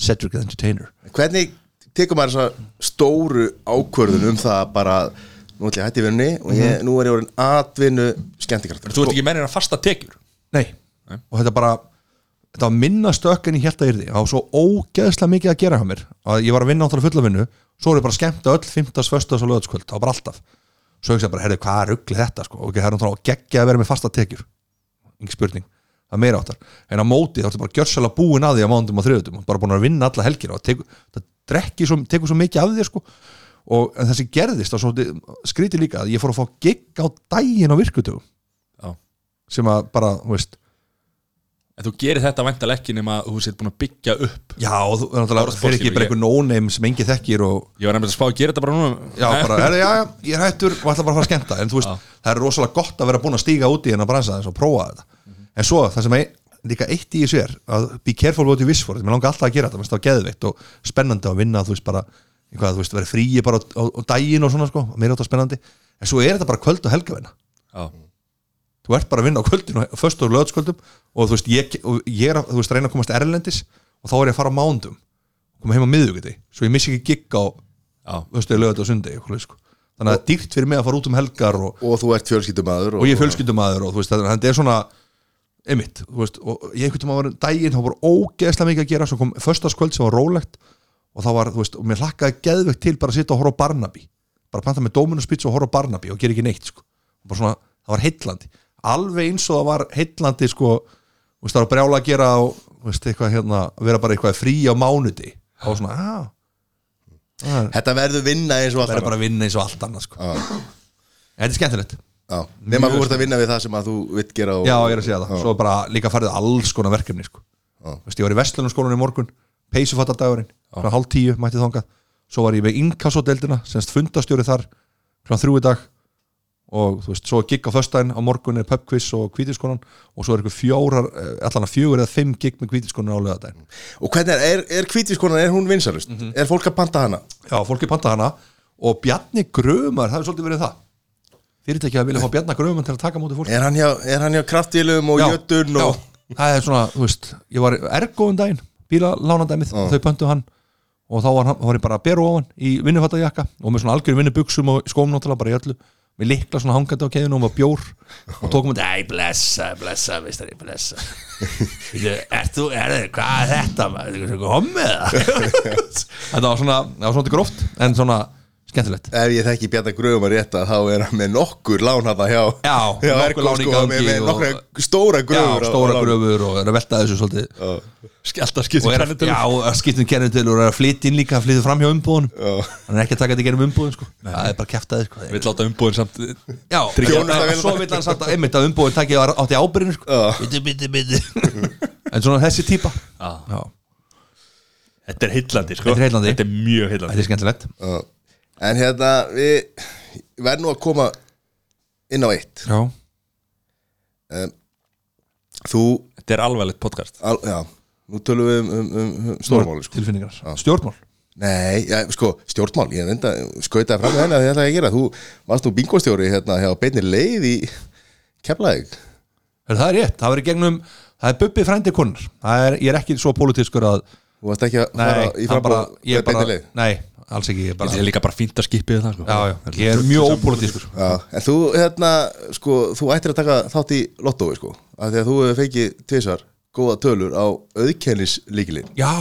S3: Cedric the Entertainer
S2: Hvernig tekur maður þessa stóru ákvörðun um það bara nú ætlum ég að hætti vinni og
S3: Mhm.
S2: ég, nú er ég orðin atvinnu skemmtikraftur
S10: Þú ert ekki mennir að fasta tekjur
S3: Nei. og þetta bara þetta var minna stökk en ég held að yrði það var svo ógeðslega mikið að gera hjá mér að ég var að vinna áttúrulega fulla vinnu svo er ég bara skemmt öll 15. föstas og löðskvöld það var bara alltaf svo hugsaði ég bara, herri, hvað er ruggli þetta sko? ok, það er náttúrulega geggja að vera með fasta tekjur engin spurning, það er meira áttar en á móti þá ertu bara gjörsala búin að því á mándum og þriðutum og bara búin að vinna alla helgir og teku, það drekki svo, tekur svo mikið af þér sko. og en þessi gerðist og svo skríti líka að ég fór að fá gigg á daginn á virkutugum
S10: Já.
S3: sem að bara, þú veist
S10: En þú gerir þetta væntal ekki nema að þú sétt búin að byggja upp
S3: Já, þú er náttúrulega
S10: Orðspor
S3: fyrir ekki
S10: skilur
S3: bara
S10: ég.
S3: einhver no-name sem engi þekkir og
S10: Ég var nefnilega að spá að gera þetta bara núna
S3: já, bara, er, já, já, ég er hættur og ætla bara að fara að skemmta en þú veist, það er rosalega gott að vera búin að stíga út í hennar bransa þess og prófa þetta en svo, það sem er líka eitt í þessu er að be careful what you wish for, mér langar alltaf að gera þetta mér finnst það geðveikt og spennandi að vinna þú veist bara, eitthvað, þú veist, vera fríi bara á, á, á daginn og svona sko, mér er þetta spennandi en svo er þetta bara kvöld og helgavinna
S10: Já.
S3: þú ert bara að vinna á kvöldinu á föstu og löðskvöldum og þú veist, ég, og ég er að, þú veist, reyna að komast erlendis og þá er ég að fara á mándum koma heim á miðugti, svo ég missi ekki gigg á föstu og löðu og sundi sko. þannig að það er dýrt fyrir mig að fara út um helgar og,
S2: og þú ert fjölskyldumæður
S3: og ég er fjölskyldumæður og þú veist, þannig að þetta er svona einmitt, þú veist, og ég einhvern tímann var daginn, þá var ógeðslega mikið að gera svo kom föstaskvöld sem var rólegt og þá var, þú veist, og mér hlakkaði geðvegt til bara að sitja og horfa á Barnaby bara panta með Dominus Pizza og horfa á Barnaby og gera ekki neitt, sko, bara svona, það var heitlandi alveg eins og það var heitlandi sko, þú veist, það var brjála að gera og, þú veist, eitthvað hérna, að vera bara eitthvað frí á mánuði, þá var svona, ah, það er-
S2: Þetta verður vinna eins og
S3: það er
S2: alltaf
S3: bara að vinna eins og allt annað, sko
S2: Já.
S3: En þetta er skemmtilegt
S2: Já, nema þú ert að vinna við það sem að þú vitt gera og...
S3: Já, ég er að segja það, svo bara líka farið alls konar verkefni sko. Vist, ég var í Vestlunarskólanum í morgun peysufattardagurinn, frá hálf tíu mætti þangað, svo var ég með inkassodeldina semst fundastjóri þar frá þrjú í dag og þú veist, svo gigg á föstudaginn, á morgun er pubquiz og kvítinskonan og svo er ykkur fjórar eh, allan að fjögur eða fimm gigg með kvítinskonan á lögadaginn
S2: Og hvernig er, er, er kvítiskonan, er hún vinsalust?
S3: Mhm.
S2: Er fólk að panta hana?
S3: Já, fólki panta hana og Bjarni Grömar, það er svolítið verið það fyrirtækja að vilja fá Bjarni Grömar til að taka á móti fólki
S2: Er hann hjá, er hann hjá kraftvélum og jötun og...
S3: já, það er svona, þú veist, ég var ergóðum daginn, bílalánandæmið þau pöntu hann og þá var, hann, var ég bara að beru ofan í vinnufattajakka og með svona algjörum vinnubuxum og skóm náttúrulega bara í öllu með likla svona hangandi á keðinu og með bjór og tókum þetta, æ, blessa, blessa, mistari, blessa Bíddu, ert þú, er þið, hvað er þetta maður, er þetta eitthvað hommið þetta var svona, það var svona gróft en svona skemmtilegt
S2: Ef ég þekki Bjarnar Gröfum að rétta þá er hann með nokkur lán hana hjá
S3: Já,
S2: hjá
S3: nokkur
S2: Ergo,
S3: lán í
S2: sko,
S3: gangi
S2: með, með
S3: og-
S2: nokkra stóra gröfur
S3: Já,
S2: á- á
S3: stóra
S2: lán.
S3: gröfur og er að velta þessu svolítið
S2: Já.
S1: Alltaf
S3: og
S1: skiptir
S3: er að, já, að skiptum kennitölu og er að flytja inn líka, flytja fram hjá umbúðunum hann er ekki að taka þetta í gerum umbúðun sko. það er bara kæftaði sko.
S1: Vill láta umbúðin samt
S3: já,
S2: Þjónusta
S3: en- en
S2: vel-
S3: svo vil hann sagt að einmitt að umbúðun takki átti ábyrðinu sko.
S2: Já.
S3: bitti, bitti, bitti en svona þessi típa
S1: Já.
S3: Já.
S1: Þetta er heillandi sko
S3: Þetta er heillandi.
S1: Þetta er mjög
S3: þetta
S1: heillandi
S3: er skemmtilegt
S2: Já. Uh, En hérna við verðum nú að koma inn á eitt
S3: já,
S2: Þú,
S1: Þetta er alvarlegt podcast
S2: al, já, nú tölum við um, um, um, um stórmáli sko.
S3: tilfinningar, stjórnmál
S2: Nei, já, sko, stjórnmál, ég reynda skautaði fram með henni að því ætlaði ég að gera Þú varst nú bingostjóri hérna hjá beinni leið í Keflæk
S3: Heyrðu, það er rétt, það verður gegnum það er bubbi frændi konar það er, ég er ekki svo pólitískur að
S2: Þú varst ekki að fara
S3: nei,
S2: í
S3: hann bara,
S2: frambóð
S3: ég
S2: með
S3: er bara,
S2: beinni leið
S3: nei, alls ekki ég er bara,
S1: Þetta er líka bara fínt að skipið það sko
S3: já, já, ég er mjög ópólitískur
S2: Já, en þú, hérna, sko, þú ættir að taka þátt í lottói, sko af því að þú hefur fengið tvisvar góða tölur á auðkennislíkilinn
S3: já,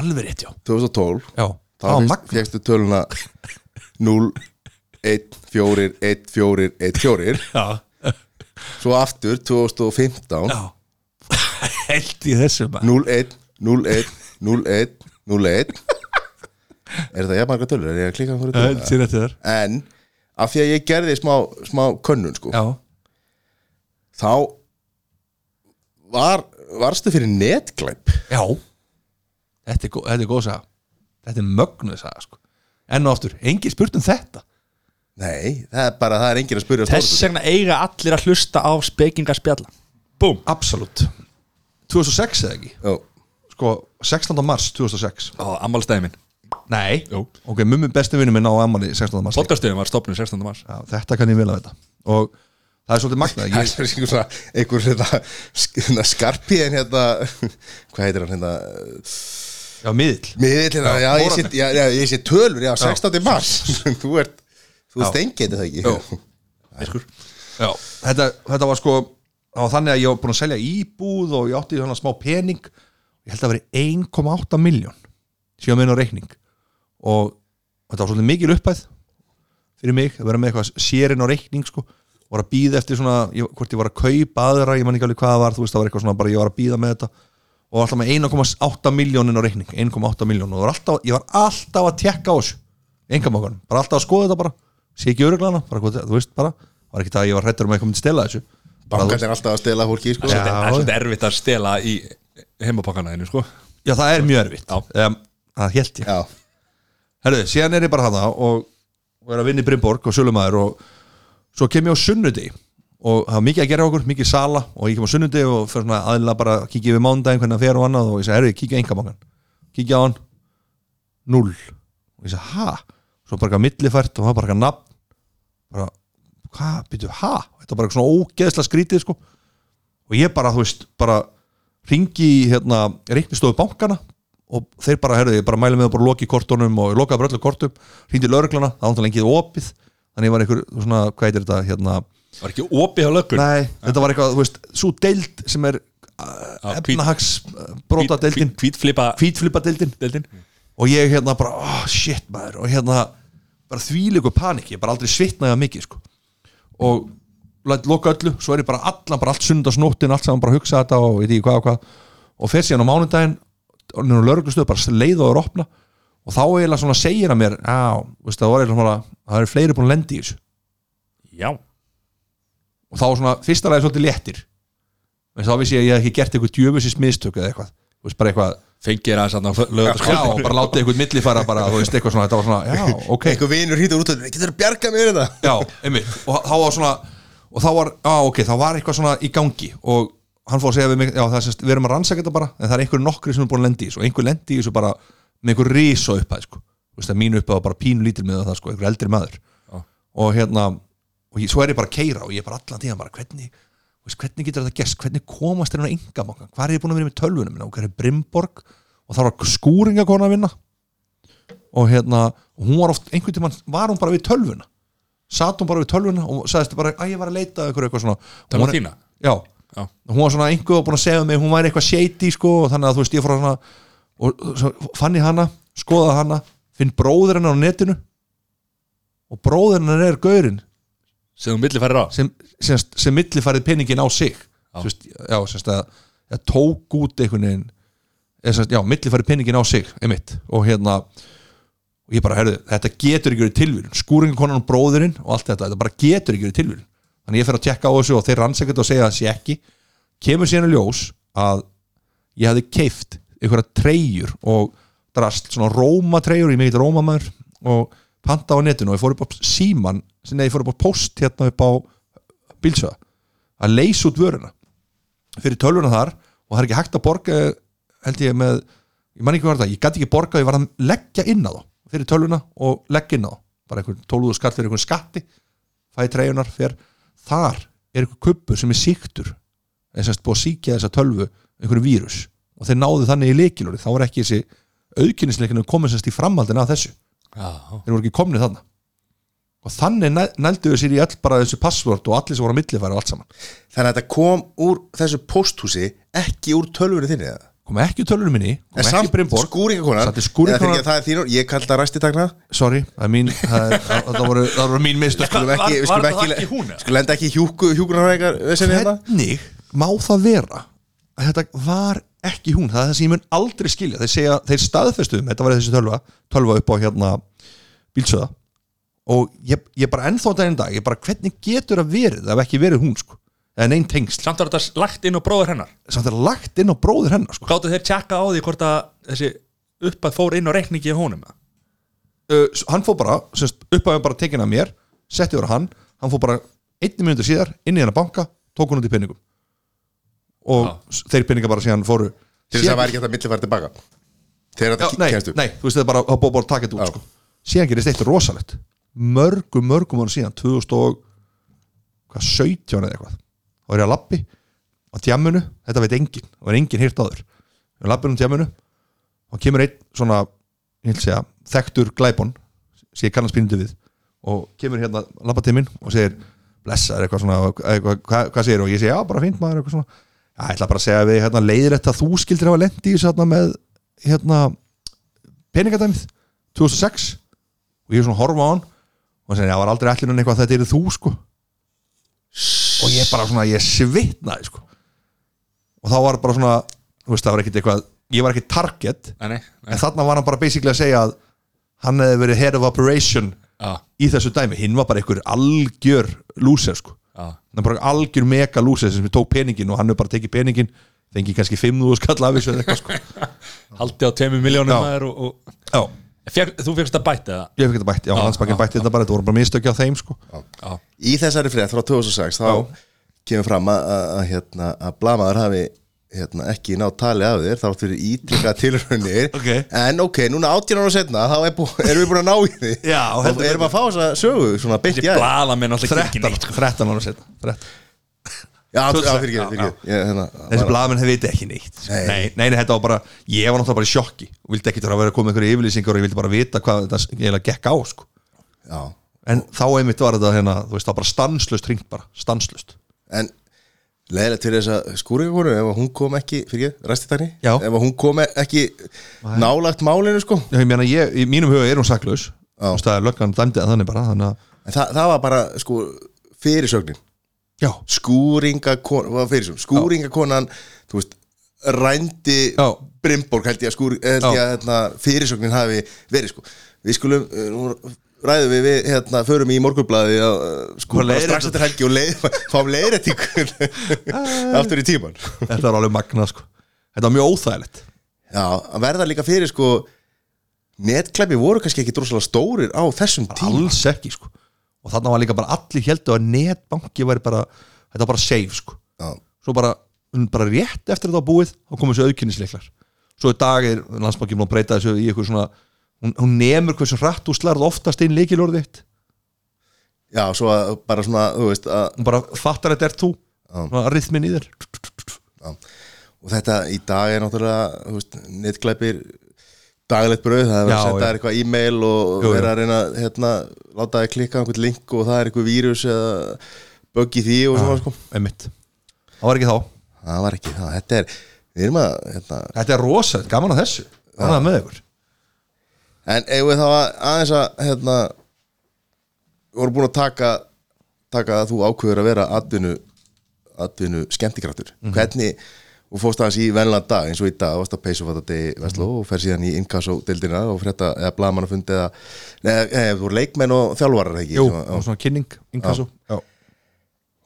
S3: alveg rétt, já
S2: 2012
S3: já,
S2: þá
S3: það var
S2: fyrst,
S3: magna
S2: fegstu töluna 0, 1, 4, 1, 4, 1, 4
S3: já,
S2: svo aftur 2015
S3: já held í þessu maður
S2: 0, 1, 0, 1, 0, 1, 0, 1 er þetta jafnmarga tölur, er ég að klika á hverju
S3: held
S2: tölur?
S3: í þetta þar
S2: en af því að ég gerði smá, smá könnun, sko
S3: já,
S2: þá var, varstu fyrir netglæp
S3: já þetta er, gó- þetta er góð saga þetta er mögnuð saga, sko enn og aftur, engin spurt um þetta
S2: Nei, það er bara, það er enginn að spyrja
S1: Þess vegna eiga allir að hlusta á spekingarspjalla Búm
S3: absolutt 2006 eða ekki,
S2: Ó,
S3: sko 16. mars 2006
S1: Ammálstæði minn
S3: Nei, ok, mummi besti vinnu minn á Amali 16. mars
S1: Podcastöðum var stopnum 16. mars
S3: Já, Þetta kann ég vel að þetta Og það er svolítið magnað
S2: Það
S3: ég,
S2: er einhver svona, einhver hérna, sk- hérna skarpi en hérna, hvað heitir hann hérna,
S3: Já, miðill
S2: miðill hérna, já, ég sé, já, já, ég sé tölur, já, 16. mars, þú ert, þú
S3: Já.
S2: stengið þetta ekki.
S3: Jó. Já, þetta, þetta var sko það var þannig að ég var búin að selja íbúð og ég átti svona smá pening ég held að veri 1,8 miljón síðan meðin á reikning og þetta var svolítið mikil uppæð fyrir mig að vera með eitthvað sérinn á reikning sko, var að býða eftir svona ég, hvort ég var að kaupa aðra, ég man ekki alveg hvað það var þú veist það var eitthvað svona bara ég var að býða með þetta og alltaf með 1,8 miljónin á reikning 1,8 miljón og það var alltaf, ég var alltaf að tekka á þessu engamokanum, bara alltaf að skoða þetta bara sé ekki öruglana, bara, hvað- þú veist bara var ekki það að ég var hrættur um að eitthvað myndi stela þessu Bara, þú veist,
S2: Bankart er alltaf að stela fólki, sko.
S1: Það
S3: Já.
S1: er svolítið erfitt að stela í heimapakkanaðinu sko
S3: Já, það er mjög erfitt um, Það held ég
S2: Já,
S3: Herðu, síðan er ég bara hana og, og er að vinna í Brynborg og sölumæður og svo kem ég á sunnundi og það var mikið að gera hjá okkur, mikið sala og ég kem á sunnundi og fyrir svona aðla bara að kíkja yfir mándaginn hvernig að fer og annað og ég segi, herðu, kíkja engamangan kíkja á hann, null og ég segi, ha? Svo bara eitthvað millifært og það var bara eitthvað nafn bara, hvað, býtu, ha? Þetta var bara eitthvað svona ógeðsla skrítið, sko og ég bara, þú veist, bara ringi í hérna, reiknistofu bankana og þeir bara, herðu, ég bara mæli með að bara loki kortunum og ég lokaði bara öllu kortum ringdi lögreglana, það var náttúrulega engið opið þannig ég var einhver, svona, hvað heitir þetta, hérna
S1: Var ekki opið á löggun
S3: nei, þetta var eitthvað, þú veist, svo deild sem er eh,
S1: Já, hvít-
S3: efnahags brota deildin,
S1: Hvítflipa
S3: hvítflipa deildin
S1: Deildin
S3: og ég hérna bara, oh, shit maður og hérna, bara þvílegu panik ég bara aldrei svitnaði að mikið sko. og læt loka öllu svo er ég bara allan, bara allt sundarsnóttin allt saman bara að hugsa þetta og veit ekki hvað og hvað og fer síðan á mánudaginn og nýjum lögreglustöð bara leið og er opna og þá eiginlega svona segir að mér já, veist, það, var eiginlega svona, það er fleiri búin að lendi í þessu
S1: Já
S3: og þá svona, fyrsta lagi svolítið léttir en þá vissi ég að ég hef ekki gert eitthvað djöfusins mistök eða eitthvað, þú veist, bara eitthvað
S1: Fengir aðeins aðna
S3: já,
S1: lögutaskóla
S3: bara látið eitthvað millifæra bara, þú veist, eitthvað svona, þetta var svona, já, ok
S2: einhver vinur hýtur út og getur að bjarga mér hérna?" þetta.
S3: já, einmitt, og þá var svona og þá var, já, ok, þá var eitthvað svona í gangi og hann fór að segja við mig, já, það sést við erum að rannsaka þetta bara, en það er einhver nokkri sem er búin að lendi í þessu, og einhver lendi í þessu bara með einhver risa upphæð, sko, þú veist að mínu upphæð var bara pínu lítil með það, sko, einhver eldri maður og hérna, og ég, svo er ég bara að keira og ég er bara allan tíðan bara, hvernig þú veist, hvernig getur þetta gest, hvernig komast þér hérna ynga bankan, hvað er ég búin að vera með tölvunum minna og hvað er Brimborg og það var skúringakona minna og hérna, og hún var oft einhvern tímann, var hún bara við tölvuna satt hún bara við tölvuna og sagðist bara að ég var að leita að ykkur eitthvað svona
S1: Það
S3: Hún
S1: var þína
S3: já,
S1: Já.
S3: hún var svona einhver og búin að segja mig hún væri eitthvað shady sko og þannig að þú veist ég fór að svona og svo fann ég hana, skoðaði hana finn bróður hennar á netinu og bróðirnar er gaurinn
S1: sem þú millifærir á
S3: sem, sem, sem millifarið peningin á sig já, Svist, já semst að, að tók út einhvern veginn eða semst, já, millifarið peningin á sig einmitt, og hérna og ég bara, herðu, þetta getur ekki verið tilvílun skúringakonan og bróðurinn og allt þetta þetta bara getur ekki verið tilvílun þannig ég fer að tekka á þessu og þeir rannsækja þetta og segja að það sé ekki kemur síðan í ljós að ég hafði keift einhverja treyjur og drast svona róma treyjur, ég er mikill rómamaður og panta á netinu og ég fór upp á síman neði ég fór upp á post hérna upp á bílsöða að leysa út vöruna fyrir tölvuna þar og það er ekki hægt að borga held ég með, ég man ekki hvað var það ég gæti ekki borga, ég var að leggja inn á þá fyrir tölvuna og leggja inn á þá bara einhvern tóluðu skatt fyrir einhvern skatti fæði treyjunar fyrir þar er einhver kubbu sem er síktur eða sérst búið að síkja þessa tölvu einhverju vírus og þeir náðu þannig í leikilóri þá var ekki þessi auðkynningsleikinu komið sérst í framhaldin af þessu þeir voru ekki komnið þarna og þannig næ- nældu við sér í all bara þessu passvort og allir sem voru að millifæra og allt saman
S2: Þannig að þetta kom úr þessu pósthúsi ekki úr tölvunni þinni eða?
S3: kom ekki í tölunum minni, kom
S2: En
S3: ekki
S2: samt
S3: í Brynborg
S2: skúringakonar
S3: Samt er skúringakonan-
S2: Eða fyrir ekki að það er þín orð, ég kallt það ræstitakna
S3: sorry, það er mín það, er, það, það, voru, það voru mín mistök
S2: Skulum
S10: Var-
S2: ekki,
S10: var
S2: skulum
S10: það
S2: ekki,
S10: ekki hún, eða?
S2: skulum enda ekki hjúku, hjúkunarfræðingar Vesenni hérna
S3: hvernig má það vera að þetta var ekki hún það er það sem ég mun aldrei skilja þeir, segja, þeir staðfestuðum, þetta var þessi tölva tölva upp á hérna bílsöða og ég, ég bara ennþá daginn í dag ég bara hvernig getur að verið það hef ekki verið hún sko, eða neinn tengsl
S10: samt var þetta lagt inn á bróður hennar
S3: samt er lagt inn á bróður hennar sko.
S10: gáttu þeir tjekka á því hvort að þessi uppað fór inn á reikningi í honum
S3: uh, hann fór bara, semst, upphafum bara tekin af mér setti voru hann, hann fór bara einni minúti síðar, inn í hennar banka tók hann út í peningum og þeir peninga bara síðan fóru
S2: Til þess að það væri ekki hægt að milli fara tilbaka Þegar
S3: Já,
S2: þetta
S3: nei,
S2: kemst upp
S3: nei, þú veist það er bara það er búið bara að taka þetta út
S2: Já.
S3: sko. síðan gerist eitt rosalegt mörgum, mörgum ára síðan 2017 eða eitthvað þá er ég að lappi á tjamminu, þetta veit enginn og er enginn hýrt áður ég er lappinu á tjamminu og kemur einn svona ég vil segja, þekktur glæbon sem ég kannast pínundu við og kemur hérna lappa til minn og segir blessaður eitthvað svona, eitthvað, hvað, hvað segir og ég segi, já bara fínt maður eitthvað svona já, ég ætla bara að segja að við hérna, leiðir þetta þú skildir hafa lendi í þessu hérna, með hérna, peningadæmið 2006 og ég er svona að horfa á hann og hann segir, já, var aldrei ætlinan eitthvað að þetta eru þú sko og ég bara svona, ég svitnaði sko og þá var bara svona þú veist, það var ekkit eitthvað, ég var ekkit target
S10: nei,
S3: en þarna var hann bara basically að segja að hann hefði verið head of operation
S10: Já.
S3: í þessu dæmi, hinn var bara einhver algjör lúser sko
S10: Já.
S3: hann er bara algjör mega lúser sem tók peningin og hann hefur bara tekið peningin fengi kannski 5.000 skall af þessu eða eitthvað sko
S10: haldi á teimi miljónum
S3: Já.
S10: maður og, og...
S3: já,
S10: Fek, þú fyrst að bæta það
S3: ég fikk þetta bætt, já, landsbankin bætti þetta bara þetta voru bara mistökja á þeim sko
S2: Í þessari frétt frá 2006 þá kemur fram að, að, að, hérna, að blamaður hafi hérna, ekki ná tali af þér þá áttu fyrir ítrykka tilraunir
S3: Ok.
S2: en ok, núna 18 ára setna þá er bú, erum við búin að ná í því
S3: Já,
S2: og
S3: heldur
S2: erum að fá þess að sögu svona beint í
S10: þessi
S2: aðeins
S10: blaða minn alltaf
S3: 13,
S10: kirkinn
S3: 13 ára setna 13.
S2: Já, já,
S3: já,
S2: fyrir ekki, fyrir ekki Ég, hérna,
S3: þessi
S2: bara-
S3: blaðmenn hefði viti ekki neitt sko.
S2: Nei.
S3: nei, nei, nei, þetta var bara, ég var náttúrulega bara í sjokki og vildi ekki þurfa að vera að koma einhverju yfirlýsingar og ég vildi bara vita hvað þetta eiginlega gekk á sko.
S2: Já,
S3: en þá einmitt var þetta hérna, þú veist, það var bara stanslust ringt bara, stanslust
S2: en leiðilegt fyrir þess að skúringakonu ef að hún kom ekki, fyrir ekki, ræstitakni
S3: Já.
S2: ef að hún kom ekki nálagt málinu sko
S3: Já, ég meina, ég, í mínum huga er hún saklaus Þú veist, það er löggan dæmdi að þannig bara þannig að,
S2: en það, það var bara sko fyrirsögnin
S3: já,
S2: skúringakonan, hvað fyrir sem skúringakonan, þú veist rændi
S3: Já.
S2: Brimborg held ég að skúr, held ég
S3: Já.
S2: að hérna, fyrirsögnin hafi verið sko, við skulum eh, nú ræðum við, við hérna, förum í morgunblæði að sko,
S3: Og
S2: bara
S3: leiðrétt-
S2: strax eftir helgi og leið, fáum leiðrættingun aftur í tíman
S3: þetta var alveg magna sko. þetta var mjög óþægilegt
S2: já, að verða líka fyrir sko netklæpi voru kannski ekki droslega stórir á þessum tíma
S3: alls ekki, sko og þannig var líka bara allir heldur að netbanki væri bara, þetta var bara safe, sko
S2: já,
S3: svo bara, um, bara rétt eftir þetta var búið þá komu þessu auðkynnisleiklar svo í dag er landsbankin búin að breyta þessu í eitthvað svona hún, hún nemur hversu rætt og slarð oftast inn leikilorðið þitt.
S2: já, svo að bara svona, þú veist að
S3: hún bara fattar þetta er þú svona rithmin í þér
S2: og þetta í dag er náttúrulega þú veist, netglæpir daglegt brauð, það er verið
S3: Já,
S2: að senda
S3: já.
S2: þér eitthvað e-mail og
S3: Jú, jú.
S2: vera að reyna að, hérna, láta þér klikka á einhvern link og það er eitthvað vírus eða bugg í því og svona sko.
S3: einmitt, það var ekki þá
S2: það var ekki það, þetta er við erum að, hérna,
S3: Þetta er rosalegt, gaman að þessu Gaman að með ykkur
S2: en eigum við þá að- aðeins að hérna, voru búin að taka taka að þú ákveður að vera atvinnu atvinnu skemmtikraftur hvernig, og fórst aðeins í venlan dag eins og í dag, varst að peysu fatta degi Vestló og fer síðan í inkasso-dildina og frétta eða blamanufundi eða neða, neða, þú voru leikmenn og þjálfarar ekki
S3: Jú,
S2: sem að-
S3: og svona kynning Inkasso Já,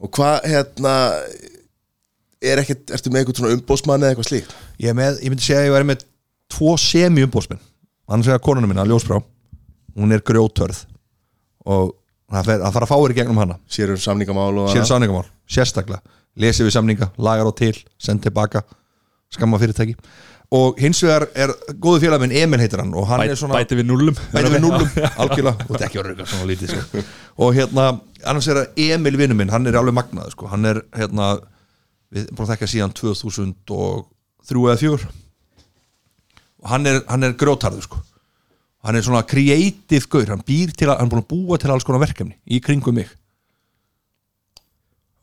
S2: og hvað hérna er ekkert, ertu með eitthvað svona umbósmann eða eitthvað slíkt
S3: Ég, er með, ég myndi segja að ég væri með tvo semi-umbósmenn annars vegar konuna minna, Ljósbrá hún er grjótörð og það fer- það fara fáir í gegnum hana
S2: sér um samningamál og
S3: sér samningamál, sérstaklega lesi við samninga, lagar á til, send tilbaka skamma fyrirtæki og hins vegar er góðu félag minn Emil heitir hann og hann er svona
S10: Bæti við nullum
S3: bæti við núlum, algjörlega og ekki orðið svona lítið sko. og hérna, annars er að Emil vinnu minn hann er alveg magnað, sko. hann er hérna, við erum búin að þekka síðan 2003 eða 4 og hann er, hann er grjótarður sko. hann er svona creative gaur, hann býr til að, hann er búin að búa til alls konar verkefni í kringum mig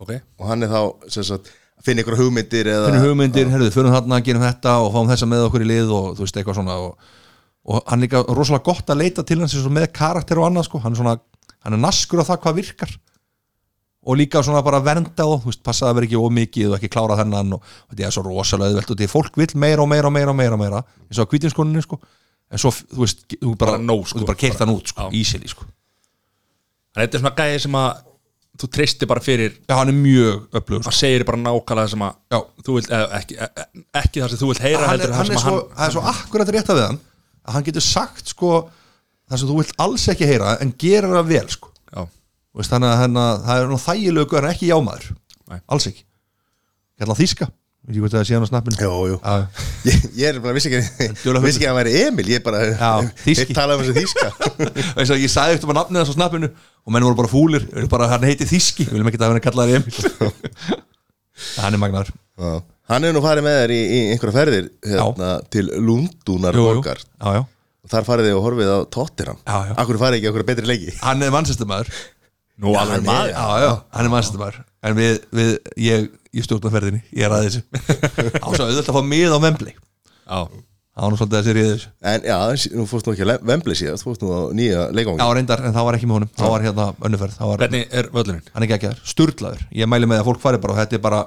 S10: okay.
S2: og hann er þá sem sagt, að finna ykkur hugmyndir eða
S3: finnum hugmyndir, herruðu, förum þarna, gerum þetta og fáum þessa með okkur í lið og þú veist eitthvað svona og, og hann líka rosalega gott að leita til hans eins og með karakter og annað sko, hann er svona, hann er naskur á það hvað virkar og líka svona bara vernda og þú veist, passa að vera ekki ómikið og ekki klára þennan og þetta er svo rosalega auðvelt og því að fólk vill meira og meira og meira og meira, og meira eins og að kvítinskonunni sko en svo, þú veist, þú bara,
S10: Bara nóg, sko.
S3: þú bara keirt hann út sko,
S10: Já.
S3: ísili sko
S10: Þannig þetta er svona gæði sem að þú treystir bara fyrir
S3: Já, hann er mjög öflugur sko.
S10: að segir bara nákvæmlega það sem að
S3: Já.
S10: þú vilt, eða, ekki, e- ekki það sem þú vilt heyra
S3: hann er,
S10: heldur það
S3: hann
S10: sem
S3: er
S10: að
S3: svo, hann er svo akkurat rétta við hann að hann getur sagt sko það sem þú vilt alls ekki heyra en gerir það vel sko
S10: Já.
S3: Þú veist, þannig að hann, það er nú þægilegu en ekki jámaður,
S10: Nei.
S3: alls ekki ég ætla að þýska, veit ég hvað það sé hann á snappinu
S2: Jú, jú.
S3: Já.
S2: ég, ég er bara vissi ekki
S3: dularfullur.
S2: vissi ekki að hann væri Emil ég bara
S3: Já, þýski.
S2: ég talaði um þessu þýska
S3: Eins og ég sagði eftir maður nafnið hans á snappinu og menn voru bara fúlir, við viljum bara að hann heiti Þíski við viljum ekki að hann kallaði Emil hann er magnaður
S2: Já. hann hefur nú farið með þér í, í einhverja ferðir hérna, til Lundunar
S3: Jú, jú.
S2: borgar
S3: já, já.
S2: og þar farið þið og horfið á Tottenham
S3: Já, já.
S2: akkur farið ekki okkur betri leiki
S3: hann er mannsestamæður
S10: Nú alveg
S2: hann
S10: maður
S2: er-
S3: já, já, hann er mannstamæður en við, við ég, ég stjórna ferðinni, ég er að þessu á svo auðvitað að fá mið á Vembli
S10: Já,
S3: Það var nú svolítið þessi riðið þessu
S2: en já, nú fórst nú ekki að Vembli síðast fórst nú á nýja
S3: Já,
S2: leikangi
S3: reyndar, en það var ekki með honum Það var hérna önnuferð Það var,
S10: hvernig er völlurinn?
S3: hann er ekki ekki þær, sturlaður Ég mæli með að fólk fari bara og þetta er bara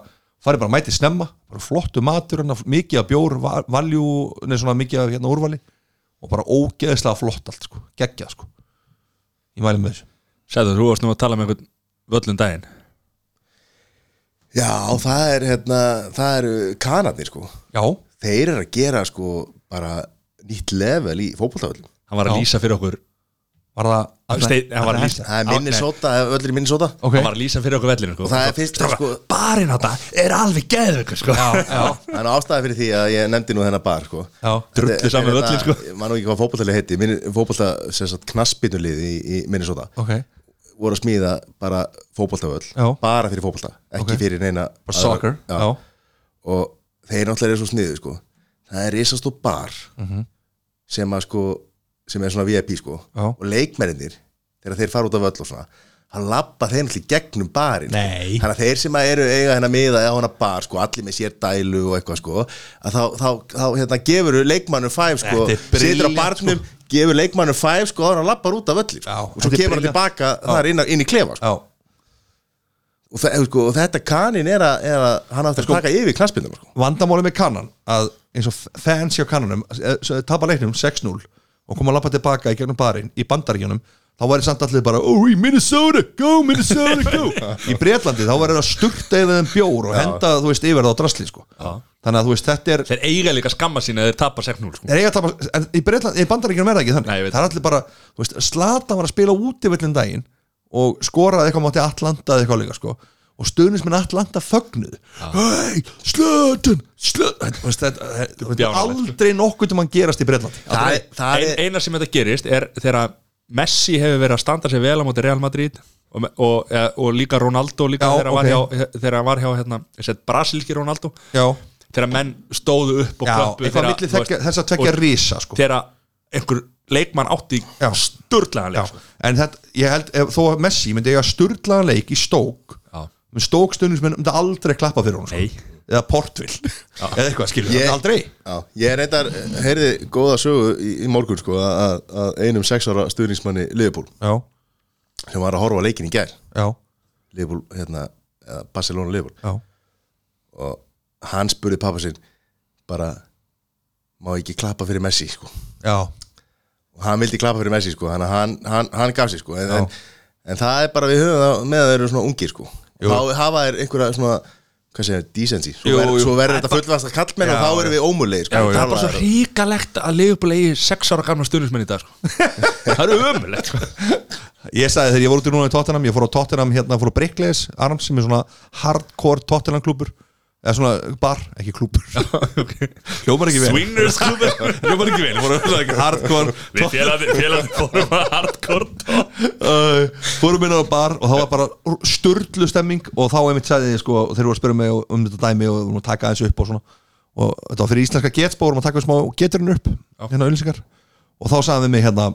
S3: fari bara mæti snemma, bara flottu matur hana, mikið af bjór, va- valjú nei, svona mikið af hérna úrvali og bara ógeðslega flott allt, sko, geggjað sko Ég mæli með þessu
S10: Sæður, þú varst nú að tala með einhvern völlum daginn
S2: já, það er hérna, það eru kanarnir sko
S3: Já,
S2: þeir eru að gera sko bara nýtt level í fótbolltaföllum
S10: Hann var að
S3: Já.
S10: lýsa fyrir okkur
S3: var það
S10: Hann stein- hann var að lýsa-
S2: það er minnisóta, öllir minnisóta
S3: Ok,
S10: Hann var að lýsa fyrir okkur vellinu sko.
S2: og það er fyrst sko,
S10: Barinn á það er alveg geðveikur sko.
S3: já, já,
S2: það er nú ástæði fyrir því að ég nefndi nú þennan bar sko.
S3: já
S10: Drullu saman völlin sko.
S2: mann og ekki hvað fótbolltafli heiti fótbollta, sem sagt, knaspinulið í, í minnisóta
S3: Ok,
S2: voru að smíða bara fótbolltaföll
S3: Já.
S2: bara fyrir fótbollta, ekki
S3: Ok.
S2: fyrir neina aðra-
S3: bara soccer
S2: Já.
S3: Já,
S2: og þeir náttúrulega eru svo sniðu sko. það er risast og bar sem að sko sem er svona VIP sko
S3: Mhm. Já.
S2: og leikmennir þegar þeir fara út af öll og svona hann labba þeir náttúrulega í gegnum barinn
S3: Nei.
S2: þannig að þeir sem að eru eiga hennar miða eða hennar bar sko, allir með sér dælu og eitthvað sko að þá, þá, þá hérna gefur leikmannum fæf sko,
S3: Þetta er
S2: situr á
S3: brilliant,
S2: barnum gefur leikmannum fæf sko, þá hann lappar út af öllir
S3: Já,
S2: og svo
S3: þetta er
S2: kemur hann
S3: brilliant.
S2: tilbaka þar inn, inn í klefa sko.
S3: já,
S2: og, þe- sko, og þetta kanin er að, er að hann átti að taka yfir knaspindum sko.
S3: vandamáli með kannan að eins og fans hjá kannanum eh, svo þeir tapa leiknum 6-0 og koma að lappa tilbaka í gegnum barinn í bandaríkjunum þá væri samt allir bara oh, í Minnesota, go Minnesota, go í Breitlandi þá væri það sturta yfir þeim bjór og henda, þú veist, yfir það á drasli sko. þannig að þú veist, þetta er
S10: Þeir eiga líka skamma sína að þeir tapa 6-0 sko.
S3: Nei, eiga að tapa, en í, Breitland, í bandaríkjunum er það ekki þannig
S10: Nei, ég veit.
S3: það er allir bara, þú veist, Slata var að spila úti villin daginn og skoraði eitthvað mátti Atlanta eða eitthvað líka sko og stuðnismenn Atlanta fögnuð hei, Slatan, Slatan þú veist, þetta þetta- þetta er
S10: bjánalegt, sko.
S3: aldrei nokkuð til mann gerast í Breitlandi
S2: það, er- það
S10: Ein,
S2: er
S10: Einar sem þetta gerist er þegar Messi hefur verið að standa sér vel á móti Real Madrid og, og, eh, og líka Ronaldo líka
S3: Já,
S10: þegar hann
S3: ok.
S10: var hjá, þegar hann var hjá hérna, set, brasilski Ronaldo
S3: já,
S10: þegar menn stóðu upp og
S3: já
S10: klöppu
S3: eitthvað
S10: þegar-
S3: milli
S10: þú veist,
S3: þekja, þess að tvekja
S10: og
S3: risa sko
S10: þegar einhver leikmann átti
S3: Já.
S10: sturglegan
S3: já,
S10: leik sko.
S3: en þetta, ég held ef, þó að Messi myndi eiga sturlaðan leik í stók
S10: Já.
S3: með stók stuðnismenn myndi aldrei klappa fyrir hún sko.
S10: Nei.
S3: eða portvill, eða eitthvað skilur
S2: Ég-
S3: aldrei
S2: Já, ég reyndar, heyrði góða sögu í, í morgun sko að- að að einum sex ára stuðningsmanni Liverpool
S3: já
S2: sem var að horfa á leikin í gær
S3: já,
S2: Liverpool, hérna, eða Barcelona Liverpool
S3: já,
S2: og hann spurði pappa sinn bara má ekki klappa fyrir Messi sko.
S3: já
S2: og hann vildi klappa fyrir Messi sko, þannig að hann, hann, hann gaf sér sko. en, en, en það er bara við höfum það með að þeir eru svona ungir sko.
S3: Jú.
S2: þá hafa þeir einhverja svona hvað segir, decency, svo,
S3: Jú,
S2: ver,
S3: jú.
S2: svo verður þetta fullvast að kallmenn og
S3: Já,
S2: þá erum við ómulegir sko.
S3: Já, já.
S2: Það
S1: Það er bara svo hríkalegt að Leopold eigi 6 ára gamla stuðnismenn í dag sko. Það eru ömulegt sko.
S3: Ég sagði þegar ég voru út í núna í Tottenham Ég fór á Tottenham hérna, fór á Brickleys Arms sem er svona hardcore Tottenham klúpur Eða svona bar, ekki klúpur Hljómar ekki vel
S1: Swingers klubur Hljómar ekki vel voru það ekki
S3: Hardcore
S1: Við félagið félagið fórum að hardcore top.
S3: uh, Fórum inn á bar og það var bara Sturlu stemming og þá einmitt sagði ég sko Þeir voru að spyrja mig um þetta dæmi og um að taka þessu upp og svona Og þetta var fyrir íslenska getspá Vorum að taka smá geturinn upp Hérna auðlýsingar Og þá sagði við mig hérna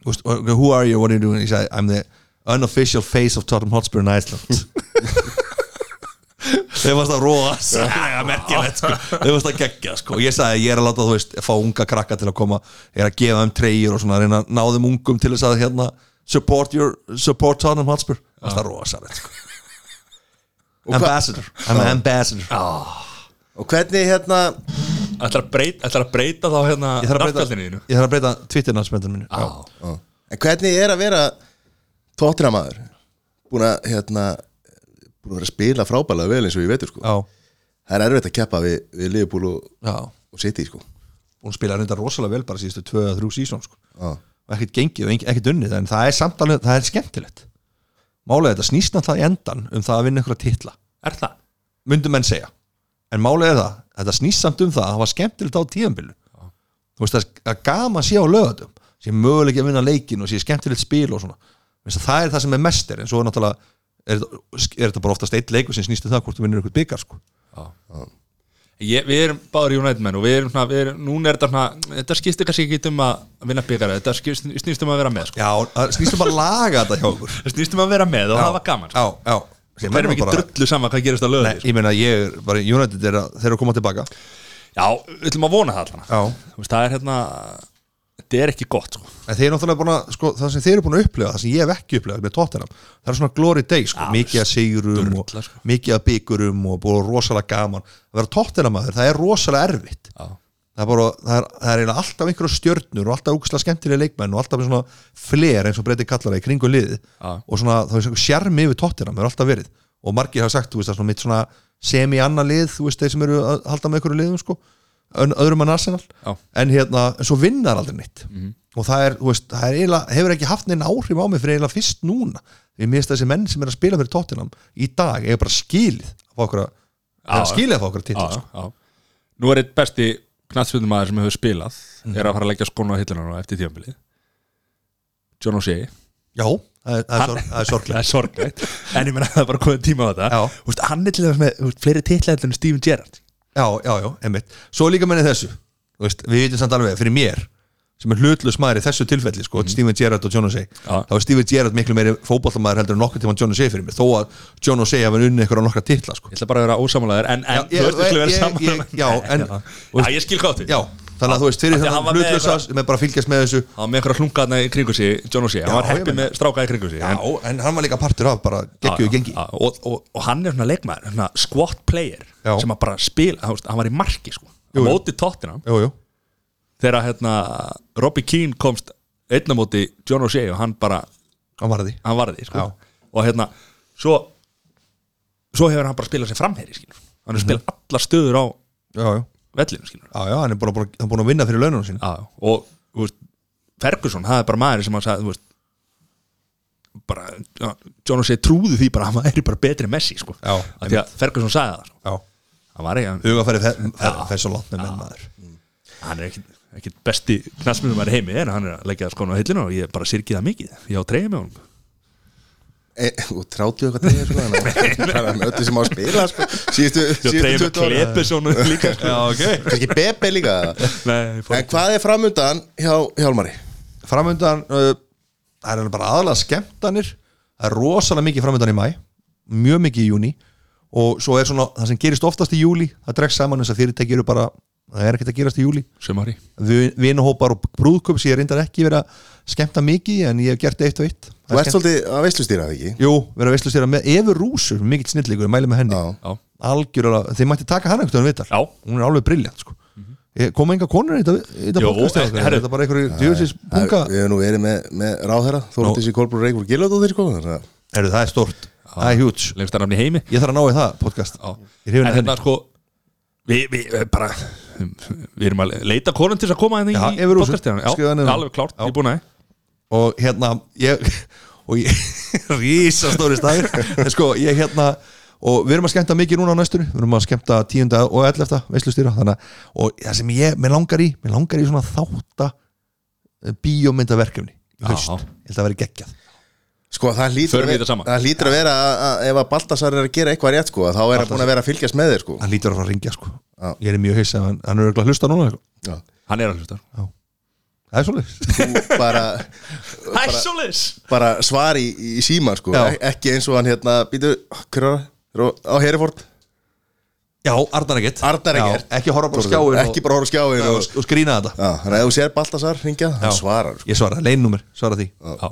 S3: þú veist, uh, Who are you, what are you doing? Ég sagði, I'm the unofficial face of Tottenham Hotspur in Iceland Þeir varst að róa Sæja, merkilegt sko Þeir varst að gegja sko Ég sagði, ég er að láta þú veist Fá unga krakka til að koma Ég er að gefa þeim treyjur og svona Reyna að ná þeim ungum til þess að hérna Support your, support Tottenham Hotspur Þeir varst að róa sæja sko Ambassador, I'm an ambassador
S2: og hvernig hérna
S1: Ætlar að breyta, ætlar að breyta þá hérna
S3: Ég þarf að breyta,
S1: nafngjaldinu þínu?
S3: ég þarf að breyta Twitter-narsmyndinu mínu Já.
S2: en hvernig er að vera tóttinamaður búin að hérna búin að vera að spila frábælega vel eins og ég veitur sko.
S3: Já,
S2: það er erfitt að keppa við, við Liverpool og,
S3: já
S2: og City sko.
S3: Hún spilaði reynda rosalega vel bara síðustu 2-3 sísón sko
S2: Já.
S3: og ekkert gengið og engi- ekkert unnið en það er samt alveg, það er skemmtilegt málega þetta snýst náttúrulega í endan um það að vinna ykkur að titla,
S1: Er það?
S3: myndu menn segja en málega er það, þetta snýst samt um það að hafa skemmtilegt á tíðanbílu þú veist að, að gaman sé á lögatum sé möguleik að vinna leikin og sé skemmtilegt spil og svona, Þú veist, að það er það sem er mest er en svo er náttúrulega er, þetta- er þetta bara oftast eitt leikur sem snýst um það hvort þú vinnur ykkur byggar sko.
S1: Ég, við erum báður United menn og við erum svona, við erum, núna er þetta svona, þetta skýrst kannski ekki um að vinna byggara, þetta skýrst, snýst um að vera með sko.
S3: já, það snýst um að laga þetta hjá ykkur
S1: Það snýst um að vera með og hafa gaman sko.
S3: já, já Sem
S1: Það er
S3: nú
S1: ekki
S3: bara-
S1: drullu sama hvað gerist á löðu
S3: Nei, ég meina ég er bara, United er að, þeir eru að koma tilbaka
S1: Já, við ætlum að vona það allan
S3: Já.
S1: Þú veist, Það er hérna Þetta er ekki gott sko.
S3: En þeir eru náttúrulega búin að, sko, það sem þeir eru búin að upplega, það sem ég hef ekki upplegað með Tottenham, það er svona glory day, sko, mikið að sigurum og
S1: sko.
S3: mikið að byggurum og búin rosalega gaman. Að vera Tottenham aður, það er rosalega erfitt.
S1: Já.
S3: Það er bara, það er, það er eiginlega alltaf einhverja stjörnur og alltaf úkslega skemmtilega leikmenn og alltaf svona fler eins og breyti kallara í kringu liðið
S1: Já.
S3: og svona, það er svona sjarmi yfir Tottenham, það er alltaf verið. Og margir hafa sagt, þú veist, það er svona mitt svona semi-anna lið, þú veist, þeir sem eru að halda með einhverju liðum, sko, ön- öðrum en Arsenal
S1: Já. Mhm.
S3: en hérna, en svo vinnar aldrei neitt og það er, þú veist, það er eiginlega, hefur ekki haft neina áhrif á mig fyrir eiginlega fyrst núna ég minnst þessi menn sem er að spila fyrir Tottenham í dag, eiga bara skilið að fá okkur að,
S1: Já,
S3: eða skilið að fá okkur að titla
S1: já,
S3: sko.
S1: já. Nú er eitt besti knatsfjöndumæður sem hefur spilað
S3: Mhm.
S1: er að fara að leggja skónu á hilluna núna eftir tíðanbili John O'Shea
S3: já, það er, það er,
S1: Hann-
S3: sorg, það er sorglega
S1: Það er sorglegt En ég meina það er bara komið tíma á þetta
S3: Já.
S1: Þú veist, Hann er til þess með þú veist, fleiri titlaðið en Steven Gerrard
S3: já, já, já, einmitt, svo líka menni þessu þú veist, við vitum samt alveg, fyrir mér sem er hlutlust maður í þessu tilfelli sko, Steven Gerrard og John O'Shea
S1: Mhm. Já.
S3: þá er Steven Gerrard miklu meiri fótballamaður heldur en nokkuð tíma John O'Shea fyrir mér, þó að John O'Shea hafa unnið ykkur á nokkra titla sko.
S1: Ég ætla bara að vera ósamalæður En, en
S3: Já, ég-
S1: þú veist, við skulum vera
S3: ég-
S1: saman
S3: ég- já, en-
S1: já, ég skil hvað því
S3: Já, þannig að þú veist fyrir
S1: Af því að hann
S3: þannig
S1: var með
S3: hlutlösa með bara að fylgjast með þessu
S1: Það var með einhverja hlungaðna í kringu sig John O'Shea, hann
S3: Já,
S1: var
S3: ég
S1: heppið
S3: meina.
S1: með strákaði í kringu sig
S3: Já,
S1: en,
S3: en hann var líka partur af bara geggjuðu gengi
S1: Já, já, og, og, og hann er svona leikmaður, svona squat player
S3: Já.
S1: sem að bara spila, hann, veist, hann var í marki sko, á
S3: Jú, jú.
S1: móti tóttina
S3: Jú, jú,
S1: þegar hérna, Robbie Keane komst einna móti John O'Shea og hann bara,
S3: hann var að því
S1: hann varði sko.
S3: Já.
S1: og hérna, svo svo hefur hann bara spilað sér framherri skilur.
S3: Mhm.
S1: hann hefur spilað allar stöður á
S3: Já, já,
S1: vellinu skilur.
S3: já, já hann er búin að, búin að, búin að vinna fyrir laununum sín
S1: Já, og þú veist, Ferguson, það er bara maður sem hann sagði þú veist, bara, já, John O'Shea trúði því bara að hann væri bara betri en Messi sko.
S3: Já,
S1: Af því að Ferguson sagði það sko.
S3: Já,
S1: hann var ekki,
S3: huga færi þess að látt með menn maður
S1: hann er ekki, ekki besti knastmjöndum að heimi en hann er að leggja skonu á hillinu og ég bara sirki það mikið ég á treyja með honum
S2: e, og 30 eitthvað tegir sko, þannig að- þannig að öllu sem á að spila sko. síðustu,
S1: ég á treyja
S2: síðustu
S1: með
S2: 20 ára
S1: Klepesson líka sko. já, ok
S2: kannski Bebe líka
S1: Nei, fór-
S2: en hvað er framundan hjá Hjálmari
S3: Framöndan, uh, það er bara aðalega skemmtanir Það er rosalega mikið framöndan í mæ Mjög mikið í júni Og svo er svona, það sem gerist oftast í júli Það dregst saman þess að fyrirtæki eru bara
S4: það er ekkert að gerast í júli
S1: Sumari
S4: vinahópar og brúðköp sem ég reyndar ekki verið að skemmta mikið í, en ég hef gert eitt og eitt
S2: Þú ert svolítið að veislustýra það ekki?
S4: Jú, verið að veistlu sér að með Efur Rúsur, mikill snillíkur, mæli með henni
S2: Já.
S4: algjörlega, þeir mætti taka hana einhvern veginn viðtal,
S1: Já. Mhm.
S4: hún er alveg briljant sko. mm koma enga konur í þetta, í þetta
S1: Jú,
S4: podcasti
S1: eh,
S4: okkar?
S1: herru.
S4: Er þetta bara einhverju djöfisins bunga
S2: Við hefum nú verið með, með ráðherra Þórundis í Kolbrú Reykjavík Gilvardóttir sko þannig að-
S4: Heru, það er stort, það er huge
S1: Lengsta nafni í heimi
S4: ég þarf að ná í það podcast
S1: Já.
S4: Ég er hrifinn
S1: En
S4: af henni.
S1: hérna sko Við vi, bara Við erum að leita konum til þess að koma hérna
S4: Já,
S1: í- í
S4: Eva Rúsu.
S1: podcastið Já,
S4: Skrifaðu niður.
S1: alveg klárt, ég er búin að
S4: og hérna ég, og ég rísastóri stær en sko ég hérna og við erum að skemmta mikið núna á næstunni við erum að skemmta 10. og 11. veislustýra þannig að, og það sem ég, mér langar í mér langar í svona þátta eh, bíómyndaverkefni í haust,
S1: Já.
S4: ég held að vera geggjað
S2: Sko það hlýtur,
S1: Förum við
S2: að vera-
S1: þetta saman?
S2: það hlýtur að vera að- að ef að Baltasar er að gera eitthvað rétt sko að þá er hann búin að vera að fylgjast með þér sko
S4: hann lítur að fara að ringja sko
S2: Já.
S4: ég er mjög heissa, hann, hann er örugglega að hlusta núna sko.
S2: Já.
S1: Hann er að hlusta
S4: það er svolítið
S2: Þú bara,
S1: Hæsjólis
S2: bara svar í, í síma sko
S4: Já.
S2: Ek- ekki eins og hann hérna býtu hverra á Heriford
S4: já, Arnar ekkert
S2: Arnar
S4: Já,
S2: Eggert.
S4: ekki horfa bara á
S2: Þórður,
S4: skjáin
S2: ekki bara horfa á skjáin
S4: og,
S2: og,
S4: og, og skrýna þetta
S2: já, þannig að ef þú sér Baltasar hringja hann svarar sko.
S4: ég svara, leinnúmer, svara því
S1: Já.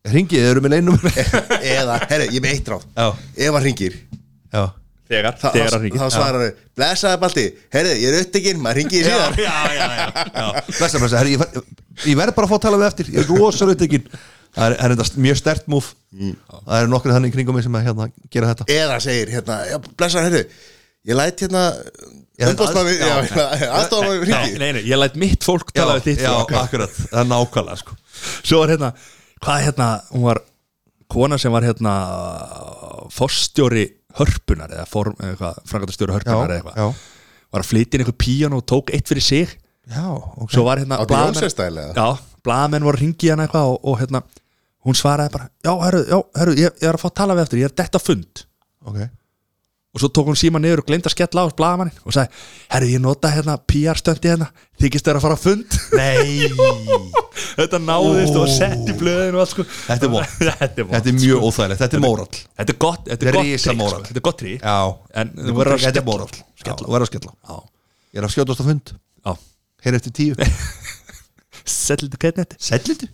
S4: ringið, eru með leinnúmer
S2: eða, herri, ég er með eitt ráð
S4: Já.
S2: ef hann hringir
S4: já,
S1: Þegar,
S2: þá,
S1: þegar
S2: þá,
S1: hann ríkir
S2: þá svarar hann blessaði Balti, herri, ég er upptekinn maður hringir í síðan
S4: já, já, já, já. Blessa, blessa, herri, ég, ver, ég verð bara að fá að tala við eftir ég er rosalega upptekinn það er, það er þetta mjög stert múf það eru nokkrið þannig í kringum mig sem að hérna, gera þetta
S2: eða segir, hérna, já, blessaði herri ég læt hérna umbóðsmanni, já, hérna, aðstofan
S1: Nei,
S2: hringir
S1: nei, nei, ég læt mitt fólk tala við þitt
S4: já,
S1: fólk.
S4: akkurat, það er nákvæmlega sko.
S1: Svo var hérna, hvað er hérna Hún var kona sem var hérna Forstjóri hörpunar Eða form, eitthvað, frangatastjóri hörpunar eða
S4: já.
S1: eitthvað Var að flytja inn eitthvað píjan og tók eitt fyrir sig
S4: já, ok
S1: Svo var hérna
S2: Áttu
S1: blaðamenn-
S2: Jónsveistæl, eða?
S1: Já, blaðamenn voru að ringi hérna eitthvað og, og hérna, hún svaraði bara Já, herru, já, herru, ég, ég er að fá að tala við eftir Ég er detta fund
S4: ok,
S1: og svo tók hún síma niður og glemt að skella á hos blaðamannin og sagði, herri ég nota hérna PR-stöndi hérna, þykist þeirra að fara að fund
S4: nei
S1: þetta náðist og var sett í blöðin og allt sko
S4: Þetta er vont.
S1: þetta er, vont.
S4: þetta er mjög óþægilegt, þetta er mórall
S1: þetta er gott, þetta
S4: Þetta er
S1: er gott
S4: risa
S1: trikk,
S4: moral.
S1: sko. þetta er gott trí
S4: já,
S1: en
S4: Þú
S1: þú verður að
S4: þetta
S1: skella
S4: er mórall Já,
S1: skella
S4: þú verður að skella
S1: á
S4: ég er að skjótast á fund,
S1: á
S4: hér eftir tíu
S1: settlítið kætnetti
S4: sætlitu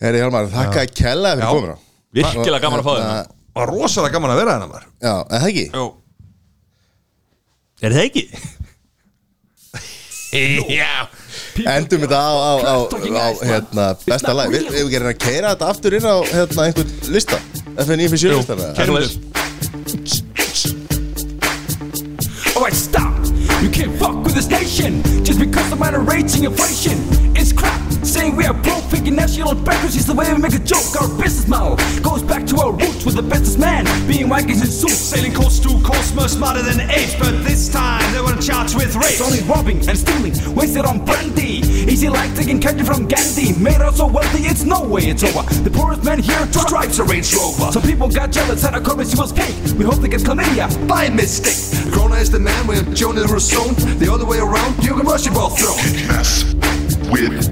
S2: herri, Hjálmar, þakka að kella fyrir
S4: Já.
S2: komuna
S1: virkilega gaman að fá þetta
S2: Hérna,
S4: var rosalega gaman að vera
S3: hérna,
S4: hennar maður
S2: já, en það ekki
S1: er það ekki? já
S2: endum þetta á, á, á, á hérna, besta lag við hefum gerðin að keira þetta aftur inn á hérna, einhvern lista FN fyrir sjö listana
S1: kærum við
S11: Alright, stop. You can't fuck with this nation just because of moderating inflation. It's crap saying we are broke, faking national bankruptcy is the way we make a joke. Our business model goes back to our roots with a businessman being white guys in suits, sailing coast to coast, much smarter than apes. But this time they were charged with rape. It's only robbing and stealing, wasted on brandy. Easy like taking candy from Gandhi, made us so wealthy it's no way it's over. The poorest man here drives a Range Rover. Some people got jealous that our currency was fake. We hope they get chlamydia by mistake. Corona is the man with Jonah Rosone. The other way around, you can rush your ball throw.
S12: mess with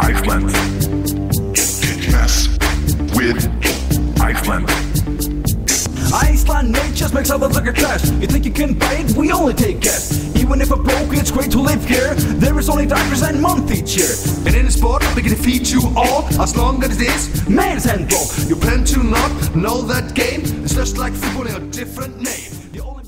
S12: Iceland. Did mess with Iceland.
S11: Iceland nature's makes our look a trash. You think you can buy it? We only take cash. Even if we're broke, it's great to live here. There is only divers and month each year. And in a sport, we can defeat you all as long as it is man's handball. You plan to not know that game. It's just like football in a different name. The only-